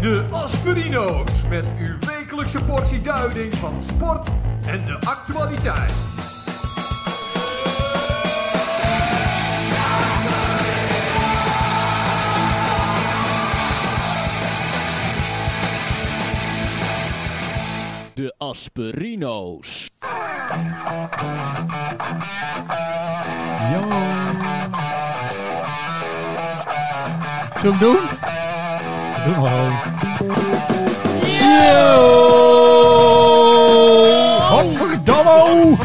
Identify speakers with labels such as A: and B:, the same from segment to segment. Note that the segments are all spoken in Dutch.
A: de Aspirino's met uw wekelijkse portie duiding van sport en de actualiteit.
B: De Aspirino's.
C: Zullen we hem doen?
D: Doe maar gewoon.
C: Godverdamme!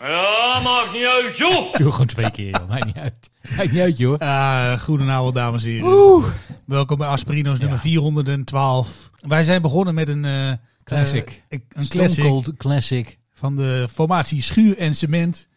E: Ja, maakt niet uit, joh!
D: Doe gewoon twee keer, joh. Maakt niet uit. Maakt niet uit, joh.
C: Ah, goedenavond, dames en heren. Welkom bij Aspirino's nummer
D: Ja.
C: 412. Wij zijn begonnen met een... eh,
D: Classic.
C: eh, ik- een
D: Stone
C: classic
D: Cold Classic.
C: van de formatie Schuur en Cement.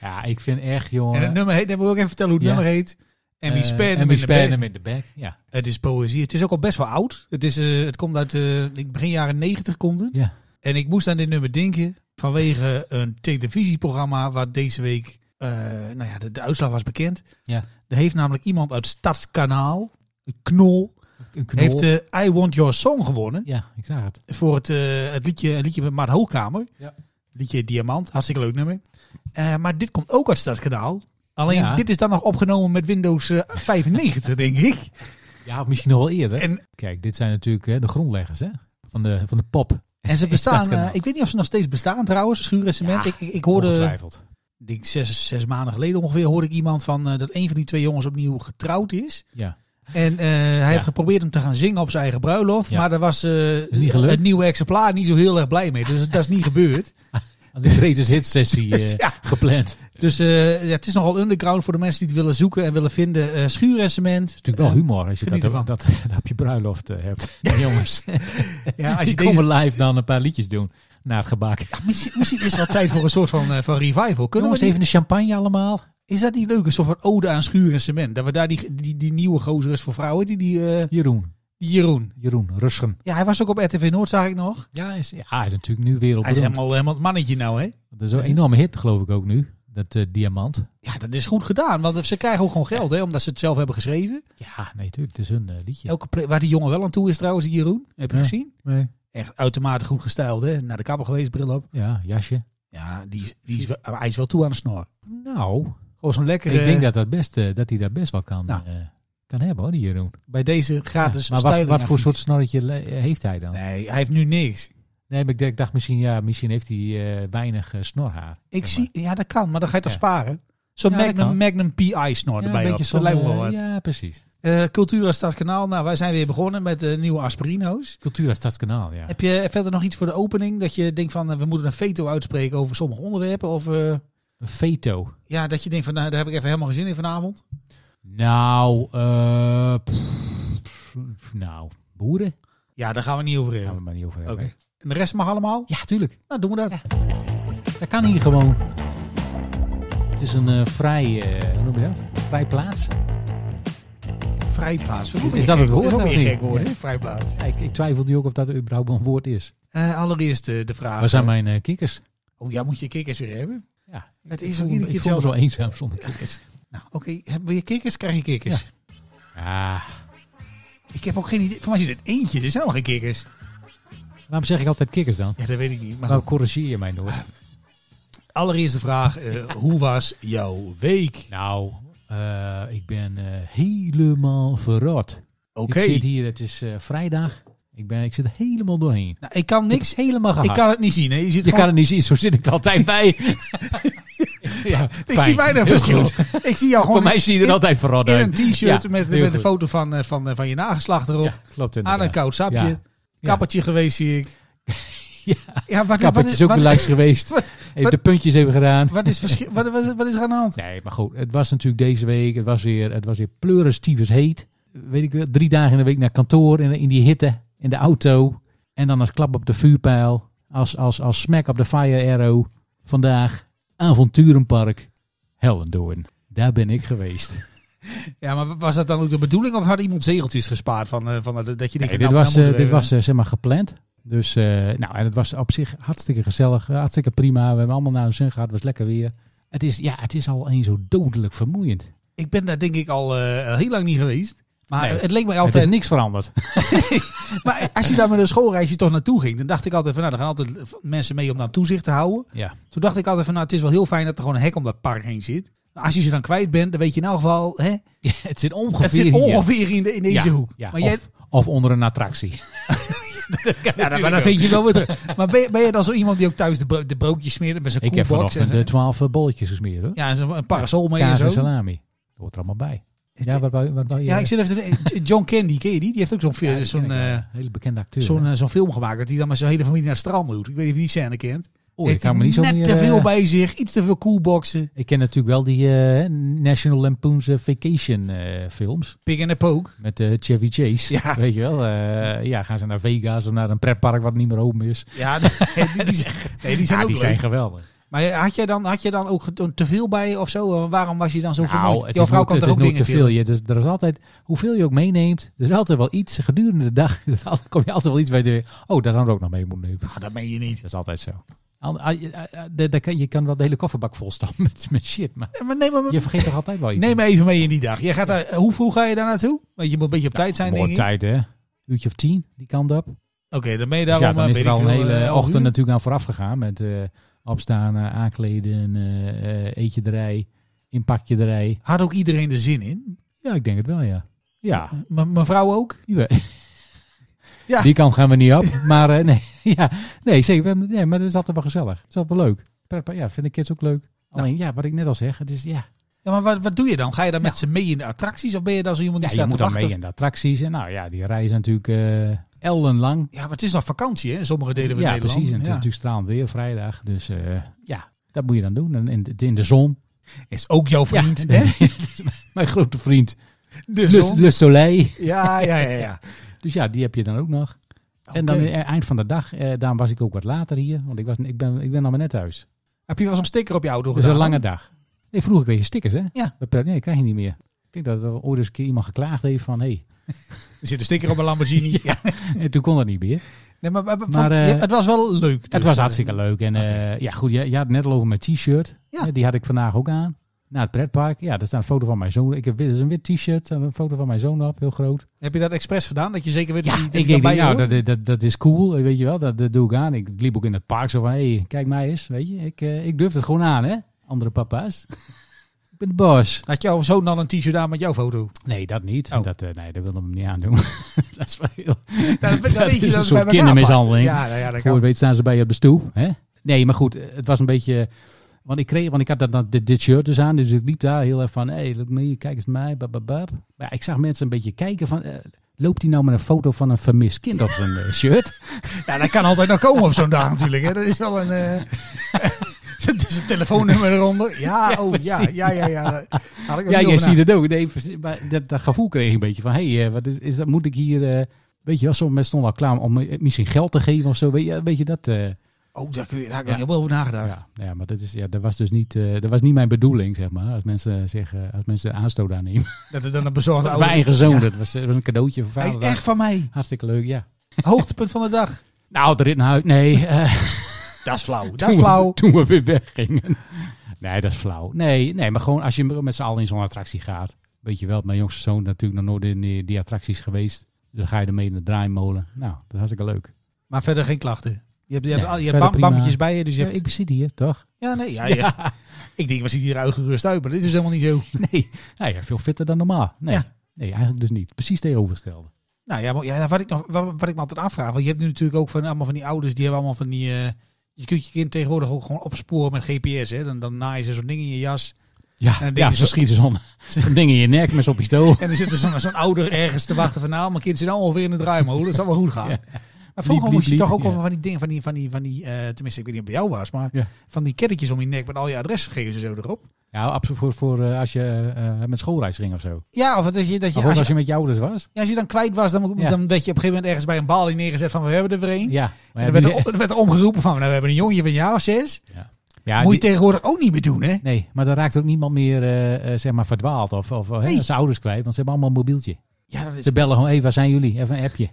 D: Ja, ik vind echt, joh.
C: En het nummer heet, dat wil ik even vertellen hoe het
D: Ja. Eh,
C: nummer heet. En wie span
D: En
C: hem
D: we
C: in de
D: spannen
C: bek.
D: hem in de back. Ja.
C: Het is poëzie. Het is ook al best wel oud. Het, is, eh, het komt uit eh, ik begin jaren 90 komt het.
D: ja.
C: En ik moest aan dit nummer denken vanwege een televisieprogramma waar deze week, eh, nou ja, de, de uitslag was bekend.
D: Ja.
C: Er heeft namelijk iemand uit Stadskanaal, Knol,
D: Een knol.
C: heeft eh, de I Want Your Song gewonnen
D: ja, ik zag het.
C: voor het, eh, het liedje, een liedje met Maart Hoogkamer.
D: Ja.
C: Liedje Diamant, hartstikke leuk nummer. Eh, maar dit komt ook uit Stadskanaal. Alleen
D: Ja.
C: dit is dan nog opgenomen met Windows eh, 95, denk ik.
D: Ja, of misschien nog wel eerder.
C: En
D: Kijk, dit zijn natuurlijk eh, de grondleggers, hè? Van de, van de pop.
C: En ze
D: In
C: bestaan,
D: Stadskanaal.
C: eh, ik weet niet of ze nog steeds bestaan trouwens, schuur en cement.
D: Ja,
C: ik, ik, ik hoorde,
D: Ongetwijfeld.
C: ik denk zes, zes maanden geleden ongeveer, hoorde ik iemand van eh, dat een van die twee jongens opnieuw getrouwd is.
D: Ja.
C: En eh, hij heeft geprobeerd hem te gaan zingen op zijn eigen bruiloft,
D: Ja.
C: maar daar was eh,
D: niet gelukt.
C: het nieuwe exemplaar niet zo heel erg blij mee. Dus dat is niet gebeurd.
D: Als een Greatest Hits sessie eh,
C: Ja.
D: gepland. Het
C: Dus eh, ja, het is nogal underground voor de mensen die het willen zoeken en willen vinden. Eh schuur en cement.
D: is natuurlijk wel humor als je dat,
C: geniet ervan.
D: dat, dat, op je bruiloft eh, hebt. Jongens,
C: Ja, als
D: die
C: je deze,
D: komen live dan een paar liedjes doen. Na het gebak. Kunnen
C: misschien, misschien is het wel tijd voor een soort van, eh, van revival. Kunnen we
D: Jongens,
C: die-
D: even de champagne allemaal.
C: Is dat niet leuk? Een soort van ode aan schuur en cement. Dat we daar die, die, die nieuwe gozer is voor vrouwen, die, die, eh,
D: Jeroen.
C: die Jeroen.
D: Jeroen Ruschen.
C: Ja, hij was ook op RTV Noord, zag ik nog.
D: Ja, hij is, ja, hij is natuurlijk nu
C: Hij is
D: wereldberoemd.
C: helemaal, helemaal het mannetje nou, hè?
D: Dat is een enorme hit, geloof ik ook nu. Dat eh, diamant.
C: Ja, dat is goed gedaan, want ze krijgen ook gewoon geld, hè? Omdat ze het zelf hebben geschreven.
D: Ja, nee, natuurlijk. Het is hun eh, liedje.
C: Elke plek, waar die jongen wel aan toe is trouwens, die Jeroen. Heb je
D: Ja.
C: gezien?
D: Nee.
C: Echt uitermate goed gestyled, hè? Naar de kapper geweest, bril op.
D: Ja, jasje.
C: Ja, die, is- die is, wel- hij is wel toe aan de snor.
D: Nou,
C: Gewoon zo'n lekkere...
D: ik denk dat, dat, best, eh, dat hij dat best wel kan,
C: Nou.
D: eh, kan hebben, hoor, die Jeroen.
C: Bij deze
D: Ja,
C: gratis
D: maar wat, wat voor
C: stylingadvies.
D: soort snorretje le- eh, heeft hij dan? Nee,
C: Nee, hij heeft nu niks.
D: maar ik dacht, ik dacht misschien, ja, misschien heeft hij eh, weinig eh, snorhaar.
C: Ik
D: zeg
C: zie... Ja, dat kan, maar dan ga je toch
D: Ja.
C: sparen? Zo'n
D: Ja, dat
C: Magnum,
D: kan.
C: Magnum PI snor
D: maar. Ja,
C: erbij.
D: een
C: op.
D: beetje
C: dat lijkt me wel
D: eh,
C: wat.
D: Ja, precies.
C: Eh, Cultura Stadskanaal. Nou, wij zijn weer begonnen met eh, nieuwe Aspirino's.
D: Cultuur uit Stadskanaal, ja.
C: Heb je verder nog iets voor de opening? Dat je denkt van, eh, we moeten een veto uitspreken over sommige onderwerpen? Of eh,
D: Een veto.
C: ja, dat je denkt van, nou, daar heb ik even helemaal geen zin in vanavond.
D: Nou, eh, pff, pff, nou, boeren?
C: Ja, daar gaan we niet over
D: Daar gaan we
C: hebben.
D: het maar niet over hebben.
C: Oké. En de rest mag allemaal?
D: Ja, tuurlijk.
C: Nou, doen we dat.
D: Dat kan hier gewoon. Het is een eh, vrij, eh, hoe noem je dat? Vrij plaats.
C: Vrijplaats. Is
D: Is dat het woord
C: Dat is ook
D: of
C: weer een
D: niet?
C: gek woord, hè?
D: Ja.
C: Vrijplaats.
D: Ja, ik, ik twijfel nu ook of dat überhaupt wel een woord is.
C: Eh, allereerst eh, de vraag.
D: Waar zijn
C: eh,
D: mijn eh, kikkers?
C: Oh ja, moet je kikkers weer hebben?
D: Ja,
C: Het
D: ik
C: is ook
D: voel,
C: iedere
D: me-
C: keer
D: ik voel me zo
C: hetzelfde.
D: eenzaam zonder kikkers.
C: Nou, oké. Hebben we je kikkers, krijg je kikkers.
D: Ah,
C: Ik heb ook geen idee. Voor mij zit het eentje. Er zijn nog geen kikkers.
D: waarom zeg ik altijd kikkers dan?
C: Ja, dat weet ik niet. Maar
D: Waarom corrigeer je mij nooit?
C: Ah. Allereerst de vraag, eh, hoe was jouw week?
D: Nou, eh, ik ben eh, helemaal verrot.
C: Oké.
D: Nou, Ik zit hier, het is eh, vrijdag. Ik, ben, ik zit er helemaal doorheen.
C: Nou, ik kan niks.
D: Niks helemaal gehad.
C: Ik kan het niet zien. Hè? Je zit
D: je kan
C: gewoon,
D: het niet zien, zo zit ik er altijd bij. ja,
C: ik zie weinig verschil. ik zie jou
D: Voor
C: gewoon
D: mij zie je er
C: in-
D: altijd verrot
C: in
D: uit.
C: een t-shirt
D: Ja,
C: met,
D: heel
C: met een
D: goed.
C: foto van, eh, van, eh, van je nageslacht erop.
D: Ja, klopt
C: aan een
D: inderdaad.
C: koud sapje.
D: Ja.
C: Kappertje geweest, zie ik.
D: Ja.
C: ja wat, wat,
D: Kappertje
C: is,
D: is ook weer
C: wat,
D: langs geweest.
C: wat-
D: Even de puntjes even gedaan.
C: wat, is verschil, wat, wat, wat is er aan de hand?
D: Nee, maar goed, het was natuurlijk deze week. Het was weer, het was weer pleurestiefers heet. Weet ik wel, drie dagen in de week naar kantoor in, in die hitte, in de auto. En dan als klap op de vuurpijl, als, als, als smack op de fire arrow. Vandaag avonturenpark Hellendoorn. Daar ben ik geweest.
C: Ja, maar was dat dan ook de bedoeling? Of had iemand zegeltjes gespaard van, eh, van dat- dat je denkt...
D: Nee, dit
C: nou, nou
D: was, eh,
C: moeten we
D: dit
C: even-
D: was eh, zeg maar gepland. Dus, eh, nou, en het was op zich hartstikke gezellig, eh, hartstikke prima. We hebben allemaal naar ons zin gehad, het was lekker weer. Het is, ja, het is al een zo dodelijk vermoeiend.
C: Ik ben daar denk ik al eh, heel lang niet geweest. Maar
D: Nee.
C: het leek mij
D: Het
C: altijd...
D: is niks veranderd.
C: Maar als je daar met een schoolreisje toch naartoe ging, dan dacht ik altijd van, nou, er gaan altijd mensen mee om daar toezicht te houden.
D: Ja.
C: Toen dacht ik altijd van, nou, het is wel heel fijn dat er gewoon een hek om dat park heen zit. Als je ze dan kwijt bent, dan weet je in elk geval, hè,
D: het zit ongeveer
C: het zit
D: hier.
C: ongeveer in, de, in deze
D: Ja,
C: hoek.
D: ja.
C: maar,
D: of,
C: jij,
D: of onder een attractie.
C: ja, maar dan vind je wel weer terug. Maar ben, je- ben je dan zo iemand die ook thuis de, bro- de broodjes smeert met zijn
D: Ik heb
C: koelbox
D: vanochtend
C: en
D: de
C: zo?
D: twaalf eh, bolletjes gesmeerd hoor.
C: Ja, en zo een parasol mee en
D: Kaas en
C: zo.
D: salami. Dat hoort er allemaal bij.
C: Het-
D: Oh, Ja, wat wou, wat wou je?
C: Ja, ik zit even te- John Candy, ken je die? Die heeft ook zo'n
D: Ja,
C: film,
D: die
C: zo'n,
D: ken ik wel.
C: eh,
D: hele bekende acteur.
C: zo'n,
D: hè?
C: eh, zo'n film gemaakt, dat hij dan met zijn hele familie naar het strand moet. Ik weet niet of je die scène kent.
D: Oeh, Oh, ik
C: heeft hij
D: kan me niet zo
C: net
D: meer,
C: te
D: eh,
C: veel bij zich, iets te veel koelboxen.
D: Ik ken natuurlijk wel die eh, National Lampoon's eh, Vacation eh, films.
C: Pig en de pook.
D: Met eh, Chevy Chase.
C: Ja.
D: Weet je wel. eh, ja, gaan ze naar Vegas of naar een pretpark wat niet meer open is.
C: Ja, nee, die, die zijn, nee, die zijn
D: Ja,
C: ook
D: die
C: leuk.
D: zijn geweldig.
C: Maar had jij dan, had jij dan ook ge- te veel bij of zo? Eh, Waarom was je dan zo vermoeid?
D: Nou, het
C: Jouw
D: is
C: vrouw
D: nooit, het
C: kan er
D: is
C: ook
D: nooit
C: dingen
D: te veel.
C: veel.
D: Je, dus, er is altijd, hoeveel je ook meeneemt, er is altijd wel iets. Gedurende de dag is er altijd, kom je altijd wel iets bij de... Oh, daar hadden we ook nog mee moeten nemen.
C: Ah, dat meen je niet.
D: Dat is altijd zo. Al- ah, je- ah, ah, de- de- kan- Je kan wel de hele kofferbak volstampen met, met shit, maar
C: Ja, Maar neem, me,
D: je vergeet toch altijd wel iets.
C: neem me even mee in die dag. Jij gaat daar, eh, hoe vroeg ga je daar naartoe? Want je moet een beetje op tijd zijn,
D: Mooi
C: denk
D: op
C: ik. Oké,
D: tijd, hè? Uurtje of tien, die kant op.
C: dan ben je
D: Dus
C: daarom...
D: ja, dan
C: eh,
D: is
C: weet
D: er al
C: ik
D: een
C: veel, eh,
D: hele
C: elf uur.
D: ochtend natuurlijk aan vooraf gegaan. Met eh, opstaan, eh, aankleden, eh, eh, eetjederij, inpakjederij.
C: Had ook iedereen er zin in?
D: Ja, ik denk het wel, ja. Ja,
C: M- mijn vrouw ook?
D: Ja.
C: Ja.
D: Die kant gaan we niet op. Maar eh, nee, ja, nee, zeker. we hebben- Nee, maar dat is altijd wel gezellig. Het is altijd wel leuk. Pretpa- Ja, vind ik kids ook leuk. Alleen, ja, wat ik net al zeg, het is, ja,
C: Ja, maar wat, wat doe je dan? Ga je dan met ze mee in de attracties? Of ben je dan zo iemand
D: ja
C: die
D: je
C: staat
D: moet dan
C: te wachten?
D: mee in de attracties. En nou ja, die reis natuurlijk eh, ellenlang.
C: Ja, maar het is nog vakantie, hè? Sommige delen we in
D: ja,
C: Nederland.
D: precies. En het is
C: Ja.
D: natuurlijk stralend weer vrijdag. Dus eh, ja, dat moet je dan doen. En in de, in de zon.
C: Is ook jouw vriend,
D: ja, Dus-
C: hè?
D: Mijn grote vriend.
C: De
D: Le,
C: zon.
D: Le Soleil.
C: Ja, ja, ja, ja.
D: Dus ja, die heb je dan ook nog. En dan
C: Oké.
D: eh, eind van de dag, eh, daarom was ik ook wat later hier. Want ik, was, ik, ben, ik ben nog maar net thuis.
C: Heb je wel zo'n sticker op je auto
D: Dus
C: gedaan?
D: een lange dag. Nee, vroeger kreeg je stickers, hè?
C: Ja.
D: Bij Pret- Nee, dat krijg je niet meer. Ik denk dat er ooit eens een keer iemand geklaagd heeft van, hé.
C: Er zit een sticker op een Lamborghini. ja.
D: En toen kon dat niet meer.
C: Nee, maar, maar-
D: Maar,
C: van-
D: eh,
C: ja, het was wel leuk. dus.
D: het was hartstikke leuk. En eh, ja, goed, je, je had het net al over mijn t-shirt.
C: Ja.
D: Eh, Die had ik vandaag ook aan. Naar het pretpark. Ja, daar staat een foto van mijn zoon. Ik heb wit- dat is een wit t-shirt. en een foto van mijn zoon op, heel groot.
C: Heb je dat expres gedaan? Dat je zeker weet
D: Ja,
C: dat die,
D: ik
C: dat die
D: denk,
C: dan bij je
D: nou,
C: hoort?
D: dat, dat, dat is cool, eh, weet je wel. Dat, dat doe ik aan. Ik liep ook in het park zo van, hé, hey, kijk mij eens, weet je. Ik, eh, ik durf het gewoon aan, hè. Andere papa's. ik ben de baas.
C: Had jouw zoon dan een t-shirt aan met jouw foto?
D: Nee, dat niet.
C: Oh.
D: Dat, eh, nee, dat wilde hem niet aandoen. dat is wel heel...
C: Dan,
D: Dat is een
C: dat het
D: soort
C: bij elkaar
D: kindermishandeling.
C: past. Ja, nou ja, dat
D: Voor
C: kan.
D: je weet staan ze bij je op de stoep. Hè? Nee, maar goed, eh, het was een beetje... Want ik, kreeg, want ik had dat, dat, dit, dit shirt dus aan, dus ik liep daar heel erg van... Hé, hey, look me, kijk eens naar mij, bab, bab, bab. Maar ja, ik zag mensen een beetje kijken van... eh, loopt hij nou met een foto van een vermist kind op zijn eh, shirt?
C: Ja, dat kan altijd nog komen op zo'n dag natuurlijk. Hè. Dat is wel een... eh, Het is een telefoonnummer eronder. Ja,
D: Ja,
C: oh, ja,
D: precies.
C: ja, ja, ja. Daar Had ik ook
D: ja, je
C: niet over
D: ziet
C: na.
D: het ook. Nee, vers- maar dat, dat gevoel kreeg ik een beetje van... Hé, hey, eh, wat is, is dat, moet ik hier... eh, weet je wel, sommige mensen stonden al klaar om eh, misschien geld te geven of zo. Weet je, weet je dat... eh,
C: Oh, daar, kun je, daar heb ik
D: Ja.
C: nog helemaal over nagedacht.
D: Ja, ja, maar dat, is, ja, dat was dus niet, eh, dat was niet mijn bedoeling, zeg maar. Als mensen, zeggen, als mensen aanstoot aannemen.
C: Dat er dan een bezorgde
D: mijn
C: ouder...
D: eigen zoon, dat was, eh, een cadeautje voor
C: Hij is
D: vaderdag.
C: echt van mij.
D: Hartstikke leuk, ja.
C: Hoogtepunt van de dag.
D: Nou, de rit naar huis, nee. eh,
C: Dat is flauw. Dat
D: toen,
C: is flauw.
D: We, toen we weer weggingen. Nee, dat is flauw. Nee, nee maar gewoon als je met z'n allen in zo'n attractie gaat. Weet je wel, mijn jongste zoon natuurlijk nog nooit in die, die attracties geweest. Dan ga je ermee in de draaimolen. Nou, dat is hartstikke leuk.
C: Maar verder geen klachten. Je hebt, je hebt,
D: Nee,
C: al- je hebt
D: verder
C: bam-
D: prima.
C: bammetjes bij je, dus je
D: Ja,
C: hebt...
D: ik zit hier, toch?
C: Ja, nee, ja, ja. Ik denk, we zien hier uitgerust uit, maar dit is helemaal niet zo.
D: Nee, nou ja, veel fitter dan normaal. Nee,
C: Ja.
D: nee eigenlijk dus niet. Precies tegenovergestelde.
C: Nou ja, maar, ja wat, ik nog, wat, wat ik me altijd afvraag, want je hebt nu natuurlijk ook van allemaal van die ouders, die hebben allemaal van die... eh, je kunt je kind tegenwoordig ook gewoon opsporen met GPS, hè. Dan, dan naaien ze zo'n ding in je jas.
D: Ja,
C: dan denk
D: ja
C: je
D: ze
C: zo-
D: schieten zo'n zo'n ding in je nek met zo'n pistool.
C: En dan zit er zo'n zo'n ouder ergens te wachten van, nou, mijn kind zit nou ongeveer in de draaimolen, dat zal wel goed gaan.
D: Ja.
C: Maar vroeger
D: Liep,
C: moest je
D: liep,
C: toch
D: liep,
C: ook
D: ja.
C: allemaal van die dingen, van die, van die, van die eh, tenminste, ik weet niet of het bij jou was, maar
D: Ja.
C: van die kettetjes om je nek met al je adresgegevens en zo erop.
D: Ja, absoluut voor, voor eh, als je eh, met schoolreis ging of zo.
C: Ja, of dat je, dat je,
D: of ook
C: als, je,
D: als je met je ouders was.
C: ja, als je dan kwijt was, dan,
D: Ja.
C: dan werd je op een gegeven moment ergens bij een balie neergezet van, we hebben er weer een.
D: Ja, maar
C: En
D: ja,
C: er werd,
D: die-
C: er, op- er werd er omgeroepen van, nou, we hebben een jongetje van jou, zes.
D: ja,
C: Moet je
D: die-
C: tegenwoordig ook niet meer doen, hè?
D: Nee, maar dan raakt ook niemand meer eh, eh, zeg maar verdwaald of, of eh,
C: Nee.
D: zijn ouders kwijt. Want ze hebben allemaal een mobieltje.
C: Ja, dat is...
D: Ze bellen gewoon, hé, waar zijn jullie? Even een appje.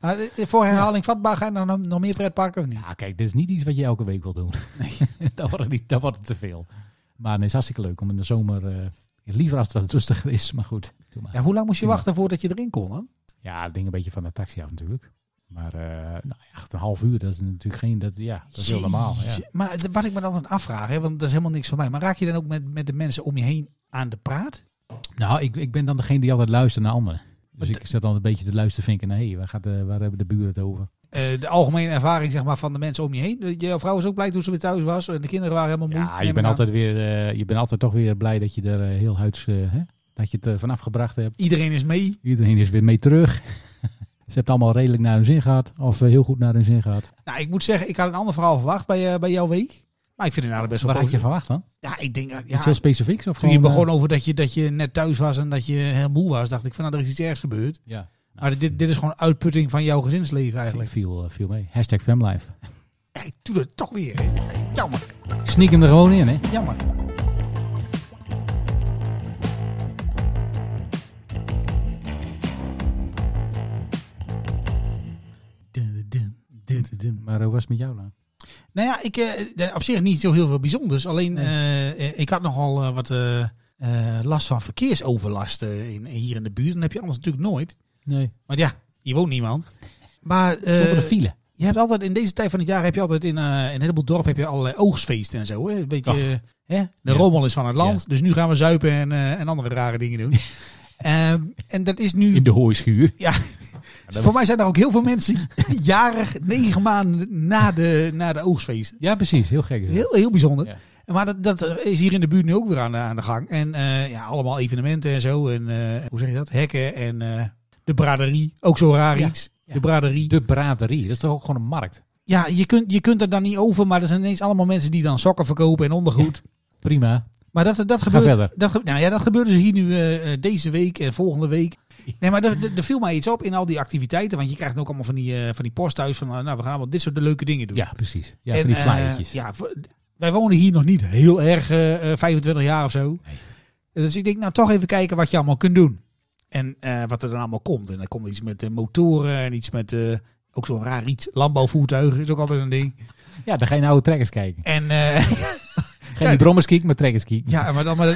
C: Nou, dit- dit voor herhaling vatbaar gaan dan nog meer pretparken of niet?
D: Ja, Ah, kijk, dit is niet iets wat je elke week wil doen. Nee. dat, wordt het niet, dat wordt het te veel. Maar nee, het is hartstikke leuk om in de zomer eh, Liever als het wat rustiger is, maar goed. Doe maar. Ja,
C: Ja, hoe lang moest je
D: Ja.
C: wachten voordat je erin kon? Hè?
D: het ding een beetje van de attractie af natuurlijk. Maar eh nou, ja, goed, een half uur, dat is natuurlijk geen... Dat, ja, dat is heel normaal. Ja.
C: Jeetje. Maar d- wat ik me dan afvraag, hè, want dat is helemaal niks voor mij. Maar raak je dan ook met, met de mensen om je heen aan de praat?
D: Nou, ik, ik ben dan degene die altijd luistert naar anderen. Dus
C: Wat-
D: ik zat dan een beetje te luisteren vinken. Hé, hey, waar, gaat de- waar hebben de buren het over?
C: Eh, de algemene ervaring zeg maar, van de mensen om je heen. Eh, Jouw vrouw is ook blij toen ze weer thuis was. En de kinderen waren helemaal moe.
D: Ja,
C: neem
D: je
C: ik
D: bent,
C: aan.
D: altijd weer, eh, je bent altijd toch weer blij dat je er eh, heel huids... eh, hè, dat je het eh, vanaf gebracht hebt.
C: Iedereen is mee.
D: Iedereen is weer mee terug. Ze hebben het allemaal redelijk naar hun zin gehad. Of eh, heel goed naar hun zin gehad.
C: Nou, ik moet zeggen, ik had een ander verhaal verwacht bij, eh, bij jouw week. Maar ik vind het eigenlijk best wel
D: Wat had je
C: positief.
D: verwacht dan?
C: Ja, ik denk... eh,
D: Iets
C: Ja,
D: heel specifieks? Of
C: toen je
D: gewoon, eh,
C: begon over dat je, dat je net thuis was en dat je eh, heel moe was, dacht ik van nou, er is iets ergs gebeurd.
D: ja,
C: Maar dit, dit is gewoon uitputting van jouw gezinsleven
D: eigenlijk
C: eigenlijk.
D: viel, eh, viel mee. Hashtag Femlife.
C: Ja, ik doe het toch weer. Ja, Jammer,
D: Sneak hem er gewoon in, hè?
C: jammer. Dun-dun-dun, dun-dun-dun.
D: Maar hoe was het met jou dan?
C: Nou ja, ik, eh, op zich niet zo heel veel bijzonders. Alleen eh, eh, ik had nogal eh, wat eh, eh, last van verkeersoverlast eh, in, hier in de buurt. Dat heb je anders natuurlijk nooit.
D: Nee.
C: Want ja, hier woont niemand. Maar eh,
D: Zonder de file.
C: je hebt altijd in deze tijd van het jaar heb je altijd in, eh, in een heleboel dorp heb je allerlei oogstfeesten en zo. Hè? Een beetje,
D: Ach.
C: eh, hè? De
D: Ja.
C: rommel is van het land. Dus nu gaan we zuipen en, eh, en andere rare dingen doen. Ehm, en dat is nu.
D: In de hooischuur.
C: Ja, voor mij zijn er ook heel veel mensen jarig negen maanden na de, na de oogstfeesten.
D: Ja, precies. Heel gek. is dat.
C: Heel, heel bijzonder.
D: Ja.
C: Maar dat, dat is hier in de buurt nu ook weer aan de, aan de gang. En eh, ja, allemaal evenementen en zo. En eh, hoe zeg je dat? Hekken en eh, de braderie. Ook zo raar
D: Ja,
C: iets.
D: ja.
C: De braderie.
D: De braderie. Dat is toch ook gewoon een markt?
C: Ja, je kunt, je kunt er dan niet over. Maar er zijn ineens allemaal mensen die dan sokken verkopen en ondergoed.
D: Prima.
C: Maar dat, dat gebeurt.
D: verder.
C: Dat, ge- nou ja, dat gebeurt dus hier nu eh, eh, deze week en volgende week. Nee, maar er- er er viel mij iets op in al die activiteiten. Want je krijgt ook allemaal van die, eh, van die post thuis. Van, eh, nou, we gaan allemaal dit soort leuke dingen doen.
D: Ja, precies. Ja,
C: En,
D: van die
C: eh,
D: flyertjes.
C: ja, voor- wij wonen hier nog niet heel erg eh, eh, 25 jaar of zo.
D: Nee.
C: Dus ik denk, nou toch even kijken wat je allemaal kunt doen. En eh, wat er dan allemaal komt. En dan komt iets met eh, motoren en iets met, eh, ook zo'n raar iets, landbouwvoertuigen is ook altijd een ding.
D: Ja, dan ga je naar oude trekkers kijken.
C: En eh,
D: Geen die brommers kieken, maar trekkers kieken.
C: ja, maar dan maar,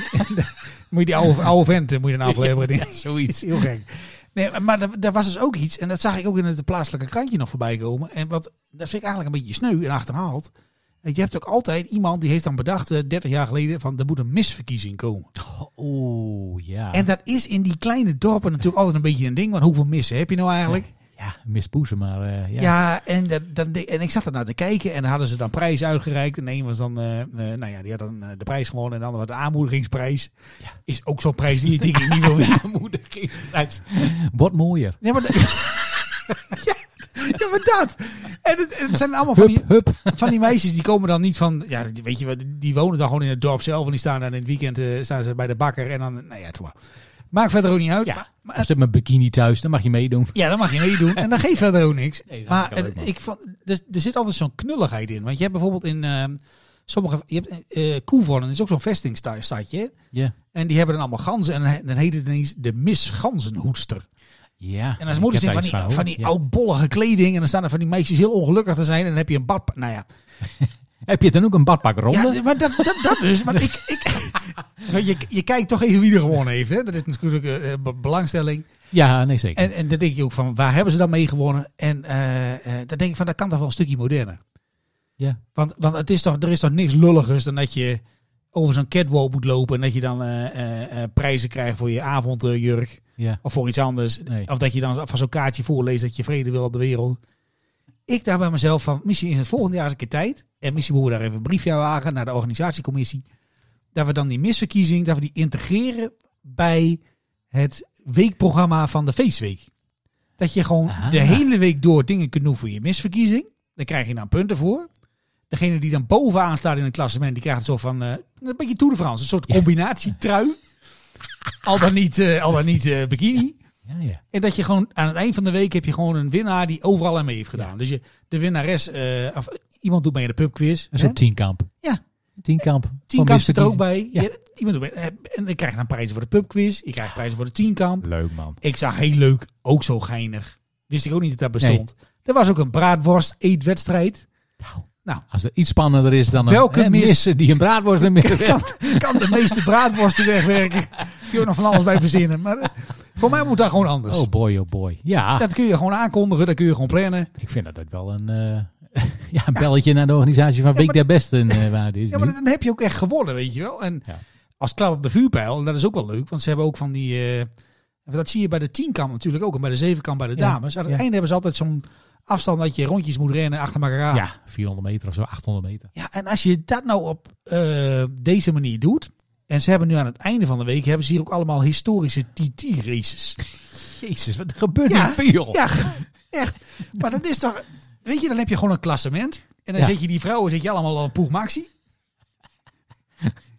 C: moet je die oude, oude venten moet je dan afleveren. zoiets. Heel gek. Nee, maar- maar daar- daar was dus ook iets. En dat zag ik ook in het plaatselijke krantje nog voorbij komen. En wat, dat vind ik eigenlijk een beetje sneu en achterhaald. Eh, Je hebt ook altijd iemand die heeft dan bedacht, eh, 30 jaar geleden, van er moet een misverkiezing komen.
D: Oeh, ja.
C: En dat is in die kleine dorpen natuurlijk altijd een beetje een ding. Want hoeveel missen heb je nou eigenlijk?
D: Ja, mispoezen, maar eh,
C: Ja,
D: ja.
C: en, dat, dan, de- en ik zat ernaar te kijken en dan hadden ze dan prijzen uitgereikt. En een was dan, eh, eh, nou ja, die had dan eh, de prijs gewonnen. En de ander was de aanmoedigingsprijs. Is ook zo'n prijs die je denk ik niet wil winnen.
D: Aanmoedigingsprijs. Wordt mooier.
C: Ja, maar, dat- ja, ja, maar dat. En het, het zijn allemaal van die,
D: Hup, hup.
C: van die meisjes die komen dan niet van, ja, die- weet je, wat, die wonen dan gewoon in het dorp zelf. En die staan dan in het weekend eh, staan ze bij de bakker. En dan, nou ja, toch. Maakt verder ook niet uit.
D: Ja.
C: maar- maar
D: Of zit mijn bikini thuis, dan mag je meedoen.
C: Ja, dan mag je meedoen. En dan geeft verder ook niks.
D: Nee, dat
C: maar
D: is wel leuk,
C: het-
D: man.
C: ik vond, er, er zit altijd zo'n knulligheid in. Want je hebt bijvoorbeeld in ehm, sommige... Je hebt, eh Koevoorn is ook zo'n vestingstadje.
D: Ja.
C: En die hebben dan allemaal ganzen. En dan he- dan heet het ineens de misganzenhoedster.
D: Ja.
C: En dan moeder zit van die, van die oudbollige kleding. En dan staan er van die meisjes heel ongelukkig te zijn. En dan heb je een bad... Nou ja,
D: Heb je dan ook een badpak ronde?
C: ja maar dat, dat, dat dus. Maar ik, ik, maar je, je kijkt toch even wie er gewonnen heeft. Hè? Dat is natuurlijk eh, be- belangstelling.
D: Ja, nee zeker.
C: En, en dan denk je ook van, waar hebben ze dan mee gewonnen? En eh, eh, dan denk ik van, dat kan toch wel een stukje moderner.
D: ja.
C: Want, want het is toch, er is toch niks lulligers dan dat je over zo'n catwalk moet lopen... en dat je dan eh, eh, eh, prijzen krijgt voor je avondjurk
D: Ja.
C: of voor iets anders.
D: Nee.
C: Of dat je dan van zo'n kaartje voorleest dat je vrede wil op de wereld. Ik daar bij mezelf van, misschien is het volgend jaar eens een keer tijd... en misschien moeten we daar even een briefje aan wagen naar de organisatiecommissie... dat we dan die misverkiezing, dat we die integreren bij het weekprogramma van de feestweek. Dat je gewoon
D: Ah.
C: de hele week door dingen kunt doen voor je misverkiezing. Daar krijg je dan punten voor. Degene die dan bovenaan staat in een klassement, die krijgt een soort van... eh, een beetje Tour de France, een soort combinatietrui. al dan niet, eh, al dan niet eh, bikini.
D: Ja, ja.
C: En dat je gewoon aan het eind van de week heb je gewoon een winnaar die overal aan mee heeft gedaan. Dus je, de winnares, eh, of iemand doet mee aan de pubquiz.
D: Een
C: hè?
D: soort tienkamp.
C: Ja. Eh,
D: Tienkamp.
C: Tienkamp zit er ook bij.
D: Ja.
C: Je- iemand doet mee, eh, en dan krijg je dan prijzen voor de pubquiz. Je krijgt prijzen voor de tienkamp.
D: Leuk man.
C: Ik zag heel leuk, ook zo geinig. Wist ik ook niet dat dat bestond. Er was ook een braadworst eetwedstrijd. Nou,
D: Als er iets spannender is dan een
C: Welke
D: hè,
C: mis?
D: missen die een braadworst in midden
C: kan, kan de meeste braadworsten wegwerken. Die kunnen nog van alles bij verzinnen. Maar eh, voor mij moet dat gewoon anders.
D: Oh boy, oh boy. Ja,
C: Dat kun je gewoon aankondigen, dat kun je gewoon plannen.
D: ik vind dat ook wel een, eh, ja, een belletje naar de organisatie van Week
C: maar-
D: der Besten eh, waar is
C: Ja, maar
D: nu.
C: dan heb je ook echt gewonnen, weet je wel. En
D: Ja.
C: als klap op de vuurpijl, en dat is ook wel leuk, want ze hebben ook van die... eh, dat zie je bij de tienkamp natuurlijk ook en bij de zevenkamp bij de
D: Ja,
C: dames. Aan het
D: ja.
C: einde hebben ze altijd zo'n afstand dat je rondjes moet rennen achter elkaar aan.
D: Ja, 400 meter of zo, 800 meter.
C: Ja, en als je dat nou op eh, deze manier doet... En ze hebben nu aan het einde van de week hebben ze hier ook allemaal historische TT-races.
D: Jezus, wat gebeurt
C: Ja,
D: er veel?
C: Ja, echt. Maar dat is toch... Weet je, dan heb je gewoon een klassement. En dan
D: Ja.
C: zet je die vrouwen zet je allemaal op Poeg Maxi.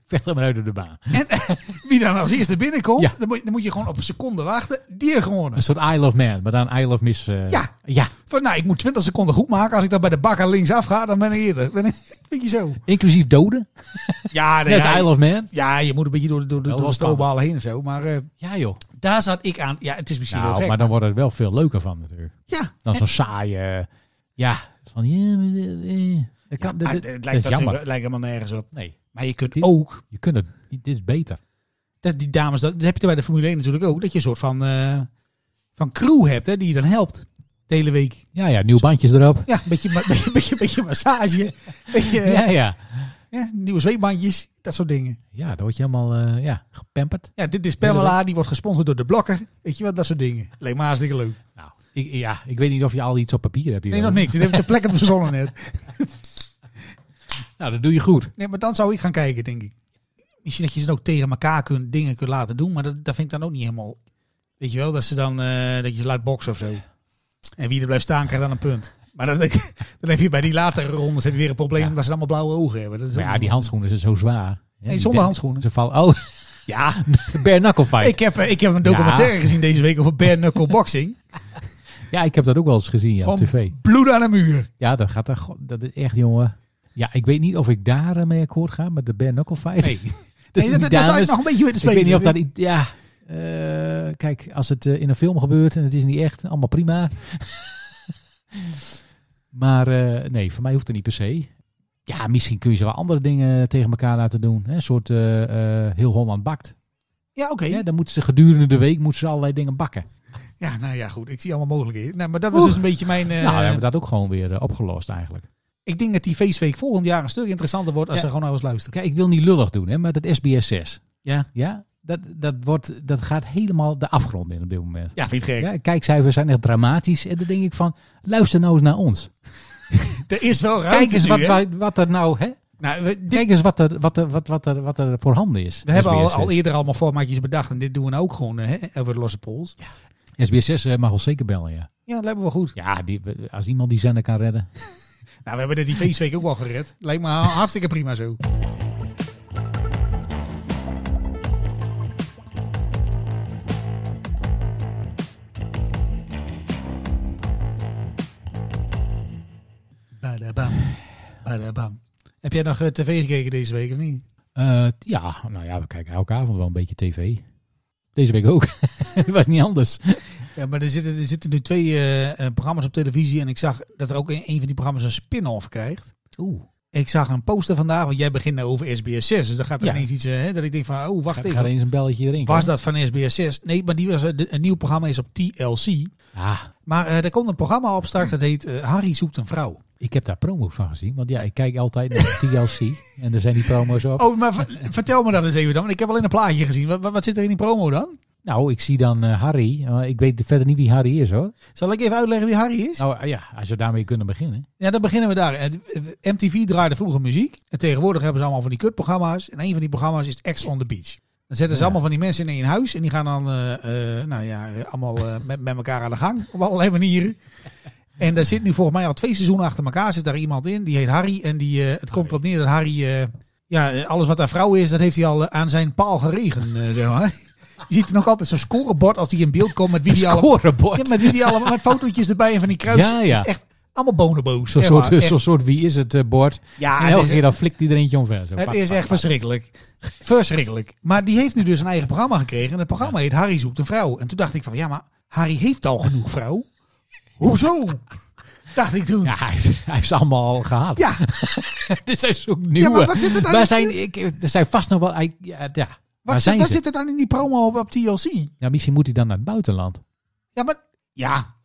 D: Vecht er maar uit op de baan.
C: En wie dan als eerste binnenkomt,
D: Ja.
C: dan, moet, dan moet je gewoon op een seconde wachten. Die heeft gewonnen.
D: Een soort Isle of Man, maar dan Isle of Miss. eh,
C: Ja.
D: ja,
C: Van, nou, ik moet 20 seconden goed maken. Als ik dan bij de bakker links afga, dan ben ik eerder. Ben ik, weet je zo.
D: inclusief doden.
C: Ja,
D: Net als
C: ja,
D: Isle of Man.
C: ja, je moet een beetje door, de- door, de-
D: Wel
C: door de
D: wel spannend.
C: stroobalen heen of zo. Maar eh,
D: Ja joh.
C: daar zat ik aan. Ja, het is misschien wel
D: Nou,
C: gek.
D: maar dan wordt het wel veel leuker van natuurlijk.
C: ja,
D: Dan
C: Eh,
D: zo'n saaie... Ja, van... Ja, maar, eh, eh, dat, kan, dat,
C: ah,
D: dat-
C: het
D: dat
C: lijkt
D: is
C: natuurlijk-
D: jammer.
C: het lijkt helemaal nergens op.
D: Nee,
C: Maar je kunt
D: Die-
C: ook,
D: je kunt het... Dit is beter.
C: dat die dames, dat, dat heb je bij de Formule 1 natuurlijk ook, dat je een soort van, eh, van crew hebt hè, die je dan helpt. De hele week.
D: Ja, ja, nieuwe bandjes erop.
C: Ja, een beetje, ma- beetje, beetje, beetje massage. Beetje, eh,
D: Ja, ja.
C: Ja, nieuwe zweetbandjes, dat soort dingen.
D: Ja, dan word je helemaal eh, ja, gepamperd.
C: Ja, dit is Pamela, die wordt gesponsord door de blokker. Weet je wel, dat soort dingen. Leek maar hartstikke leuk.
D: Nou, ik, ja, ik weet niet of je al iets op papier hebt hier.
C: Nee, nog niks. Dit heeft de plek op verzonnen net.
D: Nou, dat doe je goed.
C: Nee, maar dan zou ik gaan kijken, denk ik. Misschien dat je ze dan ook tegen elkaar kunt, dingen kunt laten doen, maar dat, dat vind ik dan ook niet helemaal... Weet je wel, dat, ze dan, eh, dat je ze laat boksen of zo. En wie er blijft staan, krijgt dan een punt. Maar dan, dan heb je bij die latere rondes heb je weer een probleem
D: Ja.
C: omdat ze allemaal blauwe ogen hebben. Dat is
D: Maar
C: ook
D: ja,
C: niet-
D: die handschoenen zijn zo zwaar. Ja, die
C: zonder
D: ben-
C: handschoenen.
D: Ze vallen... Oh,
C: Ja,
D: bare knuckle fight.
C: ik heb, eh, ik heb een documentaire gezien deze week over bare knuckle boxing.
D: Ja, ik heb dat ook wel eens gezien ja, op
C: Gewoon
D: tv.
C: Bloed aan de muur.
D: Ja, dat gaat er, go- dat is echt, jongen. Ja, ik weet niet of ik daar eh, mee akkoord ga met de bare knuckle fight.
C: Nee.
D: Dus
C: Nee, dat,
D: die
C: dat zou
D: dames-
C: ik nog een beetje willen
D: ik
C: spelen.
D: weet niet of dat... i- Ja, eh, kijk, als het eh, in een film gebeurt en het is niet echt, allemaal prima. maar eh, nee, voor mij hoeft het niet per se. Ja, misschien kun je ze wel andere dingen tegen elkaar laten doen. Hè? Een soort eh, eh, heel Holland bakt.
C: Ja, oké.
D: Hè? Dan moeten ze gedurende de week moeten ze allerlei dingen bakken.
C: Ja, nou ja, goed. Ik zie allemaal mogelijkheden. Nou, maar dat was dus een beetje mijn... eh,
D: nou, dan hebben we dat ook gewoon weer eh, opgelost eigenlijk.
C: Ik denk dat die feestweek volgend jaar een stuk interessanter wordt als
D: Ja.
C: ze gewoon naar ons luisteren.
D: Kijk, ik wil niet lullig doen, hè, maar dat SBS 6.
C: Ja.
D: Ja, dat, dat, wordt, dat gaat helemaal de afgrond in op dit moment.
C: Ja, vind je het gek?
D: Ja, kijkcijfers zijn echt dramatisch. En dan denk ik van, luister nou eens naar ons.
C: Er is wel ruimte
D: Kijk eens
C: nu,
D: wat,
C: hè?
D: wij- wat er nou, hè?
C: Nou, we, dit-
D: Kijk eens wat er, wat er, wat, wat er, wat er voorhanden is.
C: we hebben al,
D: SBS6.
C: al eerder allemaal formaatjes bedacht en dit doen we nou ook gewoon eh, hè, over de losse pols. Ja,
D: SBS6 eh, mag ons zeker bellen, ja.
C: dat lijkt me wel goed.
D: Ja, die, als iemand die zender kan redden.
C: Nou, we hebben dit die feestweek ook wel gered. Lijkt me hartstikke prima zo. Badabam. Badabam. Heb jij nog eh, tv gekeken deze week of niet?
D: Eh, t- ja, nou ja, we kijken elke avond wel een beetje tv. Deze week ook. Het was niet anders.
C: Ja, maar er zitten, er zitten nu twee eh, eh, programma's op televisie. En ik zag dat er ook een, een van die programma's een spin-off krijgt.
D: Oeh,
C: Ik zag een poster vandaag, want jij begint nou over SBS 6. Dus dan gaat er
D: Ja.
C: ineens iets, eh, hè, dat ik denk van, oh, wacht
D: ga,
C: even.
D: ga er eens een belletje erin.
C: Was dat van SBS 6? Nee, maar die was, eh, de- een nieuw programma is op TLC.
D: Ah,
C: Maar eh, er komt een programma op straks, dat heet eh, Harry zoekt een vrouw.
D: Ik heb daar promo's van gezien, want ja, ik kijk altijd naar TLC en er zijn die promo's op.
C: Oh, maar v- vertel me dat eens even dan, want ik heb alleen een plaatje gezien. Wat, wat, wat zit er in die promo dan?
D: Nou, ik zie dan eh, Harry. Eh, ik weet verder niet wie Harry is hoor.
C: Zal ik even uitleggen wie Harry is?
D: Nou eh, ja, als we daarmee kunnen beginnen.
C: Ja, dan beginnen we daar. Eh, d- MTV draaide vroeger muziek. En tegenwoordig hebben ze allemaal van die kutprogramma's. En een van die programma's is Ex on the Beach. Dan zetten
D: Ja.
C: ze allemaal van die mensen in één huis. En die gaan dan, eh, eh, nou ja, eh, allemaal eh, met, met elkaar aan de gang. Op allerlei manieren. En daar zit nu volgens mij al twee seizoenen achter elkaar. Zit daar iemand in, die heet Harry. En die, eh, het komt erop neer dat Harry... eh, ja, eh, alles wat daar vrouw is, dat heeft hij al eh, aan zijn paal geregen, eh, zeg maar. Je ziet dan ook altijd zo'n scorebord als die in beeld komt met wie die allemaal... Ja,
D: Scorebord.
C: met wie die allemaal... Met fotootjes erbij en van die kruis.
D: Ja, ja.
C: Het is echt allemaal bonenboos.
D: Zo'n
C: echt
D: soort,
C: waar, echt.
D: zo'n soort wie is het eh, bord.
C: Ja,
D: en
C: het
D: elke
C: is,
D: keer dan flikt hij er eentje omver. Zo,
C: het
D: pat,
C: is
D: pat,
C: echt
D: pat.
C: verschrikkelijk. Verschrikkelijk. Maar die heeft nu dus een eigen programma gekregen. En het programma heet Harry zoekt een vrouw. En toen dacht ik van, ja, maar Harry heeft al genoeg vrouw. Hoezo? Dacht ik toen.
D: Ja,
C: Ja,
D: hij, heeft- hij heeft ze allemaal al gehad.
C: ja,
D: Dus hij zoekt
C: ja
D: nieuwe.
C: maar wat zit er dan
D: Waar
C: in-
D: zijn, ik, er zijn vast nog wel... hij- ja, ja. Waar
C: wat
D: zijn
C: zit, wat
D: ze?
C: zit er dan in die promo op, op TLC?
D: Ja, misschien moet hij dan naar het buitenland.
C: Ja, maar, ja.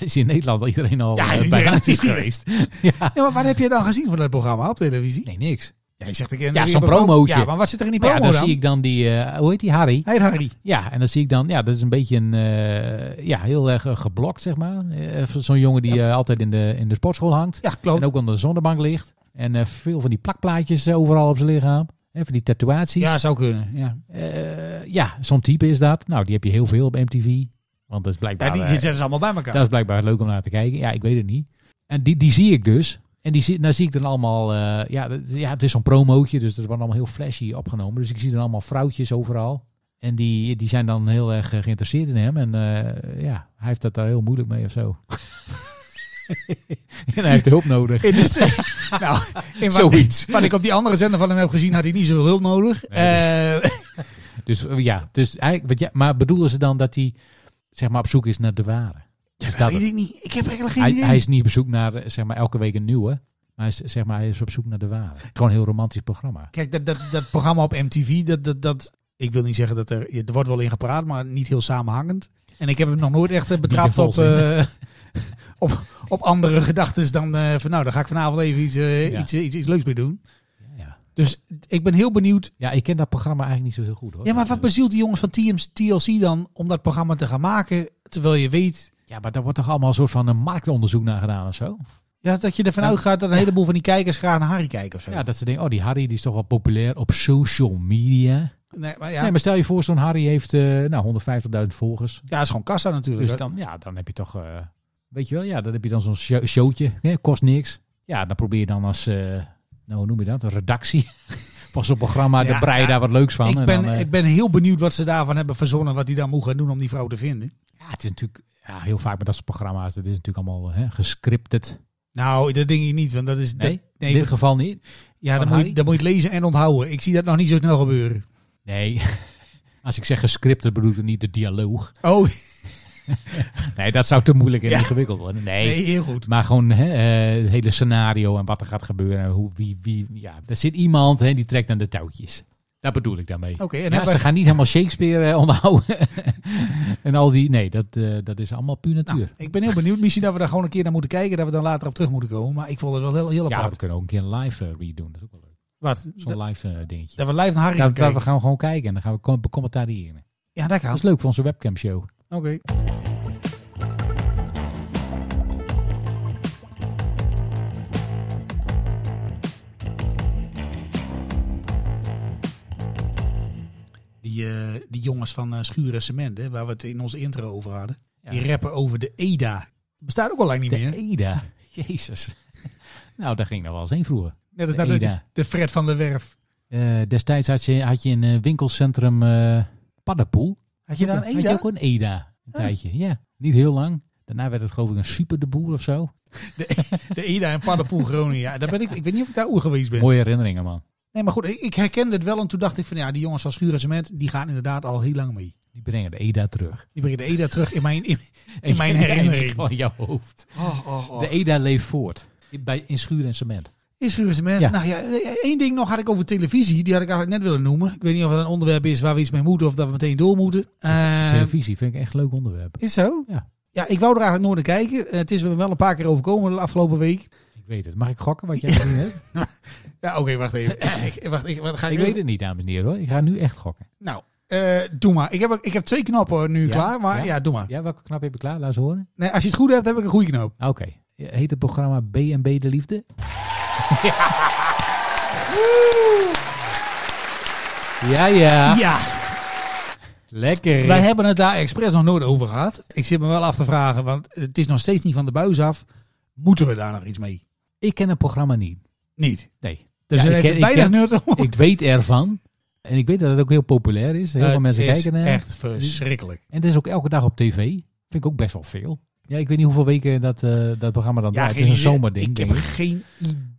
D: Is in Nederland al iedereen al
C: Ja,
D: eh,
C: iedereen
D: bij
C: is
D: Ajax is
C: iedereen.
D: geweest? Ja.
C: ja, maar wat heb je dan gezien van dat programma op televisie?
D: Nee, niks.
C: Jij zegt ik ken
D: Ja,
C: er
D: zo'n
C: weer een pro-
D: promootje.
C: Ja, maar wat zit er in die
D: Maar ja,
C: promo
D: dan
C: dan?
D: zie ik dan die... eh, hoe heet die? Harry?
C: Hij heet Harry.
D: Ja, en dan zie ik dan... Ja, dat is een beetje een... eh, ja, heel erg eh, geblokt, zeg maar. Eh, zo'n jongen die eh, altijd in de, in de sportschool hangt.
C: Ja, klopt.
D: En ook onder de zonnebank ligt. En eh, veel van die plakplaatjes eh, overal op zijn lichaam. En van die tatoeages.
C: Ja, zou kunnen. Ja.
D: Eh, ja, zo'n type is dat. Nou, die heb je heel veel op MTV. Want dat is blijkbaar,
C: Ja, die,
D: eh,
C: die zetten ze allemaal bij elkaar.
D: dat is blijkbaar leuk om naar te kijken. Ja, ik weet het niet. En die, die zie ik dus. En die zie, daar zie ik dan allemaal... eh, ja, dat- ja, het is zo'n promootje, dus dat wordt allemaal heel flashy opgenomen. Dus ik zie dan allemaal vrouwtjes overal. En die, die zijn dan heel erg eh, geïnteresseerd in hem. En eh, ja, hij heeft dat daar heel moeilijk mee of zo. en hij heeft hulp nodig.
C: In de st- nou, in wat,
D: Zoiets.
C: wat ik op die andere zender van hem heb gezien, had hij niet zoveel hulp nodig. Eh,
D: Dus eh, ja, dus eigenlijk, wat ja, maar bedoelen ze dan dat hij zeg maar op zoek is naar de ware? Is dat
C: dat
D: het?
C: weet ik niet. Ik heb eigenlijk geen
D: hij,
C: idee.
D: hij is niet op zoek naar eh, zeg maar elke week een nieuwe, maar hij is, zeg maar hij is op zoek naar de ware. Het is Gewoon een heel romantisch programma.
C: Kijk, dat, dat, dat programma op MTV, dat, dat, dat, ik wil niet zeggen dat er, er wordt wel in gepraat, maar niet heel samenhangend. En ik heb hem nog nooit echt eh, betrapt
D: in
C: op,
D: volzin.
C: eh, op, op andere gedachten dan eh, van nou, daar ga ik vanavond even iets, eh,
D: Ja.
C: iets, eh, iets, iets leuks mee doen.
D: Ja,
C: Dus ik ben heel benieuwd.
D: ja ik ken dat programma eigenlijk niet zo heel goed hoor.
C: Ja, maar wat bezielt die jongens van TM's, TLC dan om dat programma te gaan maken, terwijl je weet
D: Ja, maar daar wordt toch allemaal een soort van een marktonderzoek naar gedaan of zo?
C: ja, dat je ervan
D: Ja.
C: uitgaat dat een heleboel van die kijkers graag naar Harry kijken of zo.
D: Ja, dat ze denken, oh die Harry die is toch wel populair op social media.
C: nee, maar ja,
D: Nee, maar stel je voor zo'n Harry heeft eh, nou 150.000 volgers.
C: ja, is gewoon kassa natuurlijk.
D: Dus dan, ja, dan heb je toch, eh, weet je wel, ja, dan heb je dan zo'n show- showtje, hè, kost niks. Ja, dan probeer je dan als, eh, nou hoe noem je dat, een redactie van zo'n programma,
C: Ja,
D: de brei
C: ja.
D: daar wat leuks van.
C: ik,
D: en
C: ben,
D: dan, eh,
C: ik ben heel benieuwd wat ze daarvan hebben verzonnen, wat die dan moet gaan doen om die vrouw te vinden.
D: ja, het is natuurlijk, ja, heel vaak met dat soort programma's, dat is natuurlijk allemaal hè, gescriptet.
C: Nou, dat denk ik niet, want dat is...
D: Nee,
C: dat- nee,
D: in dit
C: dat-
D: geval niet.
C: ja,
D: van
C: dan moet, je,
D: Harry?
C: dan moet je het lezen en onthouden. Ik zie dat nog niet zo snel gebeuren.
D: Nee, als ik zeg gescriptet bedoel ik niet de dialoog.
C: Oh,
D: Nee, dat zou te moeilijk en
C: Ja.
D: ingewikkeld worden. Nee.
C: nee, heel goed.
D: Maar gewoon hè, eh, het hele scenario en wat er gaat gebeuren. en Hoe, wie, wie, ja. Er zit iemand hè, die trekt aan de touwtjes. Dat bedoel ik daarmee.
C: Oké, Oh, en
D: Ja,
C: hebben
D: ze
C: we-
D: gaan niet helemaal Shakespeare eh, onderhouden. en al die. Nee, dat, eh, dat is allemaal puur natuur.
C: nou, ik ben heel benieuwd. Misschien dat we daar gewoon een keer naar moeten kijken, dat we dan later op terug moeten komen. Maar ik vond het wel heel, heel
D: ja,
C: apart.
D: we kunnen ook een keer een live eh, read doen. Dat is ook wel leuk.
C: Wat?
D: Zo'n live eh, dingetje.
C: Dat we live naar
D: Daar,
C: Harry gaan
D: daar we
C: kijken.
D: gaan we gewoon kijken en dan gaan we com- becommentariëren.
C: Ja, dat
D: Dat
C: kan.
D: is leuk voor onze webcamshow.
C: Oké. Die, eh, die jongens van eh Schuur en Cement, hè, waar we het in onze intro over hadden.
D: Ja.
C: Die rappen over de EDA. Bestaat ook al lang niet
D: De
C: meer.
D: Eda. Jezus. nou, daar ging nog wel eens heen vroeger.
C: Net als
D: de
C: dat de,
D: EDA.
C: de Fred van der Werf.
D: Eh, destijds had je, had je in eh, winkelcentrum eh Paddenpoel.
C: Had je daar een
D: Had je
C: EDA? Ah.
D: ook een EDA? Een tijdje, ja. Niet heel lang. Daarna werd het geloof ik een super de boer of zo.
C: De EDA in Paddenpoel, Groningen. Ja, daar ben ik, ik weet niet of ik daar oer geweest ben.
D: Mooie herinneringen, man.
C: Nee, maar goed, ik, ik herkende het wel. En toen dacht ik van, ja, die jongens van Schuur en Cement, die gaan inderdaad al heel lang mee.
D: Die brengen de EDA terug.
C: Die brengen de EDA terug in mijn... in- In mijn herinnering.
D: Van jouw hoofd.
C: Oh, oh, oh.
D: De EDA leeft voort. In- Bij, in schuur en cement.
C: Is Schuur en Cement.
D: Ja.
C: Nou ja, één ding nog had ik over televisie. Die had ik eigenlijk net willen noemen. Ik weet niet of dat een onderwerp is waar we iets mee moeten of dat we meteen door moeten. Eh,
D: Televisie vind ik echt een leuk onderwerp.
C: Is zo?
D: Ja.
C: Ja, ik wou er eigenlijk nooit naar kijken. Eh, het is me wel een paar keer overkomen de afgelopen week.
D: Ik weet het. Mag ik gokken wat jij gezien hebt?
C: Ja, oké, wacht even. ik, wacht, ik, wat ga
D: Ik weet het niet, dames en heren hoor. Ik ga nu echt gokken.
C: Nou, eh, doe maar. Ik heb, ik heb twee knappen nu
D: Ja?
C: klaar, maar
D: Ja?
C: ja, doe maar.
D: Ja, welke knap heb ik klaar? Laat eens horen.
C: Nee, als je het goed hebt, heb ik een goede knoop.
D: Ah, Oké. Heet het programma B&B de Liefde? Ja, ja.
C: Ja,
D: Lekker.
C: wij hebben het daar expres nog nooit over gehad. Ik zit me wel af te vragen, want het is nog steeds niet van de buis af. Moeten we daar nog iets mee?
D: Ik ken het programma niet.
C: Niet.
D: Nee.
C: Er
D: Ja,
C: zijn
D: ik
C: echt
D: ken- ik
C: weinig
D: ken-
C: nerds om.
D: Ik weet ervan. En ik weet dat het ook heel populair is. Heel veel
C: Het
D: mensen
C: is
D: kijken naar.
C: echt verschrikkelijk.
D: En het is ook elke dag op tv. Vind ik ook best wel veel. Ja, ik weet niet hoeveel weken dat, eh, dat programma dan draait. Het is
C: idee.
D: een zomerding.
C: Ik
D: denk
C: heb geen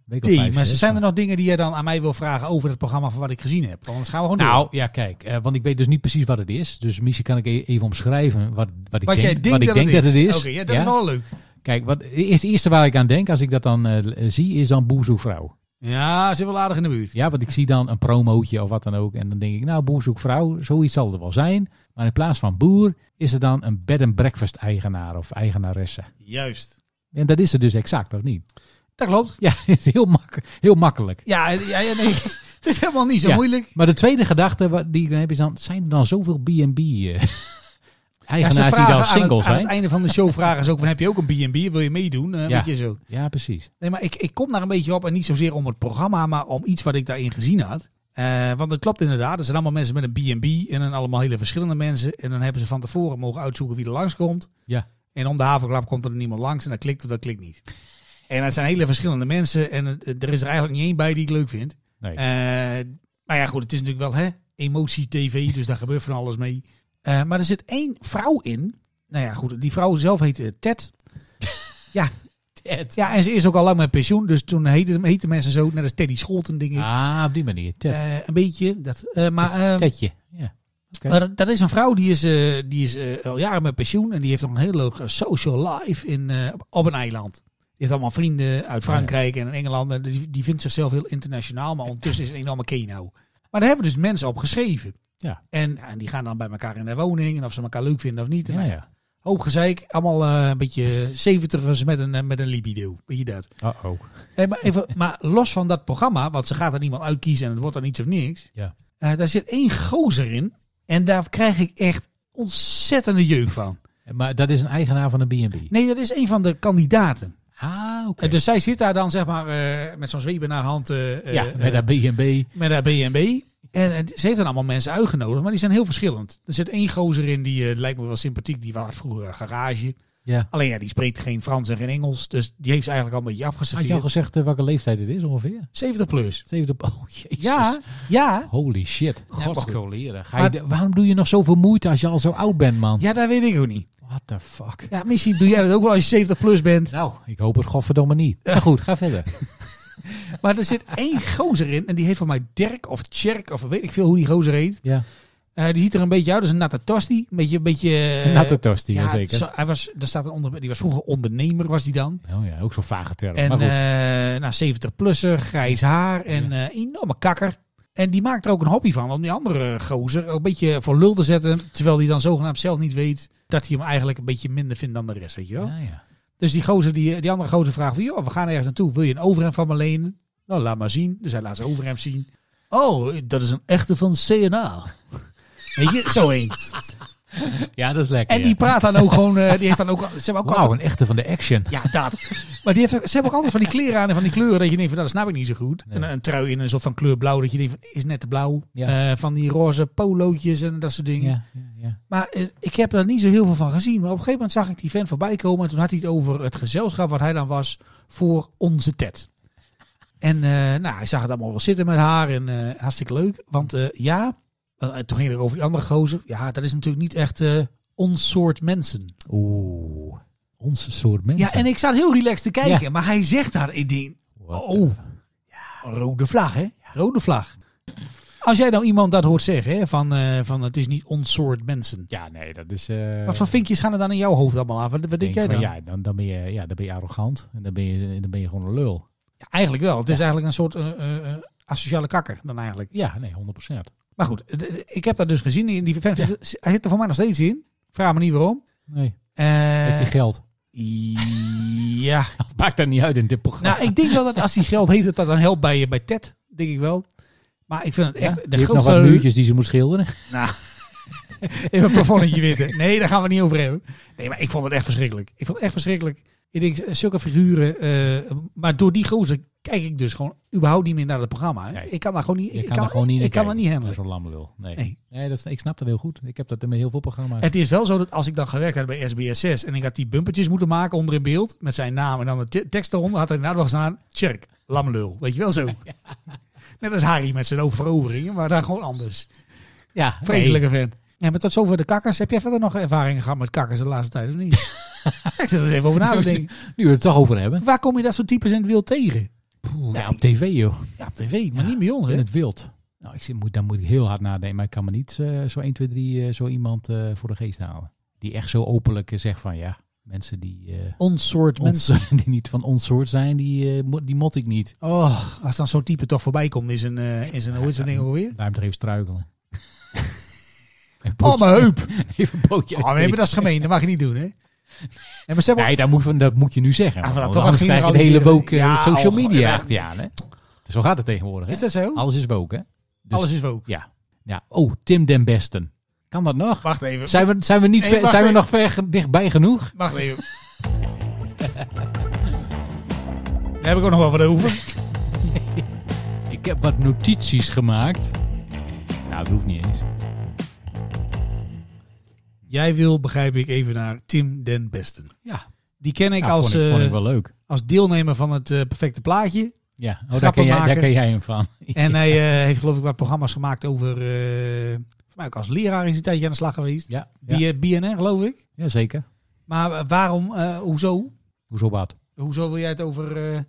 D: Week of
C: idee.
D: vijf,
C: maar
D: zes,
C: zijn er nog dingen die jij dan aan mij wil vragen over het programma van wat ik gezien heb? Want Anders gaan we gewoon door.
D: Nou, ja, kijk. eh, want ik weet dus niet precies wat het is. Dus misschien kan ik e- even omschrijven wat, wat ik
C: Wat
D: denk,
C: jij denkt
D: wat ik
C: dat
D: denk
C: het
D: dat het is.
C: Oké, ja, dat is
D: Ja.
C: wel leuk.
D: Kijk, wat is het eerste waar ik aan denk als ik dat dan eh, zie, is dan Boerzoekvrouw.
C: Ja, zit wel aardig in de buurt.
D: Ja, want ik zie dan een promootje of wat dan ook. En dan denk ik, nou, boer zoekt vrouw, zoiets zal er wel zijn. Maar in plaats van boer is er dan een bed and breakfast eigenaar of eigenaresse.
C: Juist.
D: En dat is er dus exact, of niet?
C: Dat klopt.
D: Ja, het is heel, mak heel makkelijk.
C: Ja, ja, ja nee. het is helemaal niet zo
D: Ja.
C: moeilijk.
D: Maar de tweede gedachte wa- die ik dan heb is dan, zijn er dan zoveel B&B-eigenaars
C: Ja, ze
D: eh, die
C: vragen
D: dan
C: aan
D: single
C: het, Aan
D: zijn?
C: het einde van de show vragen ze ook van, heb je ook een B&B? Wil je meedoen? Eh,
D: Ja.
C: Weet je zo.
D: Ja, precies.
C: Nee, maar ik, ik kom daar een beetje op. En niet zozeer om het programma, maar om iets wat ik daarin gezien had. Eh, want het klopt inderdaad. Er zijn allemaal mensen met een B&B. En dan allemaal hele verschillende mensen. En dan hebben ze van tevoren mogen uitzoeken wie er langskomt.
D: Ja.
C: En om de havenklap komt er niemand langs. En dat klikt of dat klikt niet. En dat zijn hele verschillende mensen. En het- het- er is er eigenlijk niet één bij die ik leuk vind.
D: Nee.
C: Eh, maar ja, goed. Het is natuurlijk wel hè, emotie-tv. Dus daar gebeurt van alles mee. Eh, maar er zit één vrouw in. Nou ja, goed. Die vrouw zelf heet eh, Ted. ja,
D: Ted.
C: ja, en ze is ook al lang met pensioen. Dus toen heette, heette mensen zo. Net als Teddy Scholten, denk ik.
D: Ah, op die manier. Ted.
C: Eh, een beetje. Dat, eh, maar, eh,
D: Tedje. Ja. Oké.
C: maar dat- dat is een vrouw die is, eh, die is eh, al jaren met pensioen. En die heeft nog een heel leuk eh, social life in, eh, op een eiland. Die heeft allemaal vrienden
D: Oh,
C: uit Frankrijk en Engeland. En die, die vindt zichzelf heel internationaal. Maar ondertussen is een enorme keno. Maar daar hebben dus mensen op geschreven.
D: Ja.
C: En, ja, en die gaan dan bij elkaar in de woning. En of ze elkaar leuk vinden of niet. En
D: Ja,
C: nou ja,
D: ja.
C: Hoop gezeik. Allemaal eh, een beetje zeventigers met een, eh, met een libido. Beetje dat.
D: Uh-oh.
C: Hey, maar, even, maar los van dat programma, want ze gaat er iemand uitkiezen en het wordt dan iets of niks.
D: Ja.
C: Eh, daar zit één gozer in en daar krijg ik echt ontzettende jeugd van.
D: Maar dat is een eigenaar van een B&B.
C: Nee, dat is een van de kandidaten.
D: Ah, oké.
C: Eh, dus zij zit daar dan zeg maar eh, met zo'n zweep naar hand eh, eh,
D: ja, met
C: eh,
D: dat B&B.
C: met haar B&B. En eh, ze heeft dan allemaal mensen uitgenodigd, maar die zijn heel verschillend. Er zit één gozer in, die eh, lijkt me wel sympathiek. Die had vroeger een garage.
D: Ja.
C: Alleen ja, die spreekt geen Frans en geen Engels. Dus die heeft ze eigenlijk al een beetje
D: Had je al
C: afgeserveerd.
D: gezegd eh, welke leeftijd het is ongeveer?
C: 70 plus.
D: 70. Oh jezus.
C: Ja, ja.
D: Holy shit.
C: maar goed.
D: Godskoleren. Ga je
C: Maar-
D: de- Waarom doe je nog zoveel moeite als je al zo oud bent, man?
C: Ja, dat weet ik ook niet.
D: What the fuck?
C: Ja, misschien doe jij dat ook wel als je 70 plus bent.
D: Nou, ik hoop het godverdomme niet. Maar goed, ga verder.
C: Maar er zit één gozer in. En die heeft voor mij Dirk of Tjerk of weet ik veel hoe die gozer heet.
D: Ja.
C: Eh, die ziet er een beetje uit als een natte tosti. Een beetje... Een beetje eh,
D: Natte tosti,
C: ja,
D: zeker.
C: zo- hij was, daar staat een onder, die was vroeger ondernemer, was die dan.
D: Oh ja, ook zo'n vage term.
C: En
D: maar goed.
C: eh nou, 70-plusser, grijs haar en eh, enorme kakker. En die maakt er ook een hobby van om die andere gozer ook een beetje voor lul te zetten. Terwijl hij dan zogenaamd zelf niet weet dat hij hem eigenlijk een beetje minder vindt dan de rest, weet je wel.
D: ja, ja.
C: Dus die, gozer, die, die andere gozer vraagt van, joh, we gaan ergens naartoe. Wil je een overhemd van me lenen? Nou, laat maar zien. Dus hij laat zijn overhemd zien. Oh, dat is een echte van CNA. Weet je, zo één.
D: ja, dat is lekker.
C: En die praat dan ook gewoon, eh, die heeft dan ook, al- ze hebben ook
D: Wauw,
C: altijd,
D: een echte van de action.
C: ja, dat. Maar die heeft, ze hebben ook altijd van die kleren aan en van die kleuren dat je denkt van, nou, dat snap ik niet zo goed.
D: Nee.
C: En een trui in een soort van kleur blauw dat je denkt van, is net te blauw.
D: Ja.
C: Eh, van die roze polootjes en dat soort dingen.
D: Ja, ja, ja.
C: Maar eh, ik heb er niet zo heel veel van gezien. Maar op een gegeven moment zag ik die vent voorbij komen. En toen had hij het over het gezelschap wat hij dan was voor onze Ted. En eh, nou, hij zag het allemaal wel zitten met haar. En eh, hartstikke leuk. Want eh, ja, eh, toen ging het over die andere gozer. Ja, dat is natuurlijk niet echt eh, ons soort mensen.
D: Oeh. Onze soort mensen.
C: Ja, en ik zat heel relaxed te kijken.
D: Ja.
C: Maar hij zegt daar, ik denk,
D: What the-
C: oh, rode vlag hè. Rode vlag. Als jij nou iemand dat hoort zeggen, hè, van, eh, van het is niet ons soort mensen.
D: Ja, nee, dat is... eh,
C: Wat voor vinkjes gaan er dan in jouw hoofd allemaal af? Wat, wat denk jij
D: van,
C: dan?
D: Ja, dan, dan, ben je, ja, dan ben je arrogant. En dan ben je, dan ben je gewoon een lul.
C: Ja, eigenlijk wel. Het is eigenlijk een soort eh, eh, eh, asociale kakker dan eigenlijk.
D: Ja, nee, 100%.
C: Maar goed, d- d- ik heb dat dus gezien. In die vent, Hij zit er voor mij nog steeds in. Vraag me niet waarom.
D: Nee.
C: Eh,
D: Heeft hij geld?
C: ja.
D: Maakt dat niet uit in dit programma.
C: Nou, ik denk wel dat als hij geld heeft, dat dat dan helpt bij, eh, bij Ted. Denk ik wel. Maar ik vind het
D: Ja?
C: echt
D: Die
C: de
D: heeft nog
C: grootste
D: wat muurtjes die ze moet schilderen.
C: Even een plafonnetje witten. Nee, daar gaan we het niet over hebben. Nee, maar ik vond het echt verschrikkelijk. Ik vond het echt verschrikkelijk. Ik denk, zulke figuren. eh, maar door die gozer kijk ik dus gewoon überhaupt niet meer naar het programma. hè.
D: Nee.
C: Ik kan daar gewoon niet.
D: Je
C: Ik
D: kan, er gewoon niet naar
C: Ik kan dat
D: kijken.
C: niet
D: Dat is
C: handelen.
D: een lamme lul. Nee,
C: Nee.
D: nee. dat is, ik snap dat heel goed. Ik heb dat met heel veel programma's.
C: Het is wel zo dat als ik dan gewerkt had bij SBS6 en ik had die bumpertjes moeten maken onder in beeld met zijn naam en dan de te- tekst eronder, had er inderdaad wel gestaan, Tjerk, lamlul. Weet je wel zo. Net als Harry met zijn overoveringen, maar daar gewoon anders.
D: ja, nee.
C: Vredelijke vent. Ja, maar tot zover de kakkers. Heb jij verder nog ervaringen gehad met kakkers de laatste tijd of niet? ik zit er eens even over na te denken.
D: Nu we het toch over hebben.
C: Waar kom je dat soort types in het wild tegen?
D: ja, op tv joh.
C: Ja, op tv, maar niet bij ons,
D: In
C: hè?
D: het wild. Nou, ik zit, moet, dan moet ik heel hard nadenken. Maar ik kan me niet eh, zo 1, 2, 3 eh, zo iemand eh, voor de geest halen. Die echt zo openlijk eh, zegt van ja, Mensen die, eh,
C: Ons soort
D: ons,
C: mensen.
D: die niet van ons soort zijn, die, eh, mo- die mot ik niet.
C: Oh, als dan zo'n type toch voorbij komt, is een, eh, is een hoe heet zo'n ding alweer?
D: Laat hem er even struikelen. Even
C: Oh,
D: pootje-
C: mijn heup!
D: Even een pootje
C: Oh, nee,
D: uitsteken.
C: maar dat is gemeen, dat mag je niet doen, hè? En maar ze hebben
D: Nee, dat moet, dat moet je nu zeggen.
C: Ja,
D: want
C: we dat
D: anders
C: toch
D: krijg je de hele
C: generaliseren.
D: woke eh,
C: Ja,
D: social
C: oh,
D: media
C: ja.
D: achter je aan. Hè? Dus Zo gaat het tegenwoordig. Hè?
C: Is dat zo?
D: Alles is woke, hè? Dus-
C: Alles is woke.
D: Ja. ja. Oh, Tim den Besten. Kan dat nog?
C: Wacht even.
D: Zijn we, zijn we, niet
C: Nee,
D: ver-
C: wacht
D: zijn we
C: even.
D: nog ver ge- dichtbij genoeg?
C: Wacht even. Daar heb ik ook nog wel wat over.
D: Ik heb wat notities gemaakt. Nou, dat hoeft niet eens.
C: Jij wil, begrijp ik, even naar Tim den Besten.
D: Ja,
C: Die ken ik
D: nou,
C: als,
D: vond, ik, vond ik
C: eh,
D: wel leuk.
C: als deelnemer van het eh, perfecte plaatje.
D: Ja, oh, daar,
C: grappen
D: ken jij, daar
C: maken.
D: ken jij hem van.
C: En hij eh, heeft geloof ik wat programma's gemaakt over... eh voor mij ook als leraar is hij een tijdje aan de slag geweest.
D: Ja, ja.
C: Bij BNR geloof ik.
D: ja, zeker.
C: Maar eh, waarom, eh, hoezo?
D: Hoezo wat?
C: Hoezo wil jij het over eh,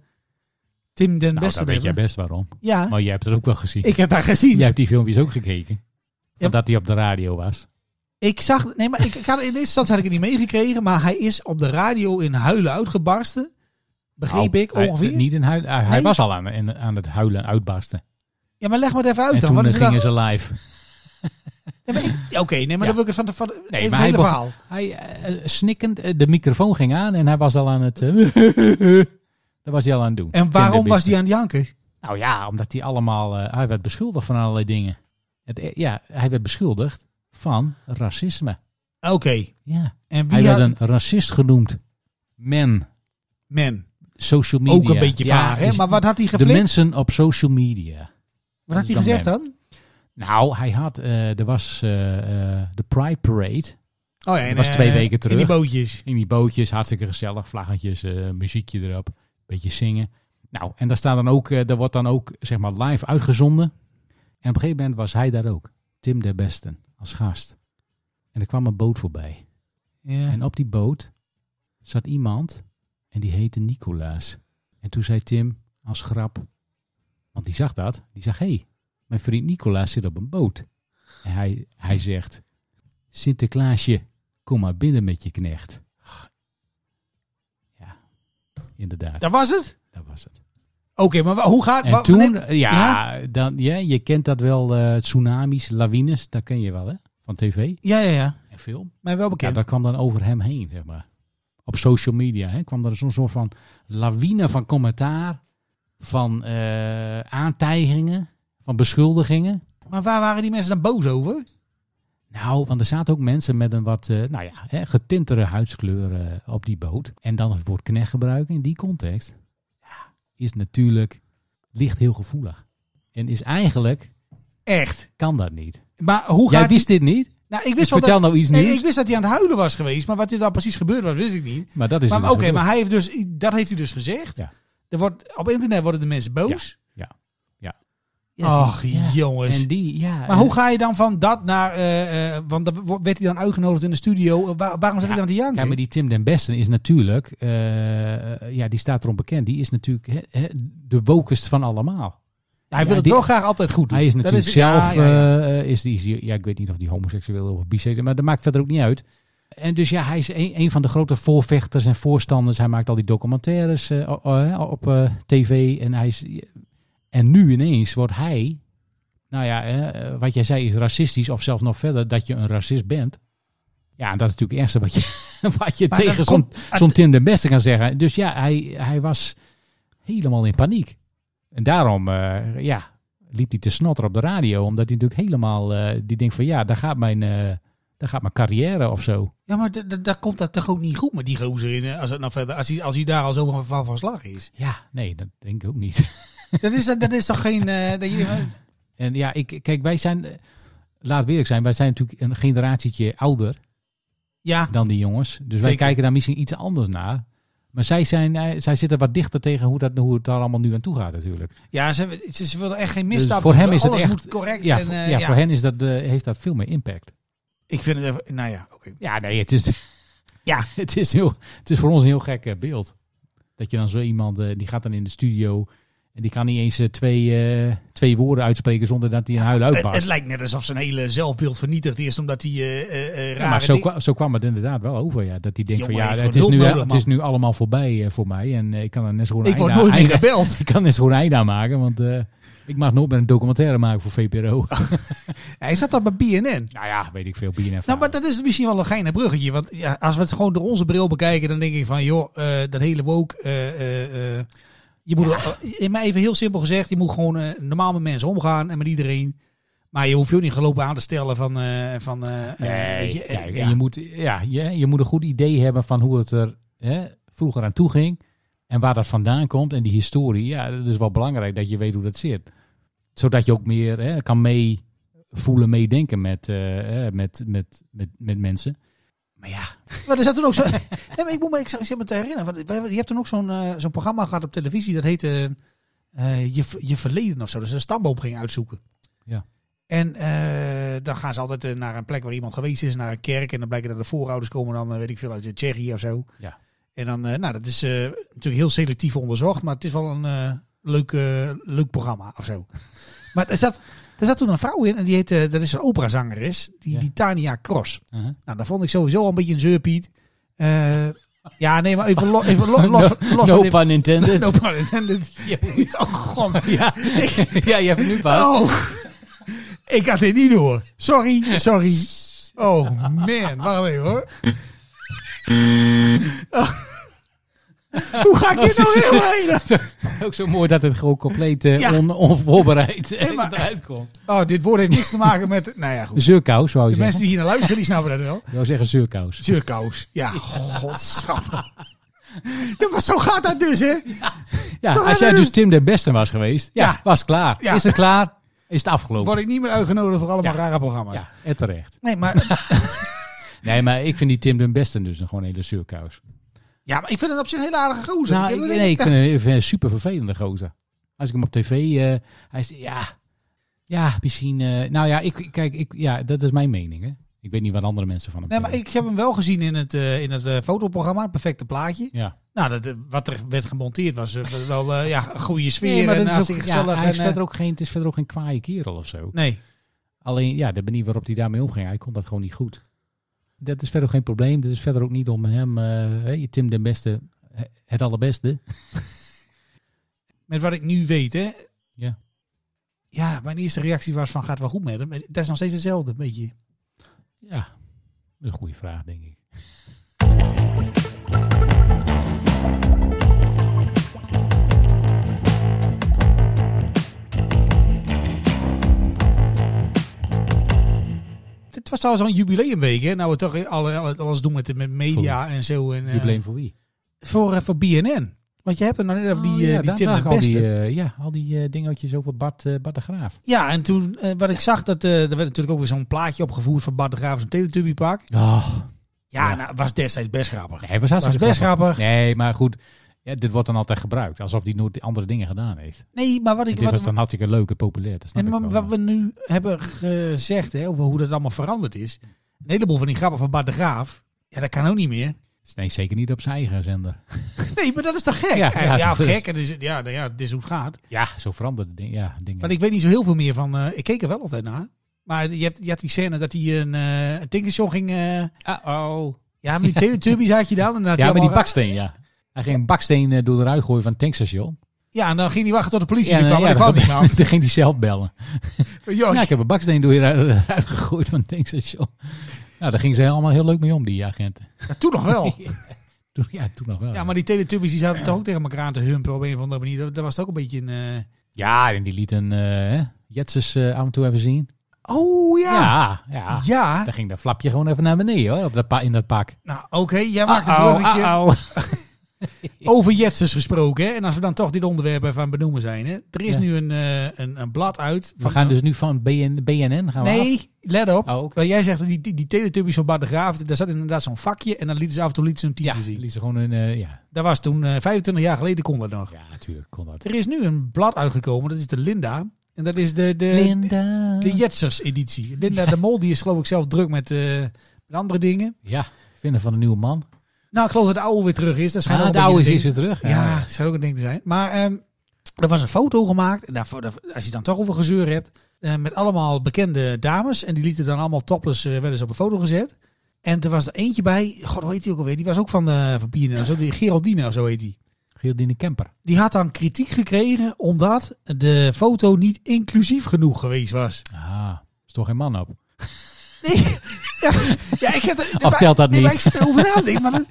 C: Tim den
D: Nou,
C: Besten
D: dat weet jij
C: hebben?
D: best waarom.
C: Ja,
D: Maar jij hebt het ook wel gezien.
C: ik heb daar gezien.
D: Jij hebt die filmpjes ook gekeken.
C: Ja.
D: Van dat hij op de radio was.
C: Ik zag, nee, maar ik, ik had, in eerste instantie had ik het niet meegekregen, maar hij is op de radio in huilen uitgebarsten. Begreep
D: Nou,
C: ik
D: hij-
C: ongeveer.
D: niet in huil- hij, hij
C: Nee.
D: was al aan, en- aan het huilen en uitbarsten.
C: Ja, maar leg maar het even uit
D: en
C: dan.
D: toen eh,
C: Wat is er
D: gingen
C: dan?
D: ze live.
C: Nee, maar ik- ja, Oké, nee, maar
D: Ja.
C: dan wil ik het van, de, van de-
D: Nee,
C: even
D: maar
C: het hele
D: hij
C: verhaal.
D: Hij eh, snikkend, eh, de microfoon ging aan en hij was al aan het... eh, dat was hij al aan het doen.
C: En waarom was
D: hij?
C: hij aan het janken?
D: Nou ja, omdat hij allemaal... eh, hij werd beschuldigd van allerlei dingen. Het, eh, ja, hij werd beschuldigd van racisme.
C: Oké,
D: Ja.
C: en wie
D: Hij
C: had,
D: werd een racist genoemd. Men.
C: men?
D: Social media.
C: Ook een beetje
D: Ja,
C: vaag, hè?
D: is-
C: Maar wat had hij
D: De
C: geflikt?
D: mensen op social media.
C: Wat had hij
D: dan
C: gezegd
D: men.
C: dan?
D: Nou, hij had, eh, er was eh, eh, de Pride Parade
C: Oh
D: Dat
C: ja, en,
D: was
C: eh,
D: twee weken terug.
C: In die bootjes.
D: in die bootjes, hartstikke gezellig, vlaggetjes, eh, muziekje erop, beetje zingen. Nou, en daar staat dan ook, eh, daar wordt dan ook zeg maar live uitgezonden. En op een gegeven moment was hij daar ook, Tim de Besten, als gast. En er kwam een boot voorbij.
C: Ja.
D: En op die boot zat iemand en die heette Nicolaas. En toen zei Tim als grap, want die zag dat, die zag, hé, hey, mijn vriend Nicolaas zit op een boot. En hij, hij zegt, Sinterklaasje, kom maar binnen met je knecht. Ja, inderdaad,
C: Dat was het?
D: dat was het.
C: Oké, maar wa- hoe gaat... wa-
D: En toen,
C: nee,
D: ja, Dan, ja, je kent dat wel, eh, tsunamis, lawines, dat ken je wel hè, van tv
C: ja, ja, ja.
D: en film.
C: Mij wel
D: Ja,
C: bekend.
D: dat kwam dan over hem heen, zeg maar. Op social media hè, kwam er zo'n soort van lawine van commentaar, van eh, aantijgingen, van beschuldigingen.
C: Maar waar waren die mensen dan boos over?
D: Nou, want er zaten ook mensen met een wat, eh, nou ja, hè, getintere huidskleur eh, op die boot. En dan het woord knecht gebruiken in die context ja, is natuurlijk, ligt heel gevoelig. En is eigenlijk,
C: Echt.
D: kan dat niet.
C: Maar hoe
D: Jij
C: gaat...
D: wist dit niet?
C: nou, ik
D: Dus
C: wist wel dat-
D: vertel nou iets
C: Nee,
D: nieuws.
C: ik wist dat hij aan het huilen was geweest, maar wat er dan precies gebeurd was, wist ik niet.
D: Maar dat is
C: maar
D: het
C: oké,
D: dus ook.
C: maar hij heeft dus, dat heeft hij dus gezegd.
D: Ja.
C: Er wordt, op internet worden de mensen boos.
D: Ja,
C: Ach,
D: ja.
C: jongens.
D: En die, ja.
C: Maar
D: en-
C: hoe ga je dan van dat naar, eh, eh, want dan wo- werd hij dan uitgenodigd in de studio. Eh, waar- waarom zat
D: Ja,
C: hij dan te janken?
D: Ja, maar die Tim den Besten is natuurlijk, eh, ja, die staat erom bekend. Die is natuurlijk hè, hè, de wokest van allemaal.
C: hij wil
D: ja,
C: het
D: die-
C: wel graag altijd goed doen.
D: Hij is
C: Dat
D: natuurlijk
C: ja,
D: zelf,
C: ja, ja.
D: eh, is die, is die- ja, ik weet niet of die homoseksueel of biseksueel, maar dat maakt verder ook niet uit. En dus ja, hij is een, een van de grote voorvechters en voorstanders. Hij maakt al die documentaires eh, o- o- hè, op eh, tv. En, hij is, en nu ineens wordt hij, nou ja, eh, wat jij zei is racistisch of zelfs nog verder, dat je een racist bent. Ja, en dat is natuurlijk het ergste wat je, wat je
C: Maar dat
D: tegen zo'n
C: komt
D: zo'n Tim de Beste kan zeggen. Dus ja, hij, hij was helemaal in paniek. En daarom eh, ja, liep hij te snotter op de radio. Omdat hij natuurlijk helemaal, eh, die denkt van ja, daar gaat mijn, eh, daar gaat mijn carrière of zo.
C: Ja, maar d- d- daar komt dat toch ook niet goed met die gozer in. eh, Als, het nou verder, als, hij, als hij daar al zo van- van van slag is.
D: Ja, nee, dat denk ik ook niet.
C: dat, is dat is toch geen... eh, dat je,
D: En ja, ik, kijk, wij zijn, eh, laat we eerlijk zijn, wij zijn natuurlijk een generatietje ouder
C: ja,
D: dan die jongens. Dus wij
C: Zeker.
D: kijken daar misschien iets anders naar. Maar zij, zijn, eh, zij zitten wat dichter tegen hoe, dat, hoe het daar allemaal nu aan toe gaat natuurlijk.
C: Ja, ze, ze, ze wilden echt geen
D: Dus
C: misstap.
D: voor
C: doen.
D: hem is het
C: Alles
D: echt-
C: moet correct.
D: Ja,
C: en,
D: voor,
C: eh,
D: ja,
C: ja.
D: voor hen is dat, eh, heeft dat veel meer impact.
C: Ik vind het even... Nou ja, oké.
D: Ja, nee, het is,
C: Ja.
D: het is, heel, het is voor ons een heel gek eh, beeld. Dat je dan zo iemand, eh, die gaat dan in de studio En die kan niet eens eh, twee, eh, twee woorden uitspreken zonder dat hij een huil
C: Het,
D: uitbarst.
C: het lijkt net alsof zijn hele zelfbeeld vernietigd is omdat hij eh eh, eh, rare
D: Ja, maar zo,
C: dingen-
D: kwa- zo kwam het inderdaad wel over. Ja. Dat hij denkt
C: Jongen,
D: van
C: hij
D: ja,
C: heeft
D: het is,
C: gewoon
D: nu,
C: hulp
D: al-
C: nodig,
D: het is
C: man.
D: nu allemaal voorbij eh, voor mij. En eh, ik kan er net zo gewoon
C: Ik word
D: einde-
C: nooit meer
D: einde-
C: gebeld.
D: Ik kan net zo gewoon einde aan maken, want eh, ik mag nooit meer een documentaire maken voor VPRO.
C: Hij zat dat bij BNN.
D: nou ja, weet ik veel. BNF.
C: Nou, maar dat is misschien wel een geinig bruggetje. Want ja, als we het gewoon door onze bril bekijken, dan denk ik van, joh, eh, dat hele woke... eh, eh, eh, je moet, eh, in maar even heel simpel gezegd, je moet gewoon eh, normaal met mensen omgaan en met iedereen. Maar je hoeft je ook niet gelopen aan te stellen van... eh, van eh, eh, weet
D: Nee,
C: je, eh,
D: kijk,
C: ja.
D: en je, moet, ja, je, je moet een goed idee hebben van hoe het er hè, vroeger aan toe ging. En waar dat vandaan komt. En die historie. Ja, dat is wel belangrijk dat je weet hoe dat zit. Zodat je ook meer hè, kan meevoelen, meedenken met, eh, hè, met, met, met, met mensen. Maar ja,
C: Maar er zat toen ook zo... nee, maar ik moet me ik zit me te herinneren. Want wij- je hebt toen ook zo'n eh, zo'n programma gehad op televisie. Dat heette eh, je, je Verleden of zo. Dus een stamboom ging uitzoeken.
D: Ja.
C: En eh, dan gaan ze altijd eh, naar een plek waar iemand geweest is. Naar een kerk. En dan blijken dat de voorouders komen dan, eh, weet ik veel, uit eh, Tsjechië of zo.
D: Ja.
C: En dan, eh, nou dat is eh, natuurlijk heel selectief onderzocht. Maar het is wel een eh, leuk, eh, leuk programma of zo. maar er zat, er zat toen een vrouw in. En die heette, dat is een operazangeres. Die,
D: Ja.
C: die Tania Cross.
D: uh-huh.
C: Nou, dat vond ik sowieso al een beetje een zeurpiet. Eh, ja, nee, maar even, lo- even lo- los,
D: no,
C: los
D: no
C: van dit-
D: pun intended.
C: No pun intended. Oh, god.
D: ja. ja, je hebt nu pas.
C: Oh. Ik had dit niet door. Sorry, sorry. Oh, man. Wacht even, hoor. Oh. Hoe ga ik dit nou helemaal heen?
D: Ook zo mooi dat het gewoon compleet eh,
C: Ja.
D: on, onvoorbereid eh,
C: Nee, maar-
D: eruit komt.
C: Oh, dit woord heeft niks te maken met... Nou ja, goed.
D: Zeurkous, zou je
C: De mensen
D: zeggen.
C: die hier naar luisteren, die snappen dat wel.
D: Ik wou zeggen zeurkous.
C: Surkous. Ja, godsamme. Ja, maar zo gaat dat dus, hè?
D: Ja,
C: Zo
D: als
C: gaat
D: jij
C: het.
D: dus Tim den Beste was geweest, ja,
C: Ja.
D: was het klaar.
C: Ja.
D: Is het klaar, is het afgelopen.
C: Word ik niet meer uitgenodigd voor allemaal
D: Ja.
C: rare programma's.
D: Ja, en terecht.
C: Nee, maar,
D: Nee, maar ik vind die Tim den Beste dus een gewoon een hele zeurkous.
C: ja, maar ik vind het op zich een hele aardige gozer.
D: Nou,
C: heb
D: ik,
C: dat
D: nee, ik
C: niet-
D: vind hem ik vind hem een super vervelende gozer. Als ik hem op tv, eh, hij is, ja, ja, misschien, eh, nou ja, ik, kijk, ik, ja, dat is mijn mening, hè. Ik weet niet wat andere mensen van hem
C: Nee, maar
D: vinden.
C: ik heb hem wel gezien in het, eh, in het eh, fotoprogramma, het perfecte plaatje.
D: Ja.
C: Nou, dat, eh, wat er werd gemonteerd was eh, wel eh, ja, een goede sfeer
D: Nee, maar
C: en
D: dat is
C: hartstikke
D: ook,
C: gezellig.
D: ja, hij is
C: en, eh,
D: verder ook geen, het is verder ook geen kwaaie kerel of zo.
C: nee,
D: Alleen ja, de manier waarop hij daarmee omging, hij kon dat gewoon niet goed. Dat is verder ook geen probleem. Dat is verder ook niet om hem, eh, hè, Tim den Beste, eh, het allerbeste.
C: met wat ik nu weet, hè.
D: Ja.
C: Ja, mijn eerste reactie was van, gaat wel goed met hem? Eh, Dat is nog steeds hetzelfde, weet je.
D: Ja, dat is een goede vraag, denk ik.
C: Het was trouwens al een jubileumweek, hè. Nou, we toch alle, alle- alles doen met, de- met media en zo. En, eh,
D: Jubileum voor wie?
C: Voor, eh, voor BNN. Want je hebt er nou net over die,
D: Oh,
C: eh,
D: ja,
C: die
D: daar
C: Tim
D: zag
C: de
D: ik al
C: Beste.
D: die, eh, ja, al die eh, dingetjes over Bart, eh, Bart de Graaf.
C: Ja, en toen, eh, wat ik zag, dat, eh, er werd natuurlijk ook weer zo'n plaatje opgevoerd van Bart de Graaf zijn Teletubby Park.
D: Oh,
C: Ja,
D: Ja.
C: nou, was destijds best grappig.
D: nee, was hartstikke
C: best grappig.
D: Nee, maar goed, ja, dit wordt dan altijd gebruikt. Alsof hij nooit andere dingen gedaan heeft.
C: Nee, maar wat
D: En
C: ik...
D: dit
C: Wat,
D: was dan hartstikke leuk en populair. Dat snap ik
C: en wat,
D: wel,
C: wat
D: maar-
C: we nu hebben gezegd, hè, over hoe dat allemaal veranderd is. Een heleboel van die grappen van Bart de Graaf, ja, dat kan ook niet meer.
D: Nee, zeker niet op zijn eigen zender.
C: Nee, maar dat is toch gek?
D: Ja,
C: Ja,
D: ja,
C: ja, of
D: dat is-
C: gek. En is, het- ja, nou ja, dit is hoe het gaat.
D: Ja, zo veranderde ding, ja, dingen.
C: Maar ik weet niet zo heel veel meer van... eh, ik keek er wel altijd naar. Maar je, hebt, je had die scène dat hij een, eh een tinkershow ging... eh,
D: Uh-oh.
C: Ja, maar die Teletubbies had je dan. En dan had hij
D: Ja, met die
C: allemaal-
D: baksteen, ja. Hij ging een baksteen eh, door de ruit gooien van het tankstation.
C: Ja, en dan ging hij wachten tot de Oh, politie
D: Ja,
C: er
D: nou,
C: kwam.
D: ja,
C: maar
D: dat-
C: die kwam niet,
D: Toen ging hij zelf bellen.
C: man. Joh,
D: Ja, ik heb een baksteen door de ruit ruit gegooid van het tankstation. Nou, daar gingen ze allemaal heel leuk mee om, die agenten.
C: ja, toen nog wel.
D: Toen, ja, toen nog wel.
C: Oh. Ja, maar die Teletubbies die zaten toch ook tegen elkaar aan te humpen op een of andere manier. Dat, dat was toch ook een beetje een... eh,
D: Ja, en die liet een eh, hè, Jetsus eh, af en toe even zien.
C: Oh ja. ja.
D: Ja, ja. Dan ging dat flapje gewoon even naar beneden, hoor, op dat pa- in dat pak.
C: nou oké, jij maakt een
D: Uh-oh,
C: bruggetje.
D: uh-oh. oh.
C: Over Jetsers gesproken, hè? En als we dan toch dit onderwerp even aan het benoemen zijn, hè? Er is
D: Ja.
C: nu een, eh, een, een blad uit.
D: We gaan dus nu van BN, BNN gaan we af?
C: Nee, let op.
D: Oh, oké.
C: Want jij zegt, dat die, die, die Teletubbies van Bart de Graaf, daar zat inderdaad zo'n vakje en dan lieten ze af en toe lieten ze een
D: Ja,
C: titel zien.
D: liet ze gewoon een... eh, ja.
C: Dat was toen, eh, 25 jaar geleden kon dat nog.
D: ja, natuurlijk kon dat.
C: Er is nu een blad uitgekomen, dat is de Linda. En dat is de, de,
D: Linda.
C: de Jetsers-editie. Linda de Mol, die is geloof ik zelf druk met, eh, met andere dingen.
D: Ja, vinden van een nieuwe man.
C: Nou, ik geloof dat de oude weer terug is. Dat schijnt
D: Ah,
C: ook
D: de
C: een
D: oude is,
C: beetje
D: is
C: een
D: weer terug. Ah,
C: ding. Ja, dat schijnt ook een ding te zijn. Maar ehm, Er was een foto gemaakt, en daarvoor, daar- als je het dan toch over gezeur hebt, eh, met allemaal bekende dames. En die lieten dan allemaal topless eh, wel eens op een foto gezet. En er was er eentje bij, god, hoe heet die ook alweer? Die was ook van, eh van PNL, zo, die Geraldine of zo heet die.
D: Geraldine Kemper.
C: Die had dan kritiek gekregen omdat de foto niet inclusief genoeg geweest was.
D: Ah, is toch geen man op.
C: Nee. Ja, ja, ik heb er,
D: Of telt dat
C: nee,
D: niet?
C: maar ik zit erover na te denken, Maar dat,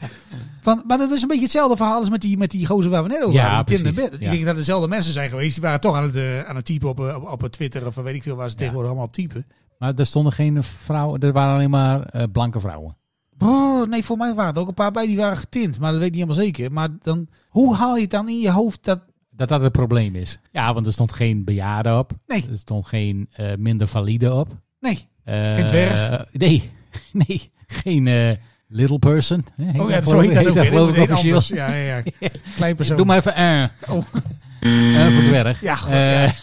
C: van, maar dat is een beetje hetzelfde verhaal als met die, met die gozer waar we net over
D: Ja,
C: hadden. die Tim
D: precies.
C: de Bed.
D: Ja.
C: Ik denk dat er dezelfde mensen zijn geweest. Die waren toch aan het, eh, aan het typen op, eh, op, op het Twitter of weet ik veel waar ze tegenwoordig allemaal op typen.
D: Maar er stonden geen vrouwen, er waren alleen maar eh, blanke vrouwen.
C: Brrr, Oh, nee, voor mij waren er ook een paar bij die waren getint. Maar dat weet ik niet helemaal zeker. Maar dan, hoe haal je het dan in je hoofd dat...
D: Dat dat het probleem is. Ja, want er stond geen bejaarde op.
C: Nee.
D: Er stond geen eh, minder valide op.
C: Nee.
D: Eh,
C: Geen dwerg?
D: Nee, nee. Geen eh, little person. hè, heet
C: Oh ja, zo
D: geloof-
C: heet dat ook.
D: heet
C: hè. Dat
D: geloof ik
C: heet
D: officieel.
C: anders. Ja, ja, ja. Klein persoon.
D: Doe maar even eh.
C: Oh.
D: Eh, voor dwerg.
C: Ja, goed,
D: Eh,
C: ja.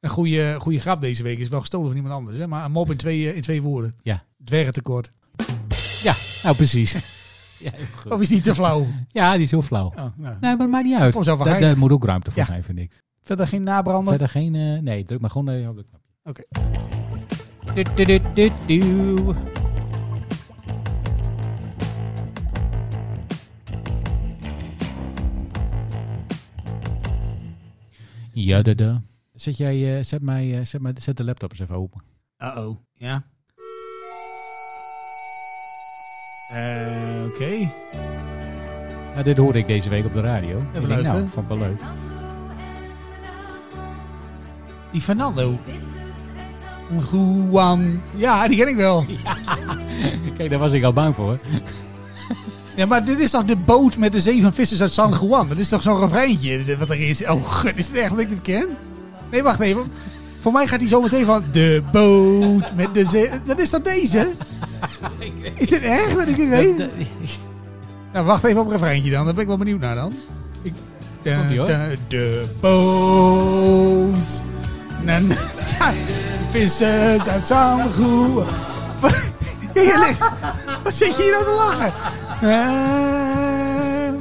C: Een goede, goede grap deze week is wel gestolen van iemand anders. Hè? Maar een mop in twee, eh, in twee woorden.
D: Ja.
C: Dwergentekort.
D: ja, nou precies. ja, heel goed.
C: Of is die te flauw?
D: ja, die is heel flauw.
C: Oh, nou.
D: Nee, maar het maakt niet uit.
C: Voor zelf
D: Daar, daar
C: heilig.
D: moet ook ruimte voor
C: Ja.
D: zijn, vind ik.
C: Verder geen nabrander.
D: Verder geen... eh, nee, druk maar gewoon eh, op de knop.
C: Oké.
D: Du- du- du- du- du. Ja, da, da. Zet, jij, eh, zet, mij, eh, zet, mij, zet de laptop eens even open.
C: Uh-oh. Ja. Eh, Oké.
D: Ja, dit hoorde ik deze week op de radio. Ik denk,
C: luisteren.
D: nou, vond ik wel leuk.
C: Die Fernando. Juan. Ja, die ken ik wel.
D: Kijk, daar was ik al bang voor.
C: Ja, maar dit is toch de boot met de zeven vissers uit San Juan? Dat is toch zo'n refreintje eh, wat er is? Oh, god, is het echt dat ik dit ken? Nee, wacht even. Voor mij gaat hij zo meteen van... De boot met de zee... Dat is toch deze? Is dit echt dat ik dit weet?
D: Dat- dat-
C: Nou, wacht even op een refreintje dan. Daar ben ik wel benieuwd naar dan. Ik, de,
D: Komt-ie, hoor.
C: de, de boot. Na, na, ja, vissers uit Zangoe. Wat, ja, je ligt, wat zit je hier nou te lachen? Na,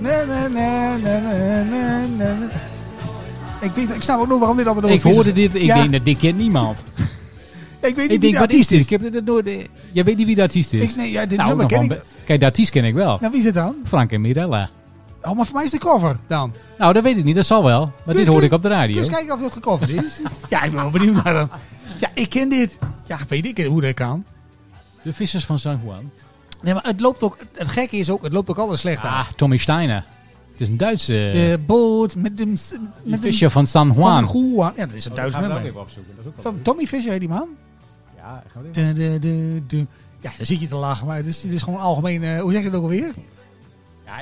C: na, na, na, na, na, na, na. Ik, weet, ik snap ook nog waarom dit altijd over
D: Ik hoorde
C: vissers-
D: dit, ik
C: Ja,
D: denk, dat dit kent niemand.
C: ik weet niet
D: ik
C: wie
D: denk,
C: de
D: wat is
C: artiest
D: dit? Ik heb dit nooit... eh, Jij weet niet wie de artiest is?
C: Ik, nee, ja, dit
D: nou,
C: nummer
D: nog
C: ken
D: wel
C: ik.
D: een be- Kijk, de artiest ken ik wel.
C: Nou, wie is dit dan?
D: Frank en Mirella.
C: Oh, maar voor mij is de cover dan.
D: Nou, dat weet ik niet. Dat zal wel. Maar dit hoorde ik op de
C: Kun
D: radio.
C: je eens kijken of dat gecoverd is? ja, ik ben wel benieuwd naar dat. Ja, ik ken dit. Ja, weet ik hoe dat kan.
D: De Vissers van San Juan.
C: Nee, maar het loopt ook... Het gekke is ook, het loopt ook altijd slecht aan.
D: Ah, Tommy Steiner. Het is een Duitse...
C: De boot met de...
D: de
C: Met de
D: Visser van San Juan.
C: Tommy eh. Juan. Ja, dat is een Duits nummer.
D: opzoeken. Dat is ook
C: Tom- Tommy Fischer heet die man.
D: Ja,
C: Du- du- du- du. Ja, dan zie ik je te lachen, maar het is, het is gewoon algemeen... eh, hoe zeg je dat ook alweer?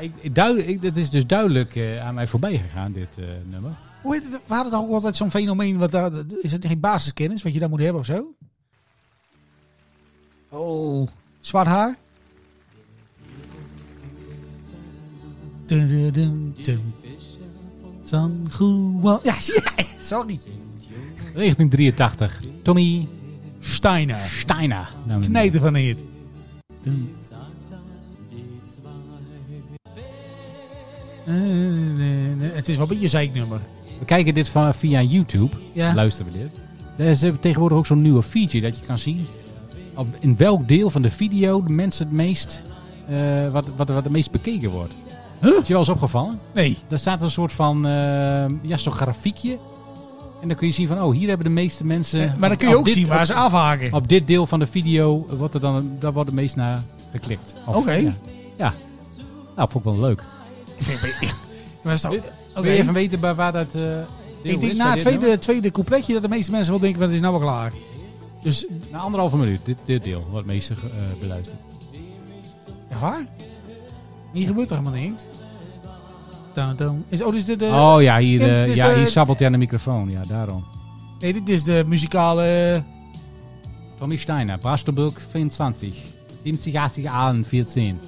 D: ik, ik duid- ik- dat is dus duidelijk eh, aan mij voorbij gegaan, dit eh, nummer.
C: Hoe heet het? We hadden toch ook altijd zo'n fenomeen... Wat daar, is het geen basiskennis wat je daar moet hebben of zo? Oh, zwart haar. Dun, dun, dun, dun. San Juan. Ja, zie je? sorry.
D: 1983. Tommy
C: Steiner.
D: Steiner. Nou,
C: Knijden van het. Eh, Het is wel een beetje een zeiknummer.
D: We kijken dit van, via YouTube.
C: Ja.
D: Luisteren we dit. Daar is eh, tegenwoordig ook zo'n nieuwe feature dat je kan zien. Op, in welk deel van de video de mensen het meest, eh, wat, wat, wat het meest bekeken wordt.
C: Huh?
D: Is je wel eens opgevallen?
C: Nee.
D: Daar staat een soort van, eh, ja, zo'n grafiekje. En dan kun je zien van, oh, hier hebben de meeste mensen...
C: Maar dan kun je
D: op
C: ook
D: dit-
C: zien waar ze afhaken.
D: Op dit deel van de video eh, wordt er dan, daar wordt het meest naar geklikt. Of-
C: Oké.
D: Ja. Ja. Nou, vond ik wel leuk.
C: Maar dat is
D: Wil-
C: toch-
D: Wil je
C: Oké.
D: even weten bij waar dat eh, deel is
C: Ik denk
D: bij
C: na het
D: dit nummer?
C: tweede, tweede coupletje dat de meeste mensen wel denken, wat is nou wel klaar. Dus,
D: Na anderhalve minuut, dit, dit deel, wat meest eh, beluisterd.
C: echt waar? Hier gebeurt toch helemaal niks? Dan, dan. Is, oh, dit is de, de,
D: oh ja, hier,
C: dit
D: eh,
C: is
D: ja,
C: de-
D: hier sabbelt hij aan de microfoon, ja, daarom.
C: nee, dit is de muzikale...
D: Tommy Steiner, Brasterburg 24, 70, 80, 14.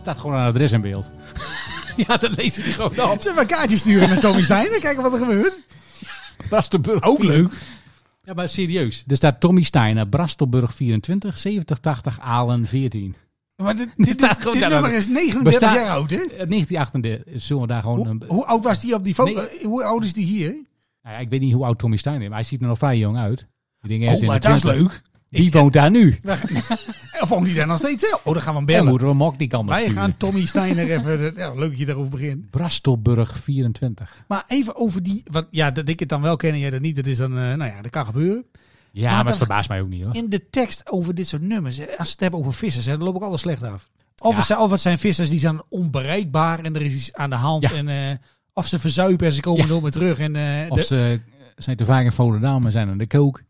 D: Staat gewoon een adres in beeld. ja, dat lees ik gewoon op.
C: Zullen we een kaartje sturen naar Tommy Stein en kijken wat er gebeurt?
D: Brasterburg.
C: Ook leuk.
D: Ja, maar serieus. Er staat Tommy Steiner, Brastelburg 24, 70, 80, Alen 14.
C: Maar dit, dit,
D: staat
C: dit,
D: gewoon
C: dit
D: daar
C: nummer
D: dan.
C: is 39
D: Besta-
C: jaar oud, hè?
D: 1938 Eh, zullen we daar gewoon... een-
C: Hoe, hoe oud was die op die foto?
D: Oh, Nee.
C: Eh, Hoe oud is die hier?
D: Nou ja, ik weet niet hoe oud Tommy Stein is, maar hij ziet er nog vrij jong uit. Ik denk ergens
C: Oh,
D: in
C: maar
D: de
C: dat is
D: 20.
C: leuk.
D: Wie woont daar nu?
C: Of woont die daar nog steeds? zelf? Oh, dan gaan we hem
D: Dan
C: bellen.
D: moeten we Mok die kant op
C: Wij
D: sturen.
C: gaan Tommy Steiner even... de- Ja, leuk dat je daarover begint.
D: Brastelburg 24.
C: Maar even over die... Wat, ja, dat ik het dan wel ken en jij dat niet. Dat is dan... eh, nou ja, dat kan gebeuren.
D: Ja,
C: Maar
D: maar,
C: dat-
D: het verbaast mij ook niet hoor.
C: In de tekst over dit soort nummers. eh, Als ze het hebben over vissers, hè, dan loop ik alles slecht af. Of,
D: Ja.
C: het zijn, of het zijn vissers die zijn onbereikbaar en er is iets aan de hand.
D: Ja.
C: En, eh, of ze verzuipen en ze komen
D: Ja.
C: nooit meer terug. En, eh,
D: Of
C: de-
D: ze eh, zijn te vaak in Volendam en zijn aan de kook.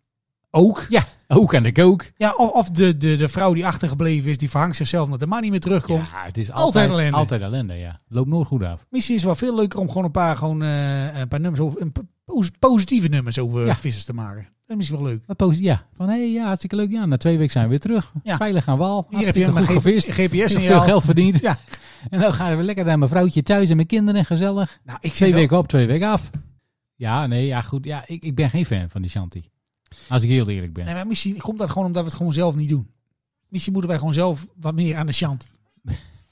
C: ook.
D: Ja, ook aan de kook.
C: Ja, of, of de, de, de vrouw die achtergebleven is, die verhangt zichzelf omdat de man niet meer terugkomt.
D: Ja, het is
C: Altijd
D: altijd, altijd
C: ellende.
D: ellende. ja. Loopt nooit goed af.
C: Misschien is het wel veel leuker om gewoon een paar, gewoon, eh, een paar nummers over, een po- pos- positieve nummers over
D: Ja.
C: vissers te maken. Dat is misschien wel leuk.
D: Maar posit- ja, van hé, hey, ja, hartstikke leuk. Ja, na twee weken zijn we weer terug.
C: Ja.
D: Veilig aan wal.
C: Hier heb je
D: Hartstikke goed gevist.
C: een GPS in
D: Veel geld verdiend.
C: Ja.
D: En dan gaan we lekker naar mijn vrouwtje thuis en mijn kinderen. Gezellig.
C: Nou, ik
D: Twee
C: vind wel,
D: weken op, twee weken af. Ja, nee, ja goed. Ja, ik, ik ben geen fan van die shanty. Als ik heel eerlijk ben.
C: nee, maar misschien komt dat gewoon omdat we het gewoon zelf niet doen. Misschien moeten wij gewoon zelf wat meer aan de chant.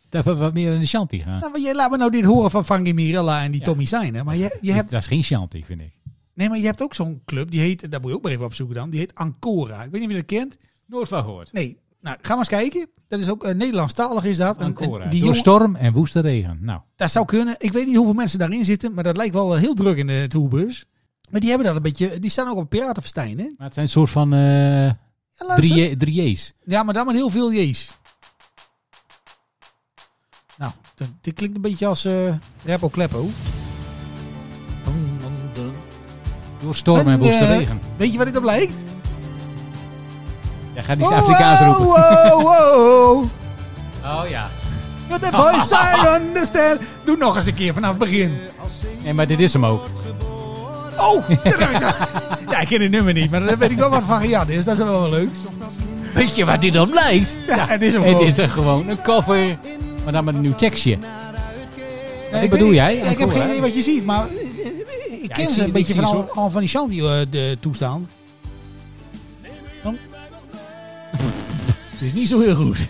D: Dat we wat meer in de shanty gaan.
C: Nou, maar jij laat me nou dit horen van Frankie Mirella en die
D: Ja.
C: Tommy Stein. Hè? Maar je, je
D: Dat-
C: hebt,
D: Dat is geen shanty, vind ik.
C: nee, maar je hebt ook zo'n club, die heet, daar moet je ook maar even op zoeken dan, die heet Ancora. Ik weet niet of je dat kent.
D: Nooit van gehoord.
C: Nee, nou, ga maar eens kijken. Dat is ook, eh, Nederlandstalig is dat. En- en
D: Ancora.
C: die
D: Door
C: jongen-
D: storm en woeste regen. Nou,
C: Dat zou kunnen. Ik weet niet hoeveel mensen daarin zitten, maar dat lijkt wel eh, heel druk in de tourbus. Maar die hebben dat een beetje. Die staan ook op Piratenfestijn, hè?
D: maar het zijn een soort van eh
C: Ja, luister.
D: drie, drieërs.
C: ja, maar dan met heel veel J's. Nou, dat, dit klinkt een beetje als eh Repo Kleppo. Dum, dum, dum.
D: Door storm en
C: En,
D: woeste
C: eh,
D: regen.
C: Weet je wat dit op lijkt?
D: Ja, ga die Afrikaans
C: oh,
D: roepen.
C: Wow, wow.
D: Oh ja.
C: But the voice
D: Oh.
C: I understand. Doe nog eens een keer vanaf het begin.
D: Nee, maar dit is hem ook.
C: Oh, dat heb ik toch. Ja, ik ken het nummer niet, maar daar weet ik wel wat van gejat is. Dat is wel wel leuk.
D: Weet je waar dit op lijkt?
C: Ja, het is hem
D: Het
C: gewoon.
D: is er gewoon een cover, maar dan met een nieuw tekstje.
C: Nee,
D: Wat
C: ik
D: bedoel
C: weet-
D: jij?
C: ja, ik heb
D: Ancora,
C: geen
D: hè?
C: idee wat je ziet, maar eh, eh, ik
D: Ja,
C: ken
D: ik
C: ze
D: zie-
C: een
D: ik
C: beetje
D: zie
C: van
D: ze,
C: al,
D: hoor.
C: al van die Shanti eh, de toestaan. Dan- Het is niet zo heel goed.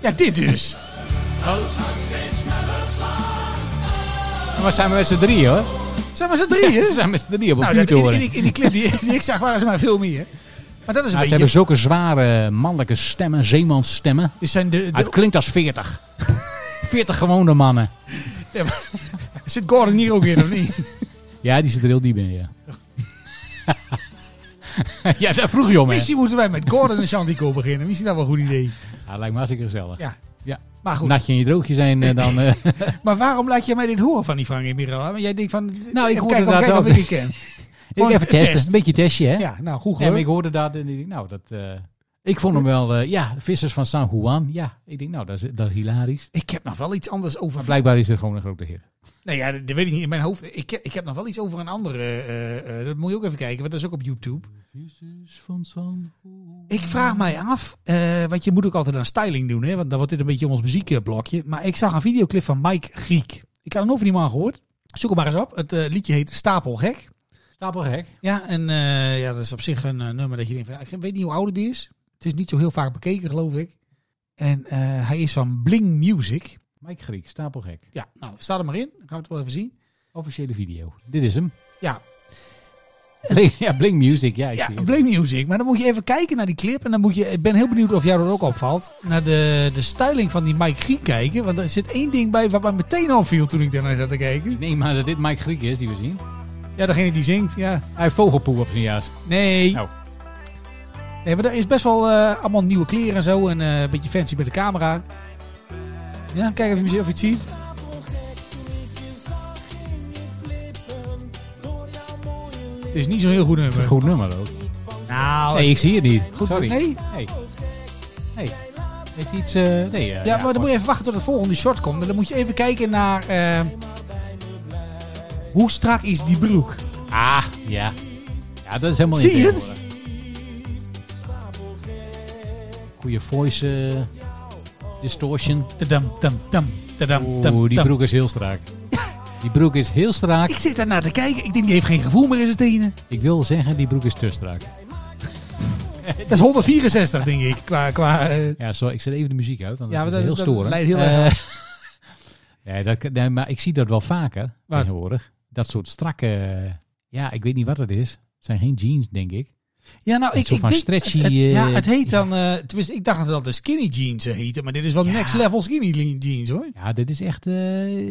C: Ja, dit dus.
D: Maar zijn we met z'n drieën hoor.
C: Zijn maar z'n drieën?
D: Zijn we met z'n drieën op een
C: nou, dat, in,
D: vuurtoren.
C: in, in die clip die, die ik zag waren ze maar veel meer. Maar dat
D: Nou,
C: is een
D: ze hebben
C: beetje...
D: zulke zware mannelijke stemmen, zeemansstemmen.
C: Dit zijn de, de-
D: Maar het klinkt als 40. 40 gewone mannen.
C: zit Gordon hier ook in, of niet?
D: Ja, die zit er heel diep in, ja. ja, daar vroeg je om, hè?
C: Misschien moeten wij met Gordon en Shantico beginnen. Misschien dat wel een goed idee.
D: Ja, lijkt me hartstikke gezellig.
C: Ja.
D: Ja. Nou.
C: Maar goed.
D: Natje en je droogje zijn eh, dan... eh,
C: Maar waarom laat jij mij dit horen van die Frank Mirella? Want jij denkt van,
D: Nou, ik
C: even
D: hoorde
C: kijken,
D: dat
C: kijken of
D: ook.
C: ik die ken.
D: ik
C: Gewoon
D: even testen.
C: test.
D: Een beetje testje, hè?
C: Ja, nou,
D: Ja,
C: goed
D: maar ik
C: gelukt.
D: hoorde dat en ik denk, nou, dat... eh, ik vond hem wel, eh, ja, Vissers van San Juan. Ja, ik denk, nou, dat is, dat is hilarisch.
C: Ik heb nog wel iets anders over...
D: Maar blijkbaar is het gewoon een grote hit.
C: Nou ja, dat dat weet ik niet in mijn hoofd. Ik, ik heb nog wel iets over een andere... eh, eh, dat moet je ook even kijken, want dat is ook op YouTube.
D: Vissers van San Juan.
C: Ik vraag mij af, eh, want je moet ook altijd aan styling doen, hè? want dan wordt dit een beetje ons muziekblokje. Maar ik zag een videoclip van Mike Griek. Ik had nog van die man gehoord. Zoek hem maar eens op. Het eh, liedje heet Stapel Gek.
D: Stapelgek.
C: Ja, en eh, ja, dat is op zich een eh, nummer dat je denkt van, ik weet niet hoe oud het is. Het is niet zo heel vaak bekeken, geloof ik. En eh, hij is van Bling Music.
D: Mike Griek, Stapelgek.
C: Ja, nou, sta er maar in. Dan gaan we het wel even zien.
D: Officiële video. Dit is hem.
C: Ja,
D: Blink, ja, Blink Music. Ja, ik
C: ja
D: zie het.
C: Bling Music. Maar dan moet je even kijken naar die clip. En dan moet je, ik ben heel benieuwd of jou dat ook opvalt. Naar de, de styling van die Mike Griek kijken. Want er zit één ding bij wat mij meteen opviel toen ik daarnaar zat te kijken.
D: Nee, maar dat dit Mike Griek is die we zien.
C: Ja, degene die zingt, ja.
D: Hij heeft vogelpoep op zijn jas.
C: Nee.
D: Nou.
C: Nee, maar er is best wel eh, allemaal nieuwe kleren en zo. En eh, een beetje fancy met de camera. Ja, kijk even of je het ziet. Het is niet zo'n heel goed
D: Dat is
C: nummer.
D: een goed nummer ook.
C: Nou,
D: Nee, ik zie het niet.
C: goed.
D: Sorry.
C: Nee?
D: Nee. Nee. Heeft hij iets... eh, nee. eh,
C: Ja, maar dan
D: gewoon-
C: moet je even wachten tot het volgende short komt. En dan moet je even kijken naar... eh, hoe strak is die broek?
D: Ah, ja. Ja, dat is helemaal
C: Zie je
D: niet tegenwoordig. Goeie voice eh, distortion.
C: Tadam, tam, tam, tadam, tam,
D: Oeh, die
C: tam.
D: broek is heel strak. Die broek is heel strak.
C: Ik zit daarnaar te kijken. Ik denk, die heeft geen gevoel meer in zijn tenen.
D: Ik wil zeggen, die broek is te strak.
C: Dat is 164, denk ik. Qua, qua, eh,
D: Ja, sorry, ik zet even de muziek uit, want
C: Ja,
D: ja, dat
C: maar
D: is
C: dat-
D: heel
C: dat
D: storend.
C: leidt heel erg
D: Eh, ja, dat, kan- nee, maar ik zie dat wel vaker
C: Wat?
D: tegenwoordig. Dat soort strakke... eh, Ja, ik weet niet wat het is. Het zijn geen jeans, denk ik.
C: ja, nou, ik,
D: zo
C: ik
D: van
C: denk-
D: stretchy,
C: het- het-
D: eh,
C: ja, het heet dan... eh, tenminste, ik dacht dat het altijd skinny jeans eh, heette. Maar dit is wel
D: Ja.
C: next level skinny le- jeans, hoor.
D: Ja, dit is echt eh,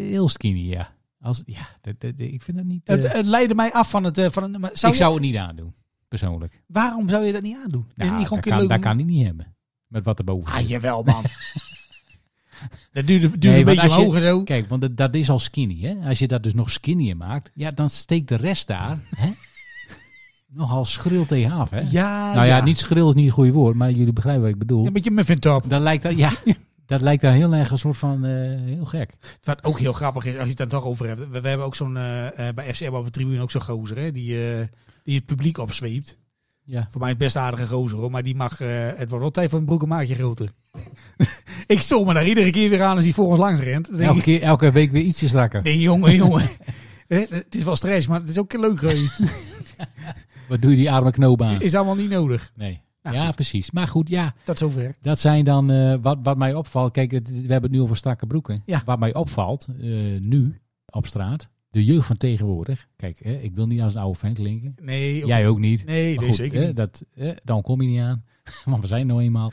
D: heel skinny, ja. Als, ja, dat, dat- ik vind dat niet... eh,
C: Het, het leidde mij af van het... eh, van het maar zou
D: ik
C: je-
D: zou het niet aandoen, persoonlijk.
C: waarom zou je dat niet aandoen? is
D: Nou,
C: het niet gewoon een
D: dat,
C: keer
D: kan,
C: leuk?
D: dat
C: om-
D: kan ik niet hebben. Met wat er boven
C: Ah,
D: zit.
C: jawel, man. dat duurde, duurde
D: Nee,
C: een
D: want
C: beetje
D: als je-
C: omhoog en zo.
D: Kijk, want dat, dat is al skinny, hè? Als je dat dus nog skinnier maakt, ja, dan steekt de rest daar hè? nogal schril tegen af, hè?
C: Ja,
D: nou ja, niet schril is niet het goede woord, maar jullie begrijpen wat ik bedoel.
C: Een beetje muffin top.
D: dat lijkt dat, ja, dat lijkt daar heel erg een soort van eh, heel gek.
C: Wat ook heel grappig is, als je het daar toch over hebt. We, we hebben ook zo'n, eh, eh, bij FCM op de tribune ook zo'n gozer, hè, die, eh, die het publiek opzweept.
D: Ja.
C: Voor mij een best aardige gozer, hoor, maar die mag, eh, het wordt wel tijd voor een broek een maatje groter. ik stoor me daar iedere keer weer aan als hij voor ons langs rent. Dan denk
D: Elke,
C: ik,
D: keer, elke week weer ietsje strakker.
C: nee, jongen, jongen. Hè, Het is wel stress, maar het is ook leuk geweest.
D: Wat doe je die arme knoop aan?
C: is allemaal niet nodig.
D: Nee.
C: Nou,
D: ja,
C: goed.
D: precies. Maar goed, ja,
C: Dat zover.
D: Dat zijn dan, eh, wat, wat mij opvalt, kijk, het- we hebben het nu over strakke broeken.
C: Ja.
D: Wat mij opvalt, eh, nu, op straat, de jeugd van tegenwoordig. Kijk, hè, ik wil niet als een oude fan klinken.
C: Nee, oké.
D: Jij ook niet.
C: nee,
D: Maar
C: nee
D: goed,
C: zeker
D: hè,
C: niet.
D: dat, hè, dan kom je niet aan, want we zijn nou eenmaal.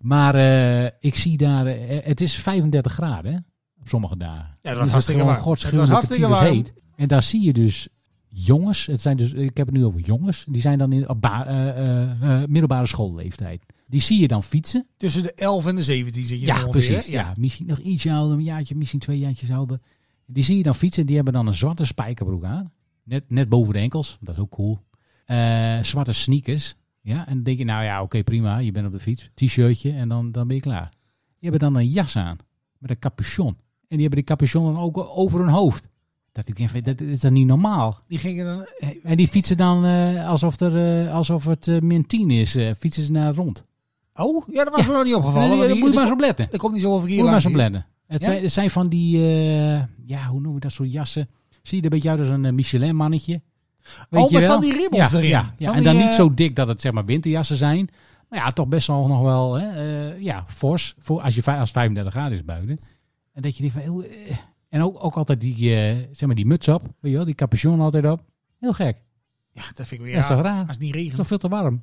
D: Maar eh, ik zie daar, eh, het is 35 graden hè, op sommige dagen.
C: Ja, dat was
D: Dus
C: hartstikke
D: gewoon
C: warm.
D: godschuwelijk
C: Het was hartstikke
D: tyfus
C: warm.
D: heet. En daar zie je dus jongens, het zijn dus, ik heb het nu over jongens, die zijn dan in, op ba- eh, eh, eh, middelbare schoolleeftijd. Die zie je dan fietsen.
C: Tussen de 11 en de 17 zit je
D: Ja,
C: dan ongeveer,
D: precies.
C: hè?
D: Ja. misschien nog ietsje ouder, een jaartje, misschien twee jaartjes ouder. Die zie je dan fietsen. Die hebben dan een zwarte spijkerbroek aan. Net, net boven de enkels. Dat is ook cool. Eh, zwarte sneakers. Ja, en dan denk je, nou ja, oké, prima. Je bent op de fiets. T-shirtje en dan, dan ben je klaar. Die hebben dan een jas aan. Met een capuchon. En die hebben die capuchon dan ook over hun hoofd. Dat ik denk, van, dat is dan niet normaal.
C: Die gingen dan... eh,
D: En die fietsen dan eh, alsof, er, eh, alsof het eh, min 10 is. eh, fietsen ze naar rond.
C: Oh, ja, dat was me nog niet opgevallen.
D: Nee, nee,
C: want
D: daar moet
C: die-
D: je maar
C: die-
D: eens op letten.
C: dat komt niet zo over hier
D: Moet je maar
C: langs.
D: zo blenden. Het,
C: Ja?
D: zijn, het zijn van die, eh, ja, hoe noem je dat soort jassen? Zie je er een beetje uit als een eh, Michelin-mannetje? Weet
C: Oh,
D: je
C: met
D: wel?
C: van die ribbels
D: ja,
C: erin.
D: Ja, ja.
C: Van
D: en
C: die,
D: dan
C: eh,
D: niet zo dik dat het zeg maar winterjassen zijn. Maar ja, toch best wel nog wel hè, eh, ja, fors. Voor als, je, vij- als 35 graden is buiten. En dat je denkt van... eeuw, eh. En ook, ook altijd die, eh, zeg maar die muts op. Weet je wel, die capuchon altijd op. Heel gek.
C: Ja, dat vind ik weer
D: Dat is toch
C: raar.
D: raar?
C: Als
D: Het
C: het niet
D: is
C: regent.
D: toch veel te warm?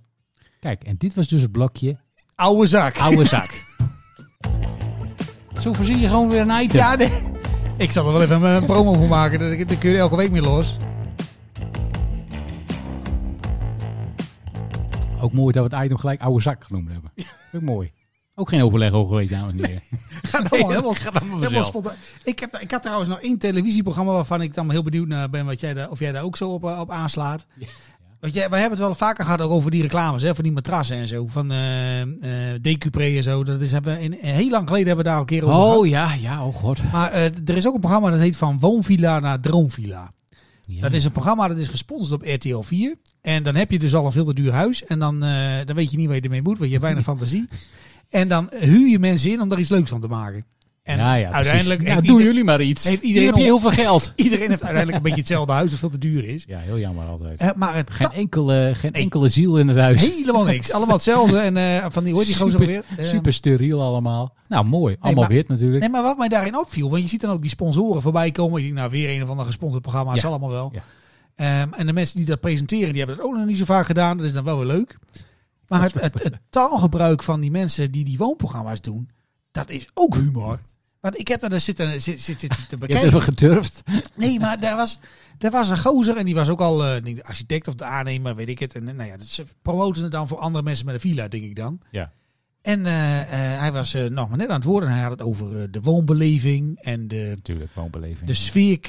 D: Kijk, en dit was dus het blokje
C: Oude zak.
D: oude zak. Zo voorzien je gewoon weer een item.
C: Ja, nee. Ik zal er wel even eh, een promo voor maken. Dan dan kun je er elke week mee los.
D: Ook mooi dat we het item gelijk oude zak genoemd hebben. Ook mooi. Ook geen overleg over geweest, dames en heren.
C: Ga nou
D: dat
C: helemaal,
D: gaat allemaal
C: helemaal
D: vanzelf.
C: spontaan. Ik, heb, ik had trouwens nog één televisieprogramma waarvan ik dan heel benieuwd naar ben wat jij daar, of jij daar ook zo op, eh, op aanslaat. Want jij, wij hebben het wel vaker gehad ook over die reclames, hè, van die matrassen en zo. Van eh eh, Decupré en zo. Dat is, hebben we in, heel lang geleden hebben we daar al een keer over gehad.
D: Oh ja, ja, oh god.
C: Maar eh, er is ook een programma dat heet Van Woonvilla naar Droomvilla.
D: Ja.
C: Dat is een programma dat is gesponsord op RTL 4. En dan heb je dus al een veel te duur huis. En dan, eh, dan weet je niet waar je ermee moet, want je hebt weinig fantasie. En dan huur je mensen in om daar iets leuks van te maken. En
D: ja, ja,
C: uiteindelijk
D: precies.
C: heeft,
D: Ja, doen
C: ieder-
D: jullie maar iets.
C: heeft
D: Hier
C: iedereen
D: heb je heel veel geld.
C: iedereen heeft uiteindelijk een beetje hetzelfde huis, dat veel te duur is.
D: Ja, heel jammer altijd.
C: Eh, maar het
D: Geen
C: kan
D: enkele, geen
C: Nee.
D: enkele ziel in het huis.
C: helemaal niks. Allemaal hetzelfde. En eh, van die, hoort die gozer
D: super,
C: weer? Eh,
D: super steriel allemaal. Nou, mooi. Allemaal
C: maar-
D: wit natuurlijk.
C: Nee, maar wat mij daarin opviel, want je ziet dan ook die sponsoren voorbij komen. Ik denk, nou, weer een of ander gesponsord programma, is
D: Ja,
C: allemaal wel.
D: ja.
C: Ehm, en de mensen die dat presenteren, die hebben dat ook nog niet zo vaak gedaan. Dat is dan wel weer leuk. Maar het, het, het taalgebruik van die mensen die die woonprogramma's doen, dat is ook humor. Want ik heb daar dus zitten, zit, zit, zitten
D: je
C: te
D: hebt even
C: bekijken.
D: gedurfd.
C: Nee, maar daar was, daar was een gozer en die was ook al eh, ik denk de architect of de aannemer, weet ik het. En eh, nou ja, dat- ze promoten het dan voor andere mensen met een villa, denk ik dan.
D: Ja.
C: En eh, eh, hij was eh, nog maar net aan het woord en hij had het over eh, de woonbeleving en de,
D: Natuurlijk, woonbeleving.
C: de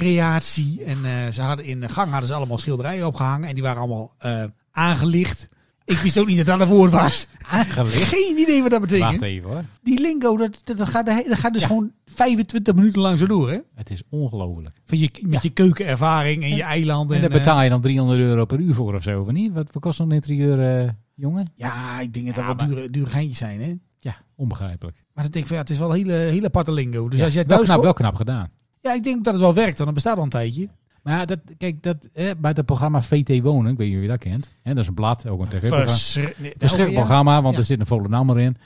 C: sfeercreatie. En eh, ze hadden in de gang hadden ze allemaal schilderijen opgehangen en die waren allemaal eh, aangelicht. Ik wist ook niet dat dat een woord was.
D: aangelicht.
C: Geen idee wat dat
D: Wacht
C: betekent.
D: even hoor.
C: Die lingo, dat, dat, dat gaat, de he- dat gaat dus gewoon 25 minuten lang zo door, hè?
D: Het is ongelooflijk.
C: Van je, met je keukenervaring en je eilanden.
D: En daar
C: eh,
D: betaal je dan 300 euro per uur voor of zo, of niet? Wat, wat kost zo'n interieur, eh, jongen?
C: Ja, ik denk dat dat
D: Ja,
C: wel dure, dure geintjes zijn, hè?
D: Ja, onbegrijpelijk.
C: Maar dan denk ik van, ja, het is wel een hele, hele aparte lingo. Dus
D: Ja,
C: als jij
D: wel,
C: thuis
D: knap,
C: komt-
D: wel knap gedaan.
C: Ja, ik denk dat het wel werkt, want dan bestaat al een tijdje.
D: Maar ja, dat, kijk, dat, hè, bij het programma VT Wonen, ik weet niet of je dat kent. Hè, dat is een blad, ook een tv-programma.
C: Verschri- nee,
D: Verschrikkelijk
C: nou,
D: programma, want
C: Ja.
D: er zit een Volendammer in.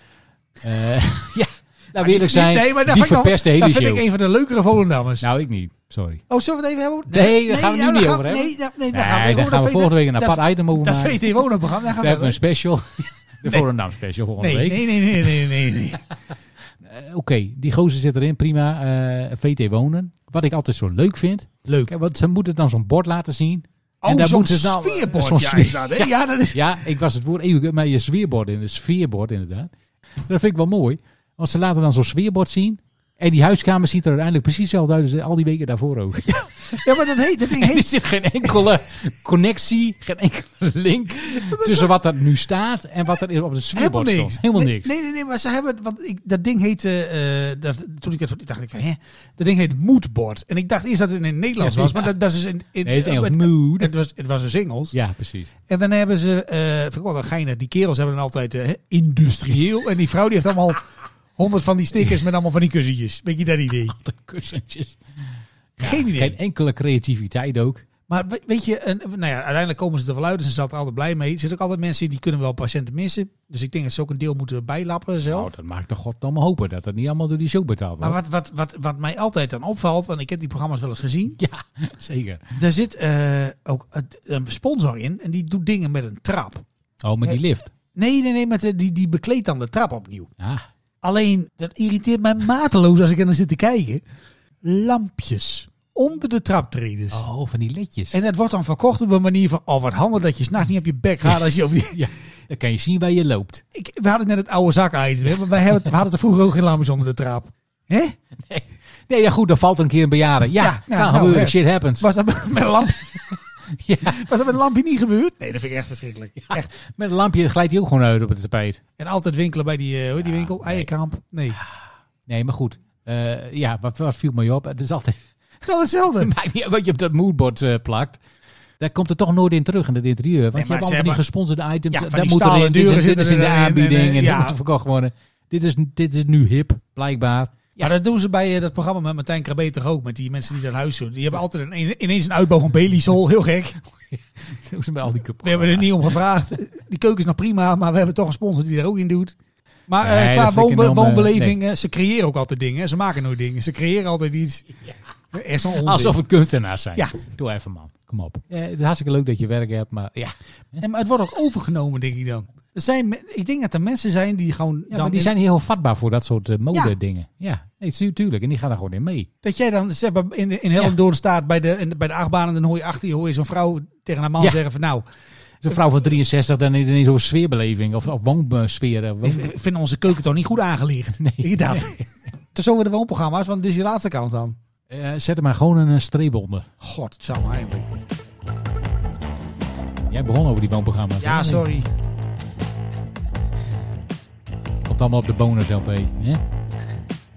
D: Eh ja, laten we
C: die-
D: eerlijk zijn,
C: nee, maar dat
D: die
C: vind ik nog-
D: verpest de hele
C: dat vind
D: show.
C: ik een van de leukere Volendammers.
D: Nou, ik niet, sorry.
C: oh, zullen we het even hebben?
D: Nee, daar gaan we nu
C: ja,
D: niet
C: daar
D: over
C: gaan-
D: hebben.
C: Nee, daar- nee,
D: Nee,
C: daar gaan we,
D: daar
C: over.
D: gaan we volgende week een apart
C: dat,
D: item over
C: Dat is
D: maken.
C: VT Wonenprogramma, daar gaan
D: Daar hebben we
C: we
D: een special. De Volendam special volgende
C: Nee,
D: week.
C: nee, nee, nee, nee, nee, nee.
D: Eh, Oké, die gozer zit erin, prima. Eh, VT Wonen. Wat ik altijd zo leuk vind.
C: Leuk.
D: Kijk, want ze moeten dan zo'n bord laten zien.
C: Oh,
D: daar
C: zo'n
D: moeten ze nou-
C: sfeerbord.
D: zo'n
C: ja,
D: sfeer-
C: is dat, hè? Ja, dat is...
D: Ja, ik was het woord eeuwig, maar je sfeerbord in, het sfeerbord inderdaad. Dat vind ik wel mooi, want ze laten dan zo'n sfeerbord zien. En die huiskamer ziet er uiteindelijk precies hetzelfde uit als al die weken daarvoor ook.
C: Ja, maar dat, heet, dat ding
D: En er
C: heet...
D: zit geen enkele connectie, geen enkele link tussen wat er nu staat en wat er op het
C: Helemaal
D: sfeerbord
C: niks.
D: stond. Helemaal
C: Nee,
D: niks.
C: Nee, nee, nee, maar ze hebben... Want ik, dat ding heette... eh, dat, toen ik dat voor- dacht ik van, hè? Dat ding heet Moodboard. En ik dacht eerst dat het in het Nederlands
D: Ja,
C: was,
D: ja.
C: maar dat, dat is in... in
D: Nee, het is
C: eh,
D: Engels.
C: het-
D: Mood.
C: Het was, het was een singles.
D: Ja, precies.
C: En dan hebben ze, eh vind ik wel een geinig, die kerels hebben dan altijd eh, industrieel. En die vrouw die heeft allemaal honderd van die stickers met allemaal van die kussentjes. Weet je dat idee?
D: De kussentjes.
C: Geen idee.
D: Geen enkele creativiteit ook.
C: Maar we- weet je, en, nou ja, uiteindelijk komen ze er wel uit en ze zijn er altijd blij mee. Er zitten ook altijd mensen in die kunnen wel patiënten missen. Dus ik denk dat ze ook een deel moeten bijlappen zelf.
D: Nou, dat maakt toch goddamme hopen dat dat niet allemaal door die show betaald
C: maar
D: wordt.
C: wat, wat, wat, wat mij altijd dan opvalt, want ik heb die programma's wel eens gezien.
D: Ja, zeker.
C: Daar zit eh, ook het- een sponsor in en die doet dingen met een trap.
D: Oh, met die
C: Eh.
D: lift.
C: Nee, nee, nee, maar die, die bekleedt dan de trap opnieuw.
D: Ah,
C: Alleen, dat irriteert mij mateloos als ik er naar zit te kijken. Lampjes onder de traptreders.
D: oh, van die ledjes.
C: En dat wordt dan verkocht op een manier van... Oh, wat handig dat je s'nachts niet op je bek gaat als je op die...
D: Ja, dan kan je zien waar je loopt.
C: Ik, we hadden net het oude zakken hè, maar wij hebben, we hadden er vroeger ook geen lampjes onder de trap. Hè?
D: Nee, ja goed, dan valt er een keer een bejaarde. Ja,
C: Ja,
D: kan
C: nou, nou,
D: gebeuren.
C: hè.
D: Shit happens.
C: Was dat met een, lamp,
D: Ja,
C: was dat met een lampje niet gebeurd? Nee, dat vind ik echt verschrikkelijk. Echt.
D: met een lampje glijdt hij ook gewoon uit op het tapijt.
C: En altijd winkelen bij die, eh, hoe heet die winkel? Eierkamp? Nee.
D: Nee, maar goed. Eh, ja, wat, wat viel mij op? Het is altijd...
C: Dat is hetzelfde.
D: Het maakt niet uit wat je op dat moodboard eh, plakt. Daar komt er toch nooit in terug in het interieur. Want
C: maar
D: je hebt allemaal
C: ze
D: van die
C: hebben-
D: gesponsorde items.
C: Ja, van
D: daar
C: die
D: moet erin.
C: stalen
D: Dit is-
C: deuren
D: dit is in de
C: zitten erin en-
D: aanbieding en,
C: en-
D: dit
C: ja.
D: moet er verkocht worden. Dit is, dit is nu hip, blijkbaar.
C: Ja, dat doen ze bij eh, dat programma met Martijn Krabbe toch ook. Met die mensen die dat huis doen. Die hebben altijd een, ineens een uitbouw van Belisol. Heel gek.
D: Toen ze bij al die
C: We hebben er niet om gevraagd. Die keuken is nog prima, maar we hebben toch een sponsor die er ook in doet. Maar eh,
D: Nee, dat
C: qua
D: vind ik
C: woonbe-
D: een enorme-
C: woonbeleving, eh, ze creëren ook altijd dingen. Ze maken nooit dingen. Ze creëren altijd iets. Echt zo'n onzin.
D: Alsof het kunstenaars zijn.
C: Ja.
D: Doe even man, kom op. Eh, het is hartstikke leuk dat je werk hebt, maar ja.
C: En, maar het wordt ook overgenomen, denk ik dan. Er zijn, me- ik denk dat er mensen zijn die gewoon...
D: Ja,
C: dan
D: maar die
C: in-
D: zijn heel vatbaar voor dat soort eh,
C: Ja.
D: mode-dingen. Ja, nee, tu- tuurlijk. En die gaan daar gewoon in mee.
C: Dat jij dan zeg maar, in, in Hellendoorn staat bij de, in- bij de achtbaan... en dan hoor je achter je, hoor je zo'n vrouw tegen haar man
D: Ja.
C: zeggen van... nou,
D: Zo'n vrouw van 63, dan ineens over sfeerbeleving of, of woonsfeer. eh,
C: ik
D: woon-
C: v- vind onze keuken toch niet goed aangelicht.
D: Nee.
C: Ik dacht. Tot zover de woonprogramma's, want dit is je laatste kans dan.
D: Eh, zet er maar gewoon een eh, streep onder.
C: God, het zou eigenlijk...
D: Jij begon over die woonprogramma's. hè?
C: Ja, sorry.
D: Komt allemaal op de bonus LP. Hè?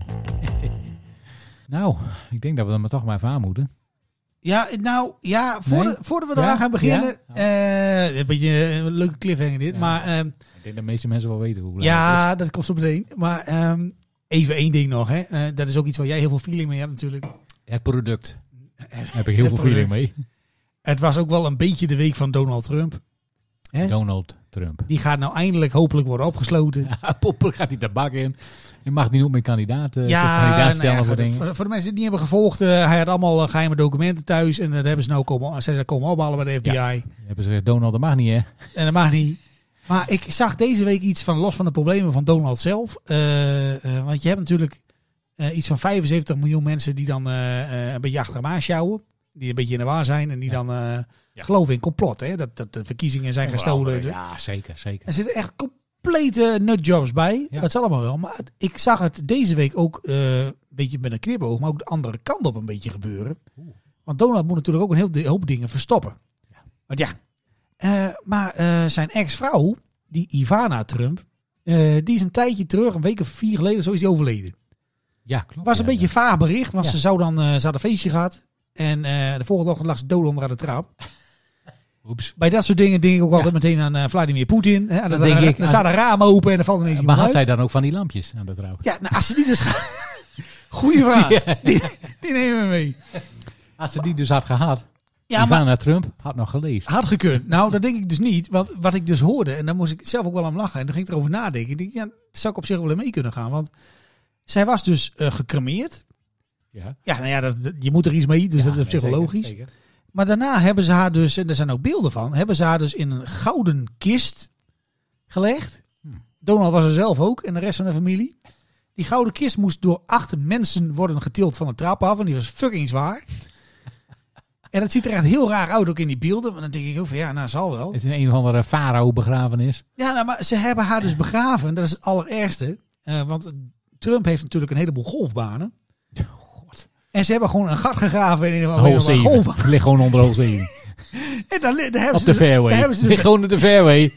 D: nou, ik denk dat we er maar toch maar even aan moeten.
C: Ja, nou ja, voordat,
D: Nee?
C: voordat we
D: Ja?
C: eraan gaan beginnen.
D: Ja?
C: eh, een beetje een leuke cliffhanger dit.
D: Ja.
C: Maar ehm,
D: Ik denk dat de meeste mensen wel weten hoe laat het
C: ja, dat komt zo meteen. Maar ehm, even één ding nog. Hè. Eh, dat is ook iets waar jij heel veel feeling mee hebt natuurlijk.
D: is. Het product. Daar heb ik heel
C: Het
D: veel feeling mee.
C: Het was ook wel een beetje de week van Donald Trump. Hè?
D: Donald Trump.
C: Die gaat nou eindelijk hopelijk worden opgesloten. Ja,
D: Poppel gaat die tabak in. Je mag die niet meer kandidaat, eh zich kandidaat
C: nou ja,
D: stellen voor
C: goed,
D: dingen.
C: voor, voor de mensen die het niet hebben gevolgd. eh, hij had allemaal eh, geheime documenten thuis. En dat hebben ze nou komen, zijn ze dat komen ophalen bij de FBI.
D: Dan Hebben ze gezegd, Donald, dat mag niet hè?
C: En dat mag niet. Maar ik zag deze week iets van los van de problemen van Donald zelf. Eh, eh, want je hebt natuurlijk eh, iets van 75 miljoen mensen die dan eh, eh, een beetje achter hem aansjouwen. Die een beetje in de waar zijn en die
D: Ja.
C: dan eh,
D: Ja.
C: geloven in complot. Hè? Dat, dat de verkiezingen zijn gestolen.
D: Ja, zeker, zeker.
C: Er zitten echt complete nutjobs bij.
D: Ja.
C: Dat zal allemaal wel. Maar het- ik zag het deze week ook eh, een beetje met een knipoog, maar ook de andere kant op een beetje gebeuren. Want Donald moet natuurlijk ook een heel de- hoop dingen verstoppen. Want ja, eh, maar eh, zijn ex-vrouw, die Ivana Trump, eh, die is een tijdje terug, een week of vier geleden, zo is die overleden.
D: Ja, klopt.
C: Was een
D: ja,
C: beetje vaag bericht, want
D: Ja.
C: ze zou dan, eh, ze had een feestje gehad. En eh, de volgende ochtend lag ze dood onder aan de trap.
D: ja. Oeps.
C: Bij dat soort dingen denk ik ook altijd meteen aan eh, Vladimir Poetin. hè. En
D: Dan
C: Dan,
D: denk
C: dan,
D: ik aan-
C: staat een raam open en dan valt ineens
D: Maar
C: iemand
D: had
C: uit.
D: zij dan ook van die lampjes aan de trouw?
C: Ja, nou, als ze die dus gaan... Goeie vraag. Die, die nemen we mee.
D: Als ze die dus had gehad,
C: Ja, maar
D: Ivana Trump had nog geleefd.
C: had gekund. Nou, dat denk ik dus niet. Want wat ik dus hoorde, en daar moest ik zelf ook wel om lachen. En dan ging ik erover nadenken. Ik denk, ja, zou ik op zich wel in mee kunnen gaan. Want zij was dus eh gecremeerd.
D: Ja.
C: Ja, nou ja, dat, dat- je moet er iets mee, dus
D: Ja,
C: dat is
D: nee,
C: op zich wel
D: zeker,
C: logisch.
D: zeker.
C: Maar daarna hebben ze haar dus, en er zijn ook beelden van, hebben ze haar dus in een gouden kist gelegd.
D: Hmm.
C: Donald was er zelf ook en de rest van de familie. Die gouden kist moest door acht mensen worden getild van de trap af, en die was fucking zwaar. en dat ziet er echt heel raar uit, ook in die beelden. Want dan denk ik ook van, ja, nou zal wel.
D: Het is een, een of andere farao begrafenis.
C: Ja, nou, maar ze hebben haar dus begraven. Dat is het allerergste. Eh, want Trump heeft natuurlijk een heleboel golfbanen.
D: God.
C: En ze hebben gewoon een gat gegraven in een of
D: Hol
C: andere
D: 7.
C: golfbaan.
D: Ligt gewoon onder hol 7.
C: En daar, li- daar hebben
D: Op
C: ze
D: de
C: dus- daar
D: fairway.
C: hebben ze dus
D: Ligt gewoon op de fairway.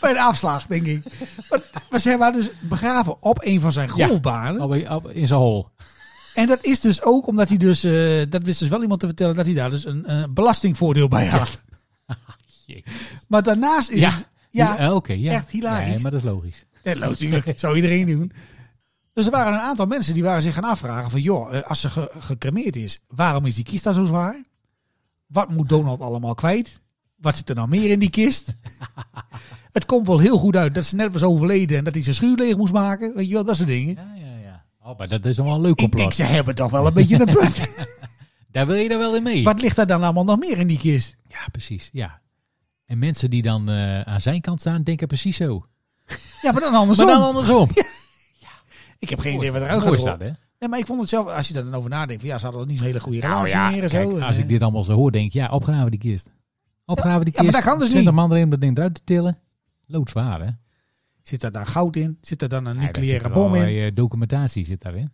C: Bij de afslag, denk ik. Maar, maar ze hebben haar dus begraven op een van zijn
D: Ja.
C: golfbanen.
D: Op- op- In zijn hol.
C: En dat is dus ook omdat hij dus... eh, dat wist dus wel iemand te vertellen dat hij daar dus een eh, belastingvoordeel bij had.
D: Jee.
C: Maar daarnaast is
D: Ja.
C: het... Ja,
D: Eh, Oké, ja.
C: echt hilarisch.
D: Nee, maar dat is logisch.
C: dat loopt natuurlijk. Zou iedereen doen. Dus er waren een aantal mensen die waren zich gaan afvragen van... joh, eh, als ze ge- gecremeerd is, waarom is die kist dan zo zwaar? Wat moet Donald allemaal kwijt? Wat zit er nou meer in die kist? Het komt wel heel goed uit dat ze net was overleden... en dat hij zijn schuur leeg moest maken. Weet je wel, dat soort dingen.
D: Ja, ja, ja. Oh, maar dat is dan wel een leuk
C: Ik denk,
D: complot.
C: ze hebben toch wel een beetje een punt.
D: Daar wil je er wel in mee.
C: Wat ligt daar dan allemaal nog meer in die kist?
D: Ja, precies. Ja. En mensen die dan eh, aan zijn kant staan, denken precies zo.
C: Ja, maar dan andersom.
D: Maar dan andersom.
C: ik heb geen idee wat
D: Mooi
C: eruit gaat
D: is dat,
C: worden.
D: hè?
C: Nee, maar ik vond het zelf, als je daar dan over nadenkt, van ja, ze hadden wel niet een hele goede
D: Nou
C: relatie
D: ja,
C: meer en
D: kijk,
C: zo. En,
D: als ik
C: eh,
D: dit allemaal zo hoor, denk ik, ja, opgraven die kist. Opgraven die
C: Ja,
D: kist.
C: maar dat kan dus niet.
D: 20 man erin om dat ding eruit te tillen. Loodzwaar, hè?
C: Zit daar dan goud in? Zit er dan een
D: Ja, daar zit
C: nucleaire
D: er
C: bom in?
D: allerlei, eh, documentatie zit daarin.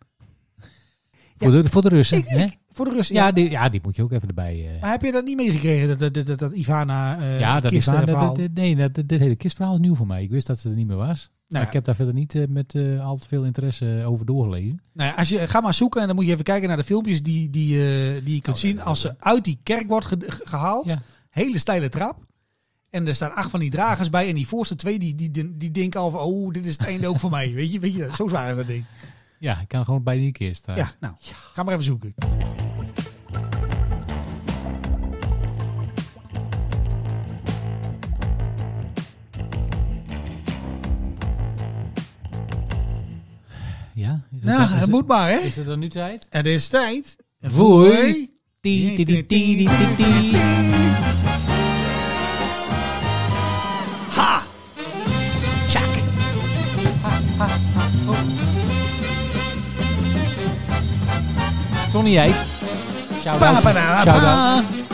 D: Voor, de, voor de Russen,
C: Ik-
D: hè?
C: ik- voor de Russen, ja.
D: ja, die, ja, die moet je ook even erbij... eh,
C: Maar heb je dat niet meegekregen, dat, dat, dat, dat, dat Ivana eh
D: ja, dat is
C: kisten
D: waar. Dat-
C: verhaal?
D: dat- dat- nee, dat, dit hele kistverhaal is nieuw voor mij. Ik wist dat ze er niet meer was.
C: nou,
D: Maar ik heb daar verder niet eh, met eh, al te veel interesse eh, over doorgelezen.
C: nou ja, als je, ga maar zoeken en dan moet je even kijken naar de filmpjes die, die, eh, die je
D: Oh,
C: kunt zien. Als ze uit die kerk wordt ge- ge- gehaald,
D: Ja.
C: hele steile trap. En er staan acht van die dragers bij. En die voorste twee, die, die, die, die denken al van... Oh, dit is het einde ook voor mij. Weet je, weet je zo zwaar is dat ding.
D: Ja, ik kan gewoon bij die kist eh. staan.
C: Ja, nou, ga maar even zoeken.
D: Dus Ja, is
C: nou,
D: dan- is
C: het moet maar, hè?
D: Is het dan nu tijd?
C: Het is tijd
D: Voor... Ti, ti, ti, ti, ti, ti, ti.
C: Ha! Tjak!
D: Tony Eijk. Shout-out.
C: Pa, pa, da,
D: Shout-out.
C: pa.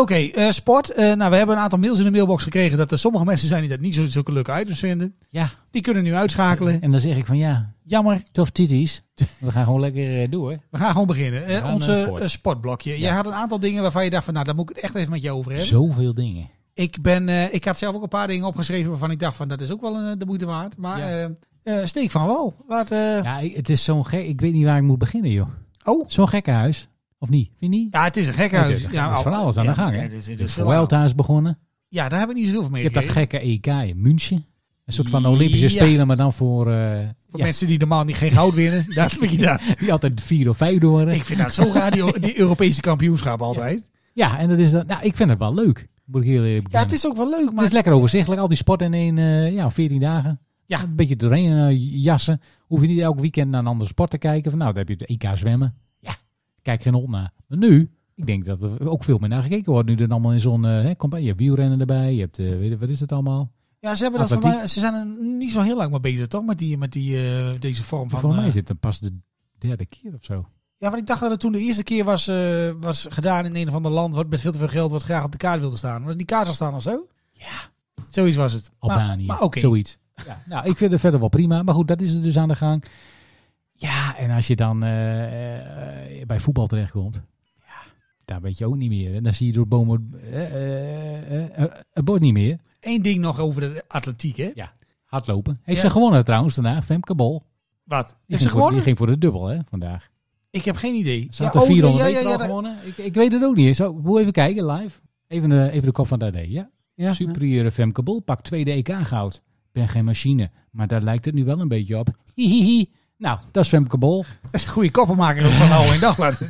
C: Oké, eh, sport. Eh, nou, we hebben een aantal mails in de mailbox gekregen dat er sommige mensen zijn die dat niet zo zulke leuke items vinden.
D: Ja,
C: Die kunnen nu uitschakelen.
D: en dan zeg ik van ja,
C: Jammer,
D: tof titties. We gaan gewoon lekker eh, door.
C: we gaan gewoon beginnen. Eh,
D: gaan
C: ons
D: naar
C: eh,
D: sport.
C: eh, sportblokje. Jij had een aantal dingen waarvan je dacht van, nou, daar moet ik het echt even met je over hebben.
D: Zoveel dingen.
C: Ik, ben, eh, ik had zelf ook een paar dingen opgeschreven waarvan ik dacht van, dat is ook wel een, de moeite waard. Maar
D: Ja.
C: eh, eh, Steek van Wal, wat... eh,
D: Ja, ik- het is zo'n gek... Ik weet niet waar ik moet beginnen, joh.
C: Oh,
D: Zo'n gekkenhuis. Of niet? Vind je niet?
C: ja, het is een gek
D: Ja,
C: huis.
D: er
C: ja,
D: is dus van
C: oh,
D: alles aan de
C: ja,
D: gang, hè? Dus
C: ja, het is- het
D: De
C: is veel aan de gang.
D: Vuelta is begonnen.
C: Ja, daar heb ik niet zoveel van mee
D: Je hebt dat
C: gekregen.
D: gekke EK in München. Een soort van Olympische
C: Ja.
D: Spelen, maar dan voor, eh,
C: Voor
D: ja,
C: mensen die normaal niet geen goud winnen, dat weet je dat.
D: die altijd vier of vijf door.
C: Ik vind dat zo raar, die, die Europese kampioenschap altijd.
D: Ja, en dat is dat. Nou, ik vind het wel leuk. Moet ik heel eerlijk
C: Ja,
D: bekennen.
C: het is ook wel leuk,
D: Het is
C: maar...
D: lekker overzichtelijk. Al die sport in één, eh, ja, 14 dagen.
C: Ja.
D: Een beetje doorheen eh, jassen. Hoef je niet elk weekend naar een andere sport te kijken. Van, nou, dan heb je het EK zwemmen. Ja, kijk geen hond naar. Maar nu, ik denk dat er ook veel meer naar gekeken wordt. Nu dan allemaal in zo'n... eh, hè, campagne. je hebt wielrennen erbij. Je hebt, eh, weet je- wat is het allemaal?
C: Ja, ze, hebben dat voor
D: Atletiek.
C: mij, ze zijn er niet zo heel lang mee bezig, toch? Met, die, met die, eh, deze vorm van...
D: Volgens mij
C: eh,
D: is dit dan pas de derde keer of zo.
C: Ja, want ik dacht dat het toen de eerste keer was, eh, was gedaan in een of ander land... wat met veel te veel geld wat graag op de kaart wilde staan. Want die kaart zal staan of zo?
D: Ja.
C: Zoiets was het. Maar-
D: Albanië,
C: Maar, oké.
D: zoiets. Ja, nou, ik vind het verder wel prima. Maar goed, dat is er dus aan de gang. Ja, en als je dan eh, eh, bij voetbal terechtkomt, ja, daar weet je ook niet meer. En dan zie je door bomen eh, eh, eh, eh, het bord niet meer.
C: Eén ding nog over de atletiek, hè?
D: Hardlopen. Heeft
C: Ja.
D: ze gewonnen trouwens daarna, Femke Bol. Die
C: Wat?
D: ging
C: Heeft ze
D: voor-
C: gewonnen?
D: Die ging voor de dubbel hè, vandaag.
C: Ik heb geen idee.
D: Ze had de
C: oh,
D: 400
C: ja,
D: meter
C: ja, ja,
D: al
C: ja,
D: gewonnen. Ik, ik weet het ook niet. Zo, moet even kijken, live. Even, de even de kop van Dade, ja.
C: ja.
D: Superieure Femke Bol pakt tweede EK goud. Ben geen machine, maar daar lijkt het nu wel een beetje op. Hihihi. Nou, dat is Femke Bol.
C: Dat is een goede koppenmaker ook van de Algemeen Dagblad.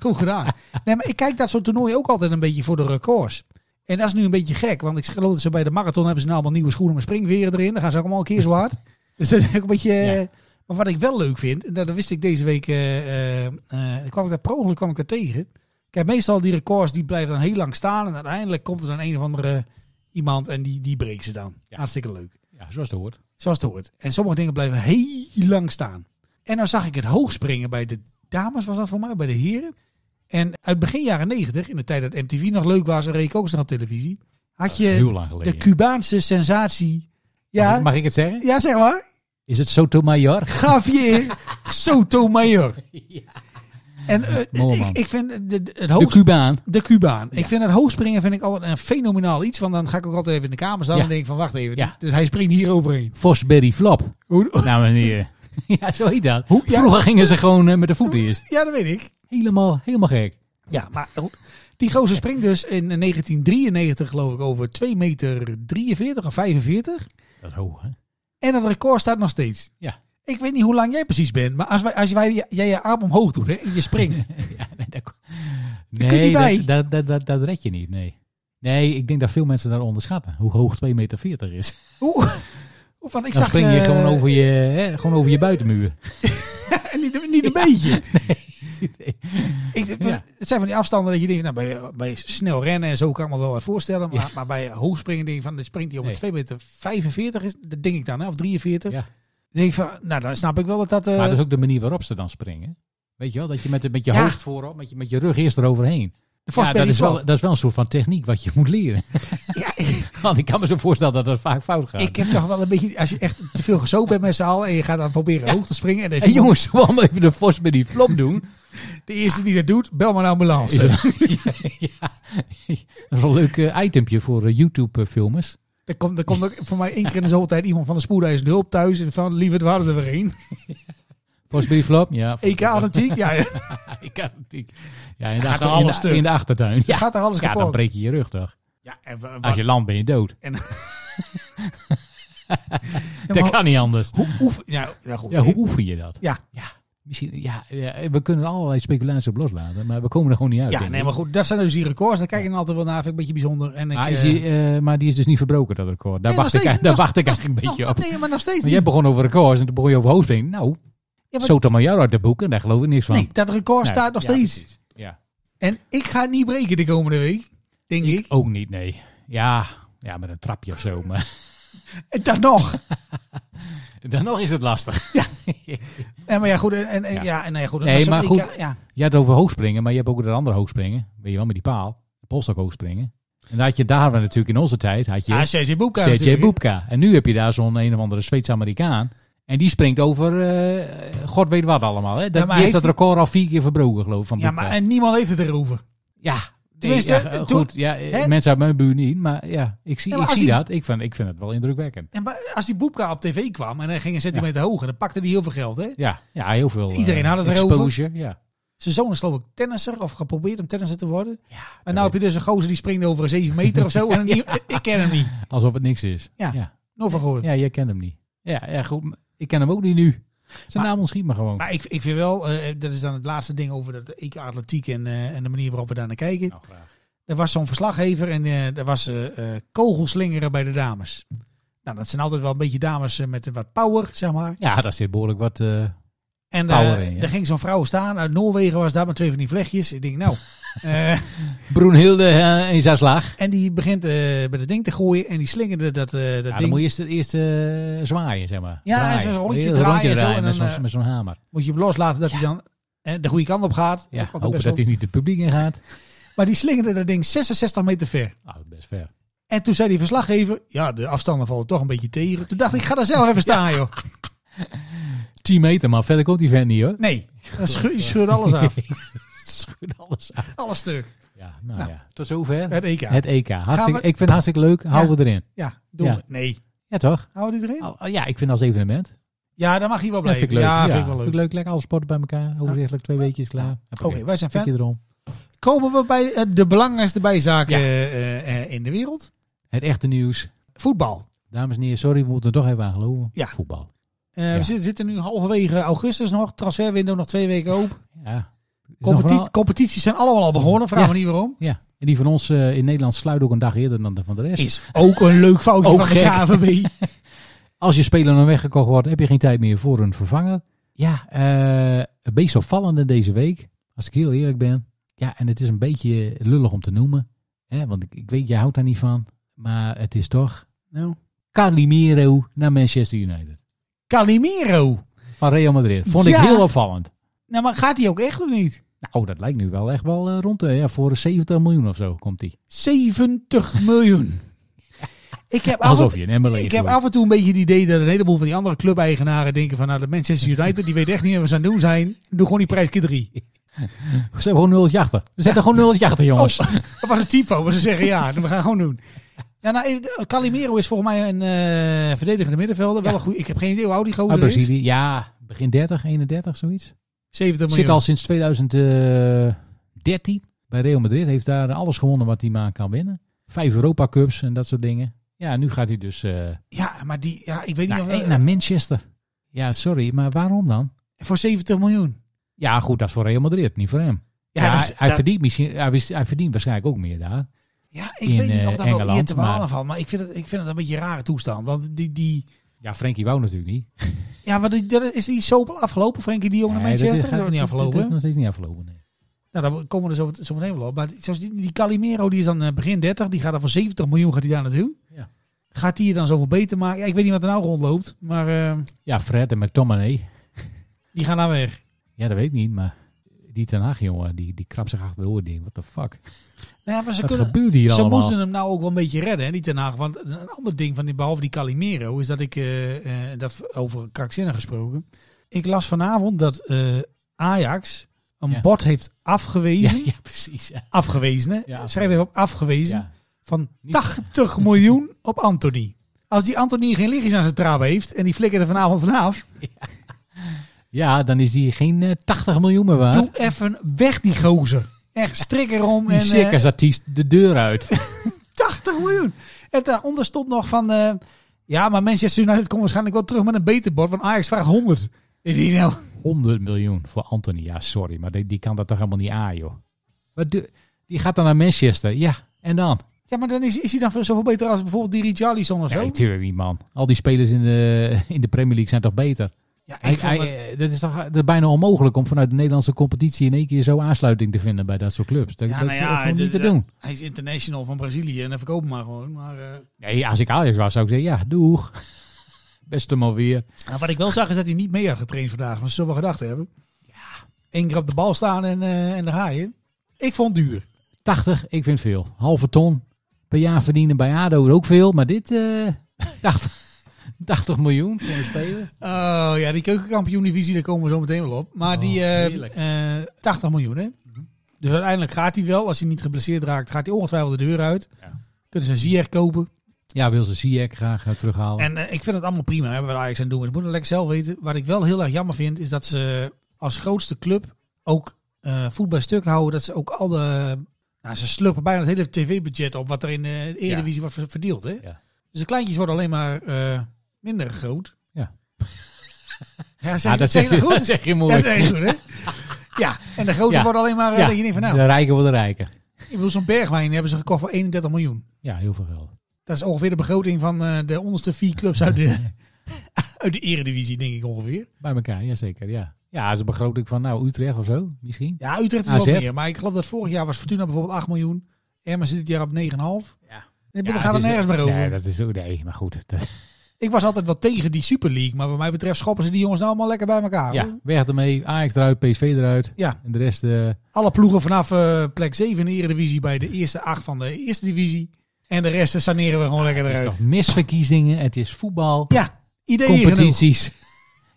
C: Goed gedaan. Nee, maar ik kijk dat soort toernooien ook altijd een beetje voor de records. En dat is nu een beetje gek, want ik geloof dat ze bij de marathon hebben ze nou allemaal nieuwe schoenen met springveren erin. Dan gaan ze ook allemaal een keer zo hard. Dus dat is ook een beetje... eh,
D: Ja.
C: Maar wat ik wel leuk vind, en dat dat wist ik deze week, eh, eh, eh, kwam ik daar per ongeluk kwam ik daar tegen. Kijk, meestal die records die blijven dan heel lang staan en uiteindelijk komt er dan een of andere iemand en die, die breekt ze dan.
D: Ja.
C: Hartstikke leuk.
D: Ja, zoals het hoort.
C: Zoals het hoort. En sommige dingen blijven heel lang staan. En dan zag ik het hoogspringen bij de dames, was dat voor mij, bij de heren. En uit begin jaren 90, in de tijd dat MTV nog leuk was en reed ik ook eens nog op televisie, had
D: Heel
C: je
D: lang geleden.
C: Eh, de Cubaanse sensatie.
D: Mag,
C: Ja,
D: ik, mag ik het zeggen?
C: ja zeg maar.
D: Is het Sotomayor?
C: Javier Sotomayor. En eh,
D: Mooi, man.
C: ik, ik vind de, de- het
D: De
C: hoogspringen...
D: Cubaan.
C: De Cubaan. Ik
D: Ja.
C: vind het hoogspringen vind ik altijd een fenomenaal iets. Want dan ga ik ook altijd even in de kamer staan
D: Ja.
C: en denk ik van wacht even.
D: Ja.
C: Dus hij springt hier overheen.
D: Fosberry Flop.
C: Hoe,
D: Nou, meneer. ja, zo heet dat.
C: Hoe- ja.
D: Vroeger gingen ze gewoon eh, met de voet eerst.
C: ja, dat weet ik.
D: Helemaal, helemaal gek.
C: Ja, maar hoe- die gozer springt dus in 1993 geloof ik over 2 meter 43 of 45.
D: Dat is hoog, hè?
C: En dat record staat nog steeds.
D: Ja.
C: Ik weet niet hoe lang jij precies bent, maar als, wij, als wij, jij je arm omhoog doet hè, en je springt.
D: Ja, nee, dat,
C: kun je
D: nee
C: niet bij.
D: dat, dat, dat, dat, dat red je niet, nee. Nee, ik denk dat veel mensen daar onderschatten. Hoe hoog 2,40 meter is.
C: Hoe? Hoe van, ik
D: Dan
C: zag eh,
D: spring je
C: ze-
D: gewoon, over je, hè, gewoon over je buitenmuur.
C: eh, niet, niet een beetje. Ik,
D: Ja.
C: Het zijn van die afstanden dat je denkt, nou, bij, bij snel rennen en zo kan ik me wel wat voorstellen. Maar, maar bij hoogspringen denk je van, dan springt hij op een
D: Nee.
C: 2 meter 45, is, dat denk ik dan, hè, of 43.
D: Ja.
C: Dan denk ik van, nou dan snap ik wel dat dat... eh,
D: Maar dat is ook de manier waarop ze dan springen. Weet je wel, dat je met, met je
C: Ja.
D: hoofd voorop, met je, met je rug eerst eroverheen.
C: de
D: Ja, dat,
C: voorspelling
D: is wel,
C: klopt.
D: dat is wel een soort van techniek wat je moet leren.
C: Ja,
D: Want ik kan me zo voorstellen dat dat vaak fout gaat.
C: Ik eh, heb toch wel een beetje, als je echt te veel gezopen bent met z'n allen en je gaat dan proberen hoog te springen. En dan is
D: Hey,
C: iemand
D: jongens, zullen we allemaal even de fos met die flop doen?
C: de eerste die dat doet, bel maar een ambulance.
D: ja, dat is wel een leuk eh, itempje voor eh, YouTube-filmers.
C: Er komt, er komt ook voor mij één keer in de zoveel tijd iemand van de spoedeisende hulp thuis. En van, lieverd, we hadden er weer één.
D: Fos met die flop? Ja.
C: EK atletiek, ja, ja.
D: Ik kan het niet. Ja, in de,
C: Gaat
D: achter-
C: er alles
D: in de-
C: stuk.
D: in de achtertuin. Ja,
C: gaat er alles
D: ja dan
C: kapot.
D: breek je je rug toch?
C: Ja, en wa- wa-
D: Als je landt ben je dood.
C: ja,
D: Dat
C: maar
D: kan niet anders.
C: hoe oefen... Ja, ja, goed.
D: Ja, hoe oefen je dat?
C: Ja.
D: ja. Misschien, ja, ja, we kunnen er allerlei speculaties op loslaten, maar we komen er gewoon niet uit.
C: Ja,
D: denk
C: nee,
D: ik.
C: maar goed, dat zijn dus die records. Daar kijk ik dan altijd wel naar. Vind ik een beetje bijzonder. En ik,
D: Maar, is
C: eh,
D: die, eh, maar die is dus niet verbroken, dat record. Daar
C: nee, nog
D: wacht, ik,
C: steeds-
D: daar
C: nog-
D: wacht ik eigenlijk een
C: nog-
D: beetje op.
C: Nee, maar nog steeds
D: Want jij
C: niet.
D: begon over records en toen begon je over hoofdspringen. Nou,
C: Ja, maar-
D: Sotomayor uit de boek en daar geloof ik niks van.
C: Nee, dat record
D: Nee,
C: staat nog
D: ja,
C: steeds.
D: precies. Ja,
C: En ik ga het niet breken de komende week. Denk ik.
D: ook niet, nee. Ja, ja, met een trapje of zo. Maar
C: En dat nog.
D: dan nog is het lastig.
C: En maar ja, goed. En, en- en- ja.
D: Ja.
C: en nou ja, goed.
D: Nee,
C: dat is
D: maar
C: ook-
D: goed.
C: ik- ja,
D: Je had het over hoogspringen, maar je hebt ook dat andere hoogspringen. Weet je wel, met die paal. Polstok hoogspringen. En daar had je daar natuurlijk in onze tijd, had je
C: ja, CJ Boepka
D: CJ
C: natuurlijk, hè.
D: Boepka. En nu heb je daar zo'n een of andere Zweeds-Amerikaan. En die springt over eh, god weet wat allemaal. Hè? Dat,
C: Ja, maar
D: die heeft
C: heeft
D: dat record al vier keer verbroken, geloof ik, van
C: Ja,
D: Boepka.
C: maar en niemand heeft het erover.
D: Ja, nee,
C: Tenminste,
D: ja,
C: eh, toen-
D: goed. Ja, eh,
C: hè?
D: mensen uit mijn buurt niet, maar ja, ik zie,
C: Ja, maar
D: ik
C: als
D: zie
C: die-
D: dat. Ik vind, ik vind het wel indrukwekkend.
C: En maar als die Boepka op tv kwam en hij ging een centimeter hoger, dan pakte hij heel veel geld. Hè?
D: Ja, ja heel veel. eh,
C: Iedereen had het erover.
D: exposure, Ja.
C: Zijn zoon is geloof ik tennisser of geprobeerd om tennisser te worden.
D: Ja,
C: En nou heb je dus een gozer die springt over een 7 meter of zo. En die- ik ken hem niet.
D: Alsof het niks is.
C: Ja.
D: ja.
C: Nog van gehoord.
D: Ja, jij kent hem niet. Ja, ja goed. maar Ik ken hem ook niet nu. Zijn
C: Maar-
D: naam ontschiet me gewoon.
C: Maar ik, ik vind wel, eh, dat is dan het laatste ding over dat EK atletiek en, eh, en de manier waarop we daar naar kijken.
D: Nou, graag.
C: Er was zo'n verslaggever en eh, er was eh, eh, kogelslingeren bij de dames. Nou, dat zijn altijd wel een beetje dames eh, met wat power, zeg maar.
D: Ja, daar zit behoorlijk wat... eh,
C: En
D: Power
C: eh,
D: in, ja.
C: daar ging zo'n vrouw staan. Uit Noorwegen was daar met twee van die vlechtjes. Ik denk, nou. eh,
D: Broenhilde eh, in zijn slag.
C: en die begint eh met het ding te gooien. En die slingerde dat, eh,
D: Ja,
C: dat
D: dan
C: ding.
D: moet
C: Moet
D: je
C: je...
D: eerst, eerst eh, zwaaien, zeg maar.
C: Ja,
D: Draaien.
C: zo'n rondje
D: Heel een
C: draaien en
D: rondje
C: zo, en
D: draaien met
C: dan,
D: zo'n
C: eh,
D: met zo'n hamer.
C: hem loslaten dat hij dan eh, de goede kant op gaat.
D: Ja,
C: Ook altijd
D: hopen
C: best
D: dat
C: wel-
D: hij niet het publiek in gaat.
C: Maar die slingerde dat ding 66 meter ver.
D: Ah, dat is best ver.
C: En toen zei die verslaggever, ja, de afstanden vallen toch een beetje tegen. Toen dacht ik, ik ga daar zelf even staan, joh.
D: 10 meter, maar verder komt die vent niet, hoor.
C: Nee, dan schu- je scheurt alles af.
D: Schud alles aan.
C: Alles stuk.
D: Ja, nou, ja. Tot zover
C: Het
D: het,
C: EK.
D: EK. Hartstikke,
C: Gaan we-
D: Ik vind het hartstikke leuk. Houden we erin.
C: Ja, doen
D: Ja.
C: we. Nee.
D: Ja, toch?
C: Houden die erin?
D: Oh, ja, ik vind als evenement.
C: Ja, dan mag hij wel
D: Ja, vind
C: blijven.
D: ik leuk.
C: Ja, vind ik wel leuk.
D: Vind ik leuk. Lekker alle sporten bij elkaar. Overzichtelijk twee weekjes klaar.
C: Oké, wij zijn
D: Vind je
C: fan.
D: erom.
C: Komen we bij eh, de belangrijkste bijzaken
D: Ja.
C: eh, eh, in de wereld?
D: Het echte nieuws.
C: Voetbal.
D: Dames en heren, sorry, we moeten er toch even aan geloven.
C: Ja.
D: Voetbal.
C: Eh,
D: Ja.
C: We zi- zitten nu halverwege augustus nog. Transferwindow nog twee weken open.
D: Ja. Is nog
C: Competi-
D: vooral-
C: Competities zijn allemaal al begonnen. Vraag
D: Ja.
C: me niet waarom.
D: ja. En die van ons eh, in Nederland sluit ook een dag eerder dan de van de rest.
C: Is ook een leuk foutje
D: Ook
C: van
D: gek.
C: de KVB.
D: Als je speler dan weggekocht wordt, heb je geen tijd meer voor een vervanger. Ja, eh het meest opvallende deze week, als ik heel eerlijk ben. Ja, en het is een beetje lullig om te noemen. Hè, want ik, ik weet, jij houdt daar niet van. Maar het is toch
C: Nou.
D: Calimero naar Manchester United.
C: Calimero.
D: Van Real Madrid. Vond ik
C: Ja.
D: heel opvallend.
C: Nou, maar gaat hij ook echt of niet?
D: Nou, dat lijkt nu wel echt wel eh, rond de ja, voor 70 miljoen of zo komt hij.
C: 70 miljoen. Ik heb, af en
D: Alsof
C: toe-
D: je een emmer
C: ik heb af en toe een beetje het idee dat een heleboel van die andere clubeigenaren denken van... Nou, de Manchester United, die weet echt niet meer wat ze aan het doen zijn. Doe gewoon die prijs keer drie.
D: We zetten gewoon nulletje achter. We zetten gewoon nulletje
C: Oh.
D: achter, jongens.
C: Dat was een typo, maar ze zeggen ja, we gaan gewoon doen. Ja, nou, eh, Calimero is volgens mij een eh, verdedigende middenvelder. Wel een goeie, ik heb geen idee hoe oud die
D: Uit
C: gozer is.
D: Brazilië. Ja, begin 30, 31, zoiets.
C: 70 miljoen.
D: Zit al sinds 2013 bij Real Madrid. Heeft daar alles gewonnen wat hij maar kan winnen. Vijf Europa Cups en dat soort dingen. Ja, nu gaat hij dus eh,
C: Ja, maar die, ja, ik weet niet
D: naar,
C: of...
D: eh, naar Manchester. Ja, sorry, maar waarom dan?
C: voor 70 miljoen. dus-
D: Ja, goed, dat is voor Real Madrid, niet voor hem. Ja, dus
C: dat is-
D: hij, hij
C: dat-
D: verdient misschien, hij, wist- hij verdient waarschijnlijk ook meer daar.
C: Ja, ik
D: in,
C: weet niet
D: eh,
C: of dat wel eer
D: Engeland,
C: te behalen
D: maar-
C: valt. Maar ik vind, het, ik vind het een beetje een rare toestand. Want die, die,
D: Ja, Frenkie wou natuurlijk niet.
C: ja, maar die, dat is die soap al afgelopen? Frenkie de Jong naar
D: Nee, dat
C: Manchester?
D: gaat-
C: Dat is ook niet afgelopen.
D: Dat is nog steeds niet afgelopen, nee.
C: Nou, daar komen we dus over, zo meteen wel op. Maar zoals die, die Calimero, die is dan eh, begin 30. Die gaat dan voor 70 miljoen gaat die daar naartoe.
D: Ja.
C: Gaat die je dan zoveel beter maken? Ja, ik weet niet wat er nou rondloopt. Maar eh,
D: Ja, Fred en McTominay.
C: die gaan daar weg.
D: Ja, dat weet ik niet, maar die Ten Hag, jongen, die, die krapt zich achter de oren. What the fuck?
C: Nou ja, maar ze
D: Wat
C: kunnen,
D: gebeurt hier
C: Ze
D: allemaal?
C: moeten hem nou ook wel een beetje redden, hè, die Ten Hag. Want een ander ding, van die, behalve die Calimero, is dat ik, eh, eh, dat over krankzinnig gesproken. Ik las vanavond dat eh, Ajax een
D: Ja.
C: bod heeft afgewezen.
D: Ja, ja, precies. ja.
C: Afgewezen, hè?
D: Ja,
C: Schrijf even op afgewezen.
D: Ja.
C: Van
D: Niet-
C: 80 miljoen op Anthony. Als die Anthony geen lichtjes aan zijn traben heeft en die flikkert er vanavond vanaf.
D: Ja, dan is die geen eh, 80 miljoen meer waard.
C: Doe even weg die gozer. Echt strik erom.
D: die
C: en, eh,
D: circusartiest de deur uit.
C: 80 miljoen. En daaronder stond nog van... eh, ja, maar Manchester United komt waarschijnlijk wel terug met een beter bord. Want Ajax vraagt 100. Ik denk, nou,
D: 100 miljoen voor Anthony. Ja, sorry, maar die, die kan dat toch helemaal niet aan, joh. Wat doe- die gaat dan naar Manchester. Ja, en dan?
C: Ja, maar dan is, is hij dan veel- zoveel beter als bijvoorbeeld die Richarlison of zo?
D: Nee, natuurlijk niet, man. Al die spelers in de, in de Premier League zijn toch beter?
C: Ja, ik
D: Hij,
C: vond
D: hij,
C: het-
D: eh, dat is toch dat is bijna onmogelijk om vanuit de Nederlandse competitie in één keer zo aansluiting te vinden bij dat soort clubs. Dat,
C: Ja,
D: dat
C: nou
D: is
C: ja,
D: echt gewoon
C: het
D: niet
C: is-
D: te
C: dat-
D: doen.
C: hij is international van Brazilië en dan verkopen maar gewoon. Maar, eh,
D: Nee, als ik Ajax was, zou ik zeggen, ja, doeg. Beste maar weer.
C: nou, wat ik wel zag is dat hij niet mee had getraind vandaag. Maar ze zullen wel gedacht hebben. Ja. Eén keer op de bal staan en, eh, en daar ga je. Ik vond het duur.
D: 80, ik vind veel. Halve ton per jaar verdienen bij ADO ook veel. Maar dit, eh 80, 80 miljoen voor een speler.
C: Oh ja, die keukenkampioen-divisie, daar komen we zo meteen wel op. Maar
D: Oh,
C: die eh,
D: heerlijk.
C: eh, 80 miljoen, hè? Dus uiteindelijk gaat hij wel. Als hij niet geblesseerd raakt, gaat hij ongetwijfeld de deur uit.
D: Ja.
C: Kunnen ze een Ziyech kopen.
D: Ja, wil ze Ziyech graag eh, terughalen.
C: En eh, ik vind het allemaal prima, hè, wat Ajax aan het doen is. Moet het lekker zelf weten. Wat ik wel heel erg jammer vind, is dat ze als grootste club ook eh voet bij stuk houden. Dat ze ook alle... Nou, ze slurpen bijna het hele tv-budget op wat er in eh, de Eredivisie wordt ver- verdeeld, hè?
D: Ja.
C: Dus de kleintjes worden alleen maar eh, minder groot.
D: Ja.
C: Ja, zeg,
D: ja, dat
C: zeg
D: zeg,
C: je
D: je,
C: dat goed?
D: dat zeg je
C: Dat
D: mooi.
C: is echt goed, hè? Ja, en de grote
D: Ja.
C: worden alleen maar... eh,
D: Ja.
C: Dat je denkt van, nou,
D: De rijken worden rijker.
C: ik bedoel, zo'n bergwijn hebben ze gekocht voor 31 miljoen.
D: Ja, heel veel geld.
C: Dat is ongeveer de begroting van eh, de onderste vier clubs uit de, uit de eredivisie, denk ik ongeveer.
D: Bij elkaar, jazeker. Ja, ja dat is een begroting van nou, Utrecht of zo, misschien.
C: Ja, Utrecht is
D: AZ.
C: wel meer. Maar ik geloof dat vorig jaar was Fortuna bijvoorbeeld 8 miljoen. Emmen zit dit jaar op 9,5.
D: Ja.
C: Nee,
D: Ja,
C: daar gaat
D: het
C: er
D: is-
C: nergens meer over.
D: Nee, dat is ook nee, maar goed. Dat,
C: Ik was altijd wel tegen die Super League. Maar wat mij betreft schoppen ze die jongens nou allemaal lekker bij elkaar.
D: ja,
C: hoor.
D: weg ermee. Ajax eruit, PSV eruit.
C: Ja.
D: En de rest, eh,
C: Alle ploegen vanaf eh, plek 7 in de eredivisie bij de eerste 8 van de eerste divisie. En de rest eh, saneren we gewoon lekker
D: het is
C: eruit.
D: toch misverkiezingen. Het is voetbal,
C: Ja, ideeën genoeg.
D: competities.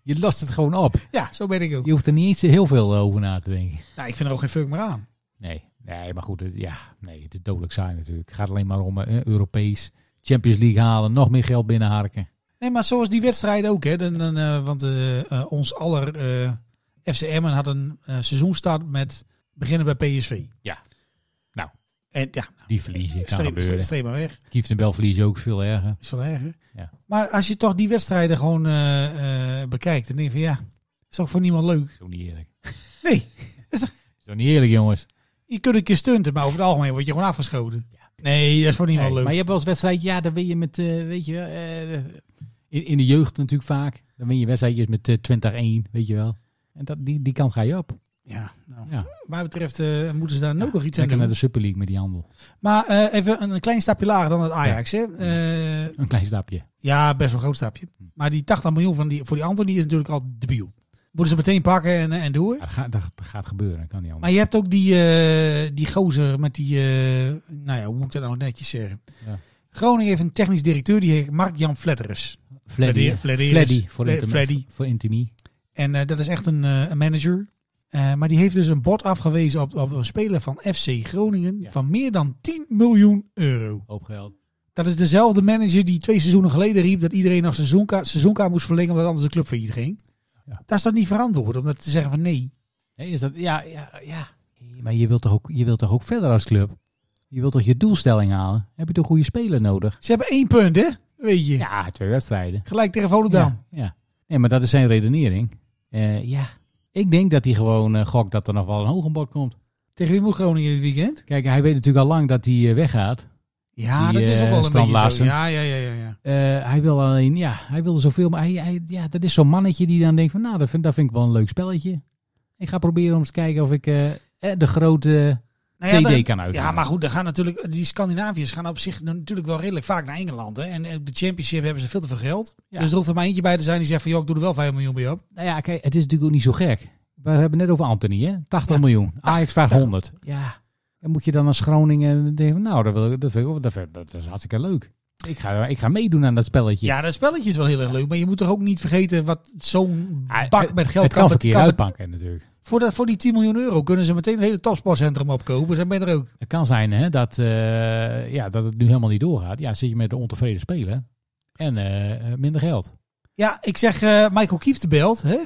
D: Je lost het gewoon op.
C: Ja, zo ben ik ook.
D: Je hoeft er niet eens heel veel eh, over na te denken.
C: Nou, ik vind er ook geen fuck meer aan.
D: Nee, nee maar goed, het, ja, nee, het is dodelijk saai natuurlijk. Het gaat alleen maar om eh, Europees, Champions League halen, nog meer geld binnenharken.
C: Nee, maar zoals die wedstrijden ook. Hè, dan, dan, eh, want eh, eh, ons aller eh FCM had een eh, seizoenstart met beginnen bij PSV.
D: Ja. Nou.
C: En ja, nou,
D: Die verliezen kan
C: streep, streep,
D: gebeuren.
C: streep maar weg.
D: Kieftenbel verliezen ook veel erger.
C: is wel erger.
D: Ja.
C: Maar als je toch die wedstrijden gewoon eh, eh, bekijkt, dan denk je van ja, is toch voor niemand leuk?
D: Is ook niet eerlijk.
C: Nee,
D: Is ook niet eerlijk, jongens.
C: je kunt een keer stunten, maar over het algemeen word je gewoon afgeschoten. Nee, dat is voor niemand
D: Nee,
C: leuk.
D: Maar je hebt wel eens wedstrijd, ja, dan win je met, eh, weet je, wel, eh, in, in de jeugd natuurlijk vaak. Dan win je wedstrijdjes met eh, 20-1, weet je wel. En dat, die, die kant ga je op.
C: Ja, nou.
D: Ja.
C: Wat mij betreft eh, moeten ze daar
D: Ja,
C: nog nog iets aan
D: Lekker naar
C: doen.
D: de Super League met die handel.
C: Maar eh, even een, een klein stapje lager dan het Ajax. Hè? Eh,
D: Een klein stapje.
C: ja, best wel een groot stapje.
D: Hm.
C: Maar die 80 miljoen van die, voor die Anthony is natuurlijk al debiel. Moeten ze meteen pakken en, eh, en door.
D: Ja, dat, gaat, dat gaat gebeuren, dat kan niet
C: Maar
D: anders.
C: je hebt ook die, eh, die gozer met die, eh, nou ja, hoe moet ik dat nou netjes zeggen?
D: Ja.
C: Groningen heeft een technisch directeur, die heet Mark-Jan Fletterus.
D: Fleddy,
C: Fleddy-
D: hè?
C: Fleddy is-
D: Fleddy voor,
C: Fle-
D: Inter-
C: Fleddy.
D: voor Intimi.
C: En eh, dat is echt een, eh, een manager. Eh, maar die heeft dus een bod afgewezen op, op een speler van FC Groningen
D: Ja.
C: van meer dan 10 miljoen euro.
D: Hoop geld.
C: Dat is dezelfde manager die twee seizoenen geleden riep dat iedereen nog seizoenkaart, seizoenkaart moest verlengen omdat anders de club failliet ging.
D: Ja.
C: Dat is dan niet verantwoord om dat te zeggen van nee.
D: Nee, is dat, ja, ja, ja. Maar je wilt, toch ook, je wilt toch ook verder als club? Je wilt toch je doelstelling halen? Heb je toch goede speler nodig?
C: Ze hebben één punt hè, weet je.
D: Ja, twee wedstrijden.
C: Gelijk tegen Volendam.
D: Ja, ja. Nee, maar dat is zijn redenering. Eh, ja, ik denk dat hij gewoon eh gokt dat er nog wel een hoog bod komt.
C: Tegen wie moet Groningen dit weekend?
D: Kijk, hij weet natuurlijk al lang dat hij eh, weggaat.
C: Ja,
D: Die,
C: dat is
D: eh,
C: ook wel een
D: Stan
C: beetje zo.
D: Larsen.
C: Ja, ja, ja, ja, ja.
D: Eh, hij wil alleen, ja, hij wil zoveel. Maar hij, hij- ja, dat is zo'n mannetje die dan denkt van, nou, dat vind, dat vind ik wel een leuk spelletje. Ik ga proberen om eens te kijken of ik eh, eh, de grote
C: Nou ja,
D: TD
C: dan-
D: kan uitdoen.
C: Ja, maar goed, dan gaan natuurlijk, die Scandinaviërs gaan op zich natuurlijk wel redelijk vaak naar Engeland. Hè? En eh, op de Championship hebben ze veel te veel geld.
D: Ja.
C: Dus er hoeft er maar eentje bij te zijn die zegt van, joh, ik doe er wel 5 miljoen bij op.
D: Nou ja, kijk, het is natuurlijk ook niet zo gek. We hebben het net over Anthony, hè? 80 miljoen. Ajax vraagt 100. Ja. En moet je dan als Groningen denken, van, nou, dat, wil ik, dat, vind ik wel- dat, vind- dat is hartstikke leuk. Ik ga, ik ga meedoen aan dat spelletje.
C: Ja, dat spelletje is wel heel erg leuk. Maar je moet toch ook niet vergeten wat zo'n
D: Ah,
C: bak met geld
D: het kan
C: bet-
D: verkeerd
C: bet-
D: uitpakken natuurlijk.
C: Voor, dat, voor die 10 miljoen euro kunnen ze meteen een hele topsportcentrum opkopen. Zijn ben je er ook.
D: Het kan zijn hè, dat, eh, ja, dat het nu helemaal niet doorgaat. Ja, zit je met een ontevreden speler en eh, eh, minder geld.
C: Ja, ik zeg eh, Michael Kieft belt, hè.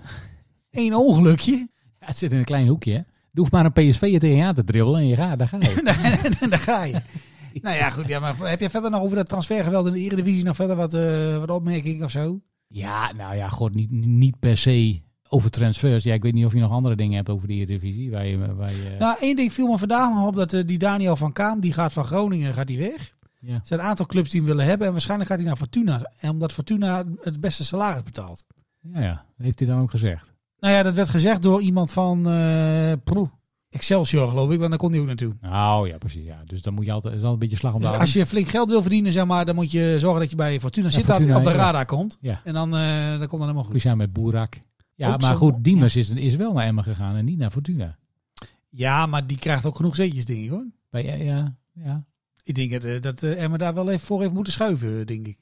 C: Eén ongelukje.
D: Ja, het zit in een klein hoekje. Hè. Je hoeft maar een PSV er tegen je aan te dribbelen en je gaat, daar ga je.
C: en daar ga je. nou ja, goed. Ja, maar heb je verder nog over dat transfergeweld in de Eredivisie nog verder wat, eh wat opmerkingen of zo?
D: ja, nou ja, god, niet, niet per se over transfers. Ja, ik weet niet of je nog andere dingen hebt over de Eredivisie. Waar je, waar je,
C: Nou, één ding viel me vandaag nog op. Dat eh, die Daniel van Kaam, die gaat van Groningen, gaat die weg.
D: Ja.
C: Er zijn een aantal clubs die hem willen hebben. En waarschijnlijk gaat hij naar Fortuna. En omdat Fortuna het beste salaris betaalt.
D: ja, ja, heeft hij dan ook gezegd.
C: Nou ja, dat werd gezegd door iemand van eh, proe, Excelsior, geloof ik. Want daar kon hij ook naartoe.
D: Nou ja, precies. Ja. Dus dan moet je altijd, is altijd een beetje slag om de
C: Dus
D: arm.
C: als je flink geld wil verdienen, zeg maar, dan moet je zorgen dat je bij Fortuna zit. Dat
D: Fortuna,
C: op de
D: ja.
C: radar komt.
D: Ja.
C: En dan, eh, dan komt dat helemaal goed.
D: Speciaal met Boerak. Ja,
C: Ook
D: maar
C: zo-
D: goed, Diemers is, is wel naar Emmen gegaan en niet naar Fortuna.
C: Ja, maar die krijgt ook genoeg zetjes, denk ik hoor.
D: Bij, ja, ja, ja.
C: Ik denk dat, eh, dat eh, Emma daar wel even voor heeft moeten schuiven, eh, denk ik.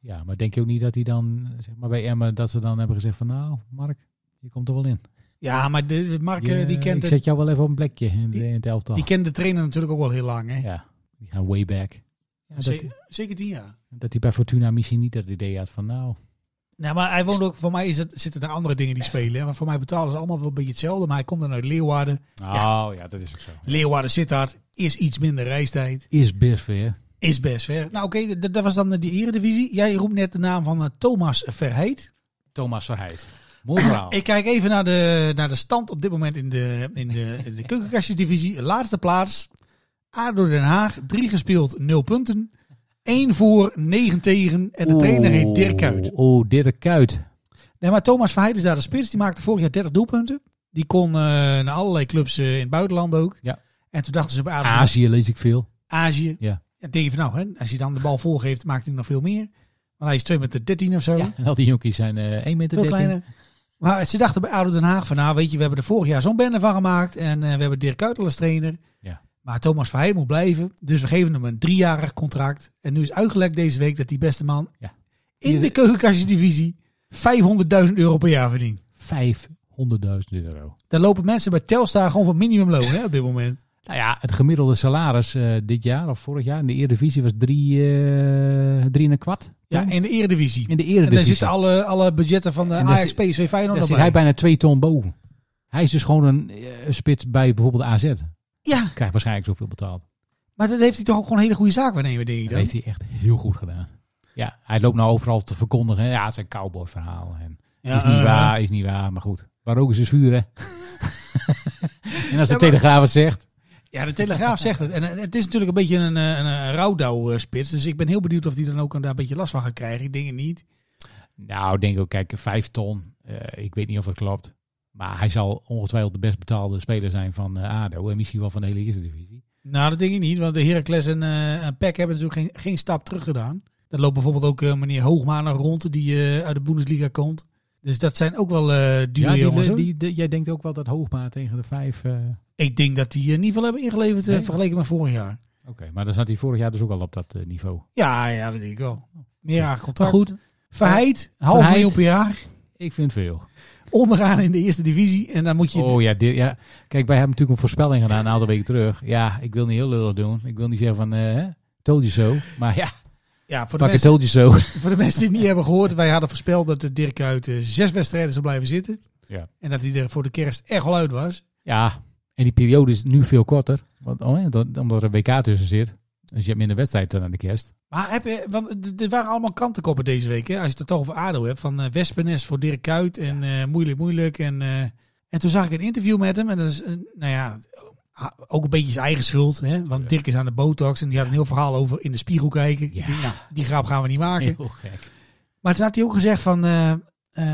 D: Ja, maar denk je ook niet dat hij dan, zeg maar bij Emmen, dat ze dan hebben gezegd van nou, Mark, je komt er wel in.
C: Ja, maar de, Mark, eh,
D: Je-
C: die, kent
D: ik
C: de,
D: zet jou wel even op een plekje in, de- in het elftal.
C: die kent de trainer natuurlijk ook al heel lang. Hè?
D: ja, die gaan way back. Ja, dat,
C: Ze- zeker tien jaar.
D: dat hij bij Fortuna misschien niet dat idee had van nou,
C: Nou, maar hij woont ook, voor mij is het, zitten er andere dingen die spelen. Hè? Want voor mij betalen ze allemaal wel een beetje hetzelfde. Maar hij komt dan uit Leeuwarden.
D: oh ja, dat is ook zo.
C: Leeuwarden Sittard is iets minder reistijd.
D: Is best weer.
C: Is best ver. Nou oké, dat, dat was dan eh, die eredivisie. Jij roept net de naam van eh, Thomas Verheid.
D: Thomas Verheid. Mooi verhaal.
C: Ik kijk even naar de, naar de stand op dit moment in de, in de, in de keukenkastjesdivisie. Laatste plaats. ADO Den Haag. Drie gespeeld, nul punten. Eén voor, negen tegen. En de trainer heet Dirk Kuyt.
D: Oh, Dirk Kuyt.
C: Nee, maar Thomas Verheid is daar de spits. Die maakte vorig jaar 30 doelpunten. Die kon eh, naar allerlei clubs eh, in het buitenland ook.
D: Ja. Ah,
C: En toen dachten ze bij ADO Den Haag,
D: Azië lees ik veel.
C: Azië.
D: Ja.
C: En denk je van nou, hè, als je dan de bal voorgeeft, maakt hij nog veel meer. Want hij is 2 meter 13 of zo.
D: Ja, en al die jonkies zijn eh 1 meter 13.
C: Veel kleiner. Maar ze dachten bij ADO Den Haag van, nou weet je, we hebben er vorig jaar zo'n bende van gemaakt. En eh, we hebben Dirk Kuyt al als trainer.
D: Ja.
C: Maar Thomas Verheij moet blijven. Dus we geven hem een driejarig contract. En nu is uitgelekt deze week dat die beste man
D: Ja.
C: in de
D: Hier-
C: keukenkastjesdivisie 500.000 euro per jaar verdient.
D: 500.000 euro.
C: Daar lopen mensen bij Telstar gewoon voor minimumloon hè, op dit moment.
D: Nou ja, het gemiddelde salaris eh, dit jaar of vorig jaar in de Eredivisie was drie, eh drie en een kwart.
C: Ja, in de eredivisie.
D: In de
C: En daar
D: Eredivisie.
C: zitten alle, alle budgetten van de
D: En daar
C: Ajax,
D: zit-
C: PSV, Feyenoord
D: Daar
C: nog
D: zit
C: bij.
D: hij bijna twee ton boven. Hij is dus gewoon een eh, spits bij bijvoorbeeld AZ.
C: Ja,
D: Krijgt waarschijnlijk zoveel betaald.
C: Maar dat heeft hij toch ook gewoon een hele goede zaak waarnemen, denk ik
D: Dat
C: dan?
D: heeft hij echt heel goed gedaan. Ja, hij loopt nou overal te verkondigen. Ja, het is een cowboy verhaal. En
C: Ja,
D: is niet
C: eh,
D: waar, is niet waar. Maar goed, waar ook is is vuur, hè. en als de
C: maar-
D: Telegraaf het zegt,
C: Ja, de Telegraaf zegt het. En eh, het is natuurlijk een beetje een, eh, een, eh, rouwdouw-spits. Dus ik ben heel benieuwd of die dan ook daar een beetje last van gaat krijgen. Ik denk het niet.
D: nou, ik denk ook, kijk, vijf ton. eh, ik weet niet of dat klopt. Maar hij zal ongetwijfeld de best betaalde speler zijn van eh, ADO. En misschien wel van de hele eerste divisie.
C: Nou, dat denk ik niet. Want de Heracles en, eh en PEC hebben natuurlijk geen, geen stap terug gedaan. Daar loopt bijvoorbeeld ook eh, meneer Hoogma nog rond, die eh, uit de Bundesliga komt. Dus dat zijn ook wel eh dure
D: ja, die-
C: jongens.
D: die,
C: hoor.
D: die- jij denkt ook wel dat Hoogma tegen de vijf... eh,
C: Ik denk dat die eh, niet veel hebben ingeleverd eh,
D: Nee.
C: vergeleken met vorig jaar.
D: Oké, maar dan zat hij vorig jaar dus ook al op dat eh, niveau.
C: Ja, ja, dat denk ik wel. Meer aan contract.
D: Maar goed, eh,
C: Verheid, half
D: Verheid.
C: miljoen per jaar.
D: ik vind veel.
C: Onderaan in de eerste divisie. En dan moet je...
D: Oh ja, dit, ja, kijk, wij hebben natuurlijk een voorspelling gedaan een aantal weken terug. Ja, ik wil niet heel lullig doen. Ik wil niet zeggen van, eh, hè, told you so. Maar ja,
C: ja, voor de,
D: pak het
C: mensen,
D: told you so.
C: voor de mensen die het niet hebben gehoord. Wij hadden voorspeld dat de Dirk uit eh, zes wedstrijden zou blijven zitten.
D: Ja.
C: En dat hij er voor de kerst echt wel uit was.
D: Ja, en die periode is nu veel korter. Want, oh, ja, dat- omdat er een WK tussen zit. Dus je hebt minder wedstrijd dan aan de kerst.
C: Maar heb je, want d- er waren allemaal kantenkoppen deze week. Hè? Als je het toch over ADO hebt. Van eh Wespennest voor Dirk Kuyt en eh, moeilijk, moeilijk. En, eh, en toen zag ik een interview met hem. En dat is, eh, nou ja, ha- ook een beetje zijn eigen schuld. Hè? Want Dirk is aan de botox. En die had een heel verhaal over in de spiegel kijken.
D: Ja.
C: Die, nou, die grap gaan we niet maken.
D: Heel gek.
C: Maar toen had hij ook gezegd van, eh, eh,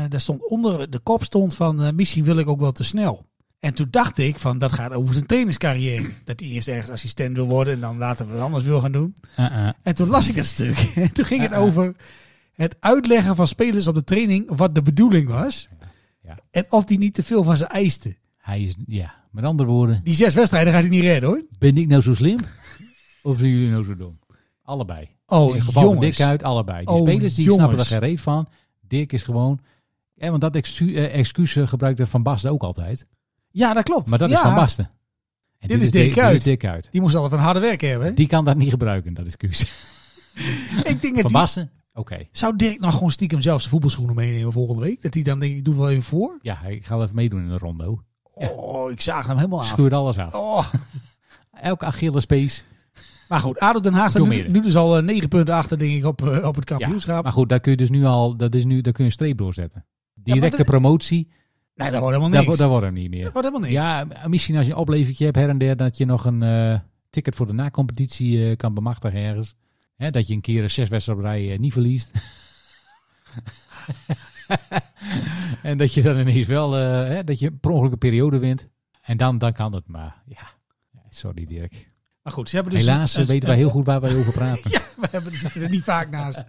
C: daar stond onder, de kop stond van, eh, misschien wil ik ook wel te snel. En toen dacht ik van, dat gaat over zijn trainerscarrière. Dat hij eerst ergens assistent wil worden en dan later wat anders wil gaan doen.
D: Uh-uh.
C: En toen las ik dat stuk. En toen ging het over het uitleggen van spelers op de training wat de bedoeling was.
D: Ja.
C: En of die niet te veel van ze eiste.
D: Hij is, ja, met andere woorden,
C: Die zes wedstrijden gaat hij niet redden hoor.
D: ben ik nou zo slim? of zijn jullie nou zo dom? Allebei.
C: Oh,
D: in het geval van
C: jongens.
D: Dirk uit, allebei. Die
C: Oh,
D: spelers die
C: jongens.
D: snappen er geen reet van. Dirk is gewoon... Ja, want dat excu- eh, excuus eh, gebruikte Van Basten ook altijd.
C: Ja, dat klopt.
D: Maar dat
C: Ja,
D: is Van Basten. En
C: Dit is Dirk
D: Dit
C: Kuyt.
D: is Dirk Kuyt.
C: Die moest altijd van harde werk hebben. hè?
D: Die kan dat niet gebruiken, dat excuus.
C: ik denk dat
D: Van
C: die,
D: Basten? Oké.
C: zou Dirk nou gewoon stiekem zelf zijn voetbalschoenen meenemen volgende week? Dat hij dan denkt, ik doe het wel even voor.
D: Ja, ik ga wel even meedoen in de rondo. Ja.
C: Oh, ik zaag hem helemaal af.
D: Schuurt alles af.
C: Oh.
D: Elke Achillespees.
C: Maar goed, ADO Den Haag staat
D: Doe
C: nu,
D: meer.
C: nu dus al eh, negen punten achter, denk ik, op, eh, op het
D: Ja,
C: kampioenschap.
D: maar goed, daar kun je dus nu al, dat is nu, daar kun je een streep doorzetten. Directe
C: dat-
D: promotie,
C: nee, dat wordt helemaal
D: daar,
C: niks.
D: wordt- daar wordt hem niet
C: Dat
D: meer.
C: wordt helemaal niks.
D: Ja, misschien als je een oplevertje hebt her en der, dat je nog een eh, ticket voor de nacompetitie eh, kan bemachtigen ergens. Hè, dat je een keer een zes wedstrijden op rij eh, niet verliest. en dat je dan ineens wel, eh, hè, dat je per ongeluk een periode wint. En dan, dan kan het, maar ja. Sorry Dirk.
C: Maar goed, ze hebben dus...
D: Helaas eh,
C: een-
D: weten wij heel goed waar wij over praten.
C: Ja, we hebben we zitten er niet vaak naast,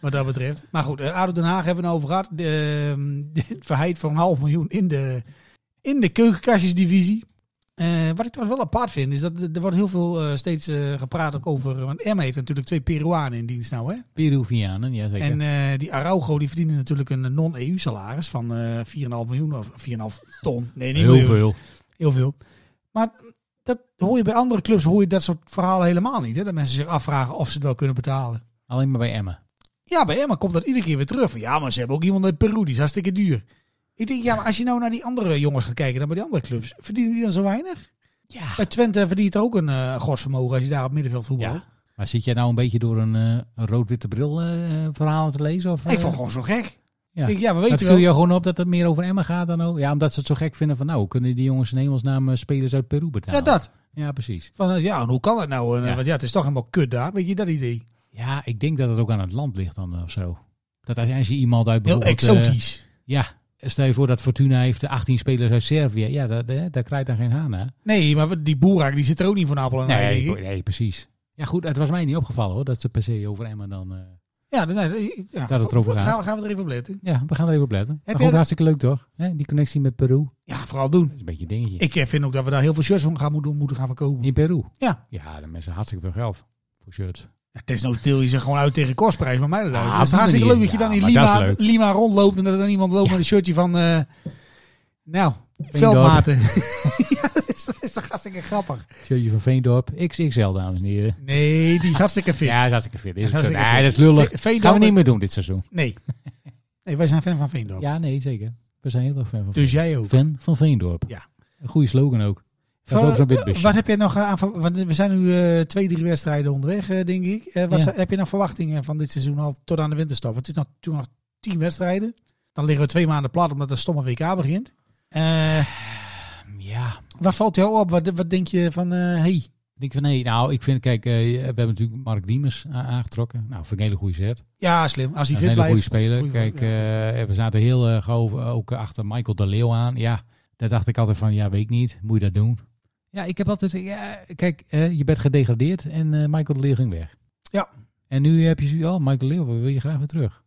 C: wat dat betreft. Maar goed, eh, ADO Den Haag hebben we het over gehad. De, ehm, de verheid van een half miljoen in de, in de keukenkastjesdivisie. Eh, wat ik trouwens wel apart vind, is dat er er wordt heel veel eh, steeds eh, gepraat ook over... Want Emma heeft natuurlijk twee Peruanen in dienst nou, hè?
D: Peruvianen, ja zeker.
C: En eh, die Araujo die verdienen natuurlijk een eh, non-EU-salaris van eh 4,5 miljoen of 4,5 ton. Nee, niet
D: heel
C: miljoen.
D: veel.
C: Heel veel. Maar dat hoor je bij andere clubs hoor je dat soort verhalen helemaal niet. Hè? Dat mensen zich afvragen of ze het wel kunnen betalen.
D: Alleen maar bij Emma.
C: Ja, bij Emma komt dat iedere keer weer terug. Van, ja, maar ze hebben ook iemand uit Peru, die is hartstikke duur. Ik denk, ja, maar als je nou naar die andere jongens gaat kijken, dan bij die andere clubs, verdienen die dan zo weinig?
D: Ja.
C: Bij Twente verdient er ook een eh godsvermogen als je daar op middenveld voetbalt.
D: Ja. Maar zit jij nou een beetje door een, eh, een rood-witte bril eh, verhalen te lezen? Of,
C: Ik
D: eh,
C: vond gewoon zo gek.
D: Ja.
C: Ik denk, ja, we weten
D: Het
C: wel.
D: viel je gewoon op dat het meer over Emma gaat dan ook? Ja, omdat ze het zo gek vinden van nou, hoe kunnen die jongens in hemelsnaam eh, spelers uit Peru
C: Ja,
D: betalen?
C: dat.
D: Ja, precies.
C: Van, eh, ja, en hoe kan dat nou? En, eh,
D: Ja.
C: Want ja, het is toch helemaal kut daar. Weet je, dat idee.
D: Ja, ik denk dat het ook aan het land ligt dan eh, of zo. Dat als, als je iemand uit
C: Heel
D: bijvoorbeeld... eh,
C: exotisch.
D: ja, stel je voor dat Fortuna heeft eh, 18 spelers uit Servië. Ja, dat, eh, daar krijgt dan geen haan hè?
C: nee, maar die Boerak, die zit er ook niet van appel en ei,
D: Nee,
C: denk ik.
D: nee, precies. Ja goed, het was mij niet opgevallen hoor, dat ze per se over Emma dan... eh,
C: Ja, nee, nee, ja.
D: Dat het erover
C: Goed, gaan,
D: gaat.
C: we, gaan we er even op letten.
D: ja, we gaan er even op letten. Maar
C: jij
D: goed,
C: dat-
D: hartstikke leuk toch? Hè, die connectie met Peru.
C: Ja, vooral doen.
D: Dat is een beetje een dingetje.
C: Ik eh, vind ook dat we daar heel veel shirts van gaan moeten, moeten gaan verkopen.
D: In Peru?
C: Ja.
D: Ja, de mensen hartstikke veel geld voor shirts.
C: Ja, Desnoods deel je ze gewoon uit tegen kostprijs, maar mij dat uit.
D: Ah,
C: het is
D: op die
C: hartstikke leuk
D: manier.
C: dat je dan in
D: Ja, maar dat is leuk.
C: Lima, Lima rondloopt en dat er dan iemand loopt
D: Ja.
C: met een shirtje van, eh, nou, veldmaten. ja, dat is, dat is toch hartstikke grappig.
D: Shirtje van Veendorp, XXL, dames en heren.
C: Nee, die is hartstikke fit.
D: Ja, dat is hartstikke fit. Is
C: Ja, dat is
D: het-
C: hartstikke
D: nee, dat is
C: fit.
D: lullig.
C: Ve- Veendorp
D: Gaan we
C: is- Oh.
D: niet meer doen dit seizoen.
C: Nee. nee, wij zijn fan van Veendorp.
D: Ja, nee, zeker. We zijn heel erg fan van
C: Dus
D: Veendorp.
C: jij ook.
D: Fan van Veendorp.
C: Ja.
D: Een goede slogan ook. Dat is ook zo'n wit busje.
C: Wat heb jij nog eh, aan? ver- Want we zijn nu eh, twee, drie wedstrijden onderweg, eh, denk ik. Eh, wat
D: Ja.
C: zijn- heb je nou verwachtingen van dit seizoen al tot aan de winterstop? Want het is nog, toen nog tien wedstrijden. Dan liggen we twee maanden plat omdat de stomme WK begint. Eh,
D: Ja,
C: wat valt jou op? Wat, wat denk je van, eh hey,
D: ik denk van nee, nou ik vind, kijk, eh, we hebben natuurlijk Mark Diemers a- aangetrokken. Nou, vind ik een hele goede zet.
C: ja, slim. Als hij
D: Dat is een
C: fit
D: hele goede
C: blijft.
D: speler.
C: Goeie-
D: Kijk,
C: ja.
D: eh, we zaten heel eh, gauw ook achter Michael de Leeuw aan. Ja, daar dacht ik altijd van, ja, weet ik niet. Moet je dat doen? Ja, ik heb altijd, ja, kijk, eh, je bent gedegradeerd en eh, Michael de Leeuw ging weg.
C: Ja.
D: En nu heb je zoiets, oh, Michael de Leeuw, we willen je graag weer terug.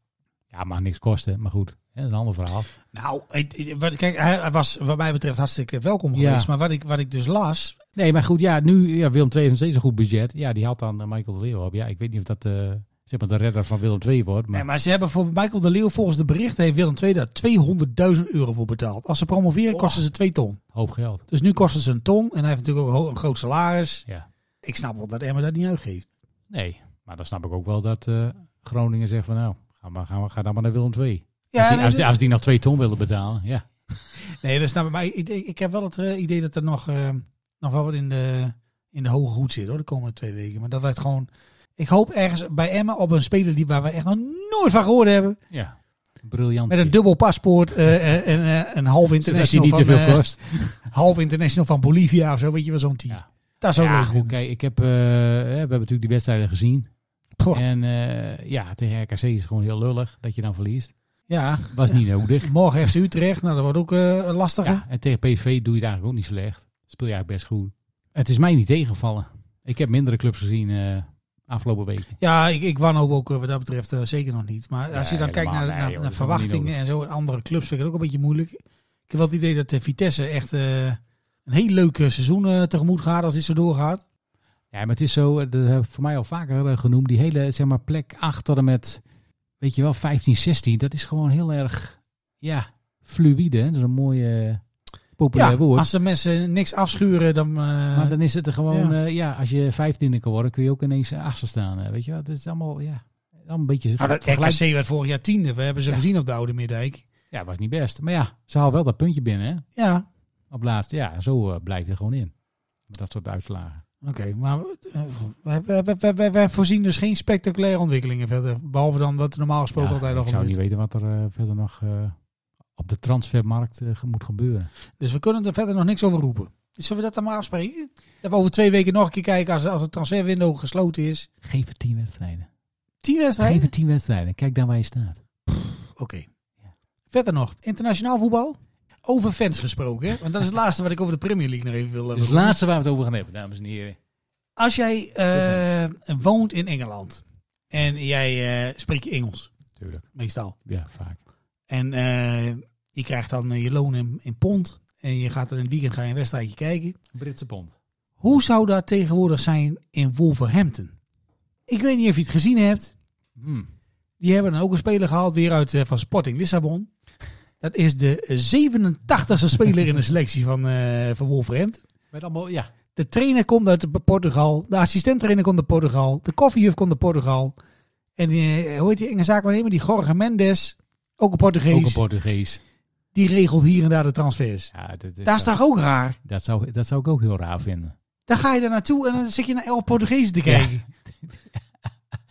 D: Ja, mag niks kosten, maar goed. hè, dat is een ander verhaal.
C: Nou, het- het- wat- kijk, hij was wat mij betreft hartstikke welkom
D: Ja.
C: geweest. Maar wat ik, wat ik dus las,
D: Nee, maar goed, ja, nu, ja, Willem II heeft nog steeds een goed budget. Ja, die haalt dan eh, Michael de Leeuw op. Ja, ik weet niet of dat, eh, zeg maar, de redder van Willem II wordt. Maar
C: Nee, maar ze hebben voor Michael de Leeuw volgens de berichten heeft Willem II daar 200.000 euro voor betaald. Als ze
D: Oh.
C: promoveren kosten ze 2 ton.
D: hoop geld.
C: Dus nu kosten ze een ton en hij heeft natuurlijk ook een ho- een groot salaris.
D: Ja.
C: Ik snap wel dat Emma dat niet uitgeeft.
D: Nee, maar dan snap ik ook wel dat eh, Groningen zegt van, nou, ga, maar, ga, maar, ga dan maar naar Willem II.
C: Ja,
D: als, die,
C: nee,
D: als, die,
C: dat-
D: als die nog twee ton willen betalen, ja.
C: nee, dat snap ik. Maar ik, ik ik heb wel het eh, idee dat er nog, eh, nog wel wat in de, in de hoge hoed zit hoor, de komende twee weken. Maar dat wij het gewoon... Ik hoop ergens bij Emma op een speler die, waar we echt nog nooit van gehoord hebben.
D: ja. Briljant.
C: Met een dubbel paspoort eh, en, en eh, een half
D: Zodat hij
C: international,
D: niet te
C: van,
D: veel
C: eh,
D: kost.
C: half international van Bolivia of zo. Weet je wel, zo'n team.
D: Ja.
C: Dat is ook
D: Ja,
C: leuk.
D: goed, kijk, ik heb, eh, we hebben natuurlijk die wedstrijden gezien.
C: Goh.
D: En eh, ja, tegen RKC is het gewoon heel lullig dat je dan verliest.
C: Ja,
D: Was niet nodig.
C: morgen FC Utrecht. Nou, dat wordt ook eh, lastiger.
D: Ja, en tegen PSV doe je het eigenlijk ook niet slecht. Speel je eigenlijk best goed. Het is mij niet tegengevallen. Ik heb mindere clubs gezien eh, afgelopen weken.
C: Ja, ik, ik wanhoop ook eh, wat dat betreft eh, zeker nog niet. Maar als je dan
D: Nee,
C: kijkt naar,
D: helemaal.
C: naar,
D: Nee, joh,
C: naar
D: dat is allemaal niet
C: verwachtingen en zo en andere clubs, vind ik het ook een beetje moeilijk. Ik heb wel het idee dat de Vitesse echt eh, een heel leuk eh, seizoen eh, tegemoet gaat als dit zo doorgaat.
D: Ja, maar het is zo, eh, dat heb ik voor mij al vaker eh, genoemd, die hele zeg maar, plek achter en met, weet je wel, 15, 16. Dat is gewoon heel erg, ja, fluïde. hè. Dat is een mooi eh, populair
C: ja,
D: woord.
C: als de mensen niks afschuren, dan... eh,
D: maar dan is het er gewoon,
C: ja.
D: ja, ja als je 15 kan worden, kun je ook ineens achter staan. eh, weet je wel, het is allemaal, ja, allemaal een beetje...
C: nou, dat
D: vergelijk-
C: RKC werd vorig jaar tiende. We hebben ze gezien op de Oude Middijk.
D: Ja, was niet best. Maar ja, ze halen wel dat puntje binnen, hè?
C: Ja,
D: Op laatst, ja, zo eh, blijft er gewoon in. Met dat soort uitslagen.
C: oké. maar eh, we, we, we, we, we voorzien dus geen spectaculaire ontwikkelingen verder. Behalve dan wat er normaal gesproken
D: Ja,
C: altijd al
D: ik zou
C: gebeurt.
D: niet weten wat er eh, verder nog eh, op de transfermarkt eh, ge- moet gebeuren.
C: Dus we kunnen er verder nog niks over roepen. Dus zullen we dat dan maar afspreken? Dat we over twee weken nog een keer kijken als, als het transferwindow gesloten is.
D: Geef het tien wedstrijden.
C: Tien
D: Geef
C: wedstrijden?
D: het tien wedstrijden. Kijk dan waar je staat.
C: Oké. Verder nog, internationaal voetbal? Over fans gesproken, hè? want dat is het laatste wat ik over de Premier League nog even wil
D: Dat
C: hebben.
D: is het laatste waar we het over gaan hebben, dames en heren.
C: Als jij eh, woont in Engeland en jij eh, spreekt Engels,
D: Tuurlijk.
C: meestal.
D: Ja, vaak.
C: En eh, je krijgt dan eh, je loon in, in pond en je gaat dan in het weekend ga je een wedstrijdje kijken.
D: Britse pond.
C: Hoe zou dat tegenwoordig zijn in Wolverhampton? Ik weet niet of je het gezien hebt.
D: Hmm.
C: Die hebben dan ook een speler gehaald weer uit eh, van Sporting Lissabon. Dat is de 87e speler in de selectie van, eh, van Wolverhampton.
D: Met allemaal, ja.
C: De trainer komt uit Portugal. De assistent-trainer komt uit Portugal. De koffiejuf komt uit Portugal. En eh, hoe heet die enge zaakwaarnemer? Die Jorge Mendes, ook een Portugees.
D: Ook een Portugees.
C: die regelt hier en daar de transfers.
D: Ja, dat, dat,
C: Dat is
D: zou,
C: toch ook raar?
D: dat, zou, dat zou ik ook heel raar vinden.
C: Dan ga je daar naartoe en dan zit je naar elf Portugezen te kijken.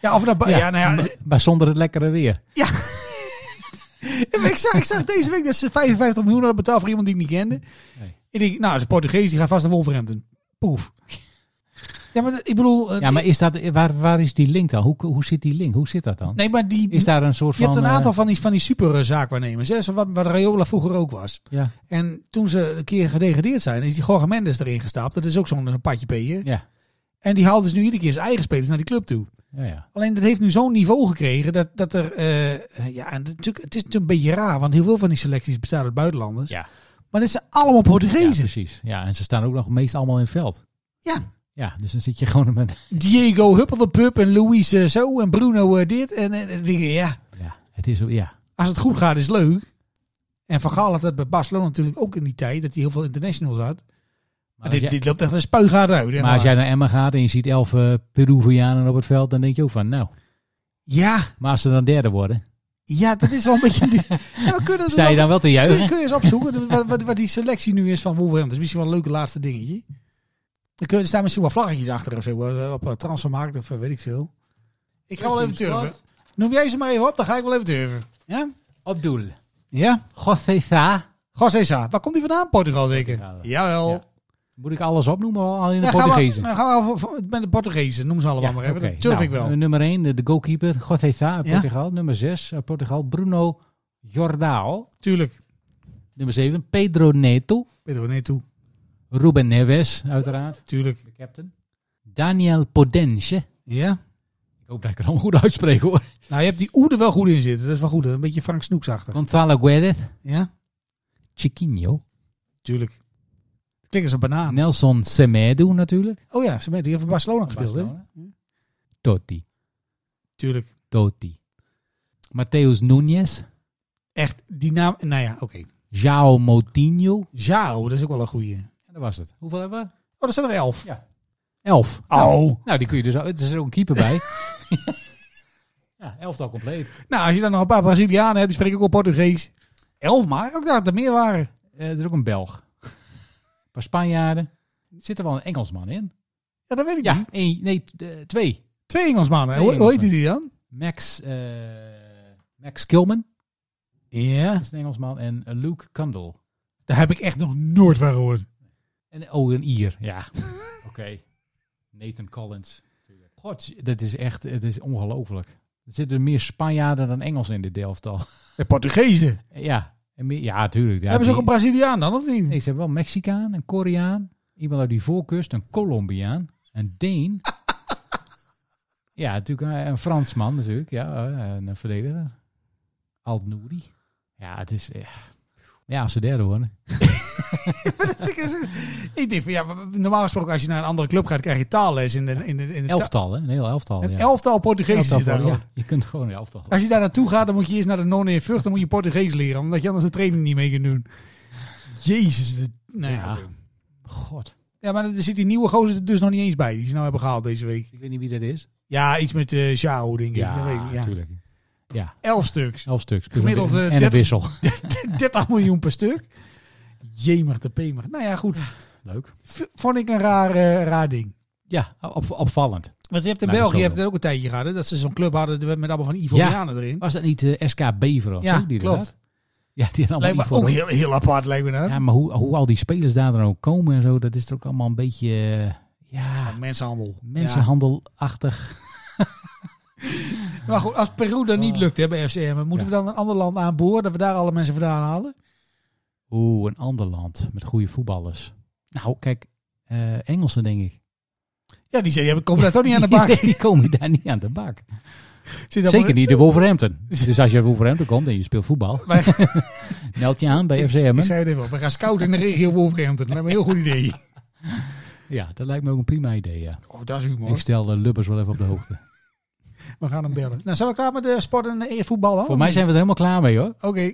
C: Ja, of naar... Ba- ja, nou ja,
D: maar, maar zonder het lekkere weer.
C: Ja, maar ik, zag, ik zag deze week dat ze 55 miljoen hadden betaald voor iemand die ik niet kende.
D: Nee.
C: Ik denk, nou, dat is een Portugees, die gaat vast naar Wolverhampton. Poef. Ja, maar dat- ik bedoel... eh,
D: Ja, maar is dat, waar, waar is die link dan? Hoe, hoe zit die link? Hoe zit dat dan?
C: nee, maar die,
D: Is daar een soort
C: je
D: van...
C: hebt een
D: eh,
C: aantal van die, van die superzaakwaarnemers. Hè, zo wat, wat Rayola vroeger ook was.
D: ja,
C: En toen ze een keer gedegradeerd zijn, is die Jorge Mendes erin gestapt. Dat is ook zo'n eh, patje peer.
D: ja,
C: En die haalt dus nu iedere keer zijn eigen spelers naar die club toe.
D: ja, ja.
C: Alleen dat heeft nu zo'n niveau gekregen dat, dat er... eh, eh, ja, en het, is natuurlijk- het is natuurlijk een beetje raar, want heel veel van die selecties bestaan uit buitenlanders.
D: Ja.
C: Maar dit zijn allemaal
D: ja, dus-
C: Portugezen.
D: precies. Ja, en ze staan ook nog meest allemaal in het veld.
C: Ja.
D: Ja, dus dan zit je gewoon met...
C: Diego Huppel de Pup en Luis eh, zo en Bruno eh, dit. En, en, en dingen, ja,
D: Ja, het is... Ja,
C: als het goed gaat is het leuk. En Van Gaal had dat bij Barcelona natuurlijk ook in die tijd, dat hij heel veel internationals had. Maar,
D: maar als,
C: dit,
D: jij,
C: dit loopt echt een spuigaat uit. hè,
D: maar als jij naar Emma gaat en je ziet elf eh, Peruvianen op het veld, dan denk je ook van, nou...
C: Ja,
D: Maar als ze dan derde worden...
C: Ja, dat is wel een beetje... Die, ja, we kunnen het
D: Sta je dan wel te
C: kun, je,
D: juichen?
C: kun je eens opzoeken wat, wat, wat die selectie nu is van Wolverhampton. Dat is misschien wel een leuke laatste dingetje. Dan kun je, er staan misschien wel vlaggetjes achter of zo. eh, Op eh, transfermarkt of eh, weet ik veel. Ik ga wel even turven. Noem jij ze maar even op, dan ga ik wel even turven. Ja?
D: Abdul.
C: Ja?
D: Gothesa.
C: José Sá. Waar komt die vandaan? Portugal zeker?
D: Portugal, ja.
C: Jawel.
D: Ja. Moet ik alles opnoemen? Al in de
C: gaan we-
D: Portugezen.
C: dan gaan we voor- voor- met de Portugezen. Noem ze allemaal maar even.
D: oké.
C: Dat durf
D: Nou,
C: ik wel.
D: eh, Nummer 1, de, de goalkeeper. Gothesa uit
C: Ja.
D: Portugal. Nummer 6, uit Portugal. Bruno Jordao.
C: Tuurlijk.
D: Nummer 7, Pedro Neto.
C: Pedro Neto.
D: Ruben Neves, uiteraard.
C: Tuurlijk.
D: De captain. Daniel Podence.
C: Ja.
D: Ik hoop dat ik het allemaal goed uitspreek hoor.
C: Nou, je hebt die Oede wel goed in zitten. Dat is wel goed. Een beetje Frank Snoeks achter.
D: Gonzalo Guedes.
C: Ja.
D: Chiquinho.
C: Tuurlijk. Klinkt als een banaan.
D: Nelson Semedo natuurlijk.
C: Oh ja, ze die heeft voor Barcelona gespeeld, hè?
D: Barcelona. Totti.
C: Tuurlijk.
D: Totti. Mateus Nunes.
C: Echt, die naam... Nou ja, oké.
D: João Moutinho.
C: Jao, dat is ook wel een goeie.
D: En dat was het. Hoeveel hebben we?
C: Oh, er zijn er elf.
D: Elf.
C: Oh.
D: Nou, die kun je dus al... Het is er ook een keeper bij. ja, elftal compleet.
C: Nou, als je dan nog een paar Brazilianen hebt, die spreken ook wel Portugees. Elf maar? Ook dat er meer waren.
D: Eh, er is ook een Belg. Een paar Spanjaarden. Zit er wel een Engelsman in?
C: Ja, dat weet ik
D: Ja,
C: niet.
D: één, nee, t- eh, twee.
C: Twee Engelsmannen.
D: Twee
C: Hoe, hoe heet
D: Engelsmannen.
C: die dan?
D: Max, eh Max Kilman
C: Ja.
D: dat is een Engelsman en eh, Luke Kundal.
C: Daar heb ik echt nog nooit van gehoord.
D: En oh, een Ier. Ja, oké. Nathan Collins. God, dat is echt, het is ongelooflijk. Er zitten meer Spanjaarden dan Engels in dit elftal.
C: De Portugezen.
D: ja, en meer, ja, tuurlijk. Ja,
C: hebben ze ook
D: die-
C: een Braziliaan dan, of niet?
D: Nee, ze hebben wel een Mexicaan, een Koreaan, iemand uit die voorkust, een Colombiaan, een Deen. ja, natuurlijk eh, een Fransman natuurlijk, ja, eh, en een verdediger. Alt Nouri. Ja, het is... eh, Ja, als ze derde worden.
C: ik, ik denk van, ja, maar normaal gesproken als je naar een andere club gaat, krijg je taalles in de, in de, in de ta-
D: Elftal, hè? Een heel elftal.
C: Een
D: ja.
C: elftal Portugezen
D: Elftal
C: zit daar
D: voor-
C: gewoon.
D: ja, je kunt gewoon een elftal.
C: Als je daar naartoe gaat, dan moet je eerst naar de non in Vught, dan moet je Portugees leren, omdat je anders de training niet mee kunt doen. Jezus. de- nou ja.
D: Ja.
C: oké.
D: God,
C: ja, maar er zit die nieuwe gozer er dus nog niet eens bij, die ze nou hebben gehaald deze week.
D: ik weet niet wie dat is.
C: Ja, iets met eh Zhao, denk ik. Dat weet ik, ja.
D: natuurlijk. Ja,
C: Elf stuks.
D: elf stuks. Plus
C: Gemiddeld,
D: een-
C: eh,
D: en een
C: 30
D: wissel.
C: 30 miljoen per stuk. Jemig de pemer. Nou ja, goed.
D: Leuk.
C: V- Vond ik een raar, eh, raar ding.
D: Ja, op, opvallend.
C: Want je hebt in
D: Nou,
C: België
D: dat is wel
C: je hebt het ook een tijdje gehad, hè, dat ze zo'n club hadden met allemaal van Ivorianen erin.
D: Was dat niet eh, SK Beveren of
C: Ja,
D: zo? Die er
C: klopt.
D: had? Ja, die hadden
C: Lijkt
D: allemaal
C: me
D: Ivor
C: ook
D: ook.
C: heel, heel apart, lijkt me dat.
D: Ja, maar hoe, hoe al die spelers daar dan ook komen en zo, dat is er ook allemaal een beetje eh, ja,
C: Zo'n Mensenhandel.
D: mensenhandelachtig.
C: Ja. Maar goed, als Peru dan niet
D: Oh.
C: lukt hè, bij FCM, moeten we dan een ander land aanboren, dat we daar alle mensen vandaan halen?
D: Oeh, een ander land met goede voetballers. Nou, kijk, eh, Engelsen denk ik.
C: Ja, die zeggen, ja, komen daar toch niet aan de bak.
D: die komen daar niet aan de bak.
C: Zit dat
D: Zeker
C: maar-
D: niet de Wolverhampton. Dus als je uit Wolverhampton komt en je speelt voetbal,
C: Wij,
D: meld je aan bij FCM.
C: ik zei het even op, we gaan scouten in de regio Wolverhampton. Dat lijkt me een heel goed idee.
D: Ja, dat lijkt me ook een prima idee. Ja.
C: Oh, dat is
D: Ik
C: humor.
D: stel de Lubbers wel even op de hoogte.
C: We gaan hem bellen. Nou, zijn we klaar met de sport en eh, voetbal dan?
D: Voor mij zijn we er helemaal klaar mee hoor.
C: Oké.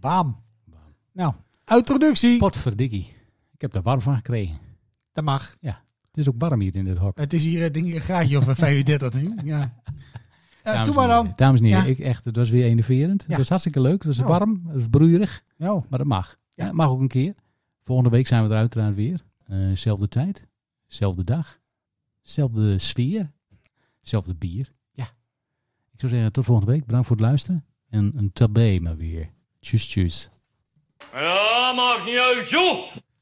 C: Bam. Nou, uitroductie.
D: Potverdikkie. Ik heb daar warm van gekregen.
C: Dat mag.
D: Het is ook warm hier in dit hok.
C: Het is hier eh, denk ik, een graadje of eh, 35 nu. Ja. Eh
D: Dames
C: doe
D: en
C: maar
D: heren.
C: dan.
D: Dames en heren,
C: Ja.
D: ik echt, het was weer enerverend.
C: Ja.
D: Het was hartstikke leuk. Het was
C: Nou.
D: warm, het was broeierig,
C: Nou,
D: maar dat mag.
C: Ja.
D: Ja. Mag ook een keer. Volgende week zijn we er uiteraard weer. Eh, zelfde tijd, zelfde dag, zelfde sfeer, zelfde bier. Ja. Ik zou zeggen, tot volgende week. Bedankt voor het luisteren. En een tabé maar weer. Tjus, tjus.
E: Ja, mag niet uit, joh!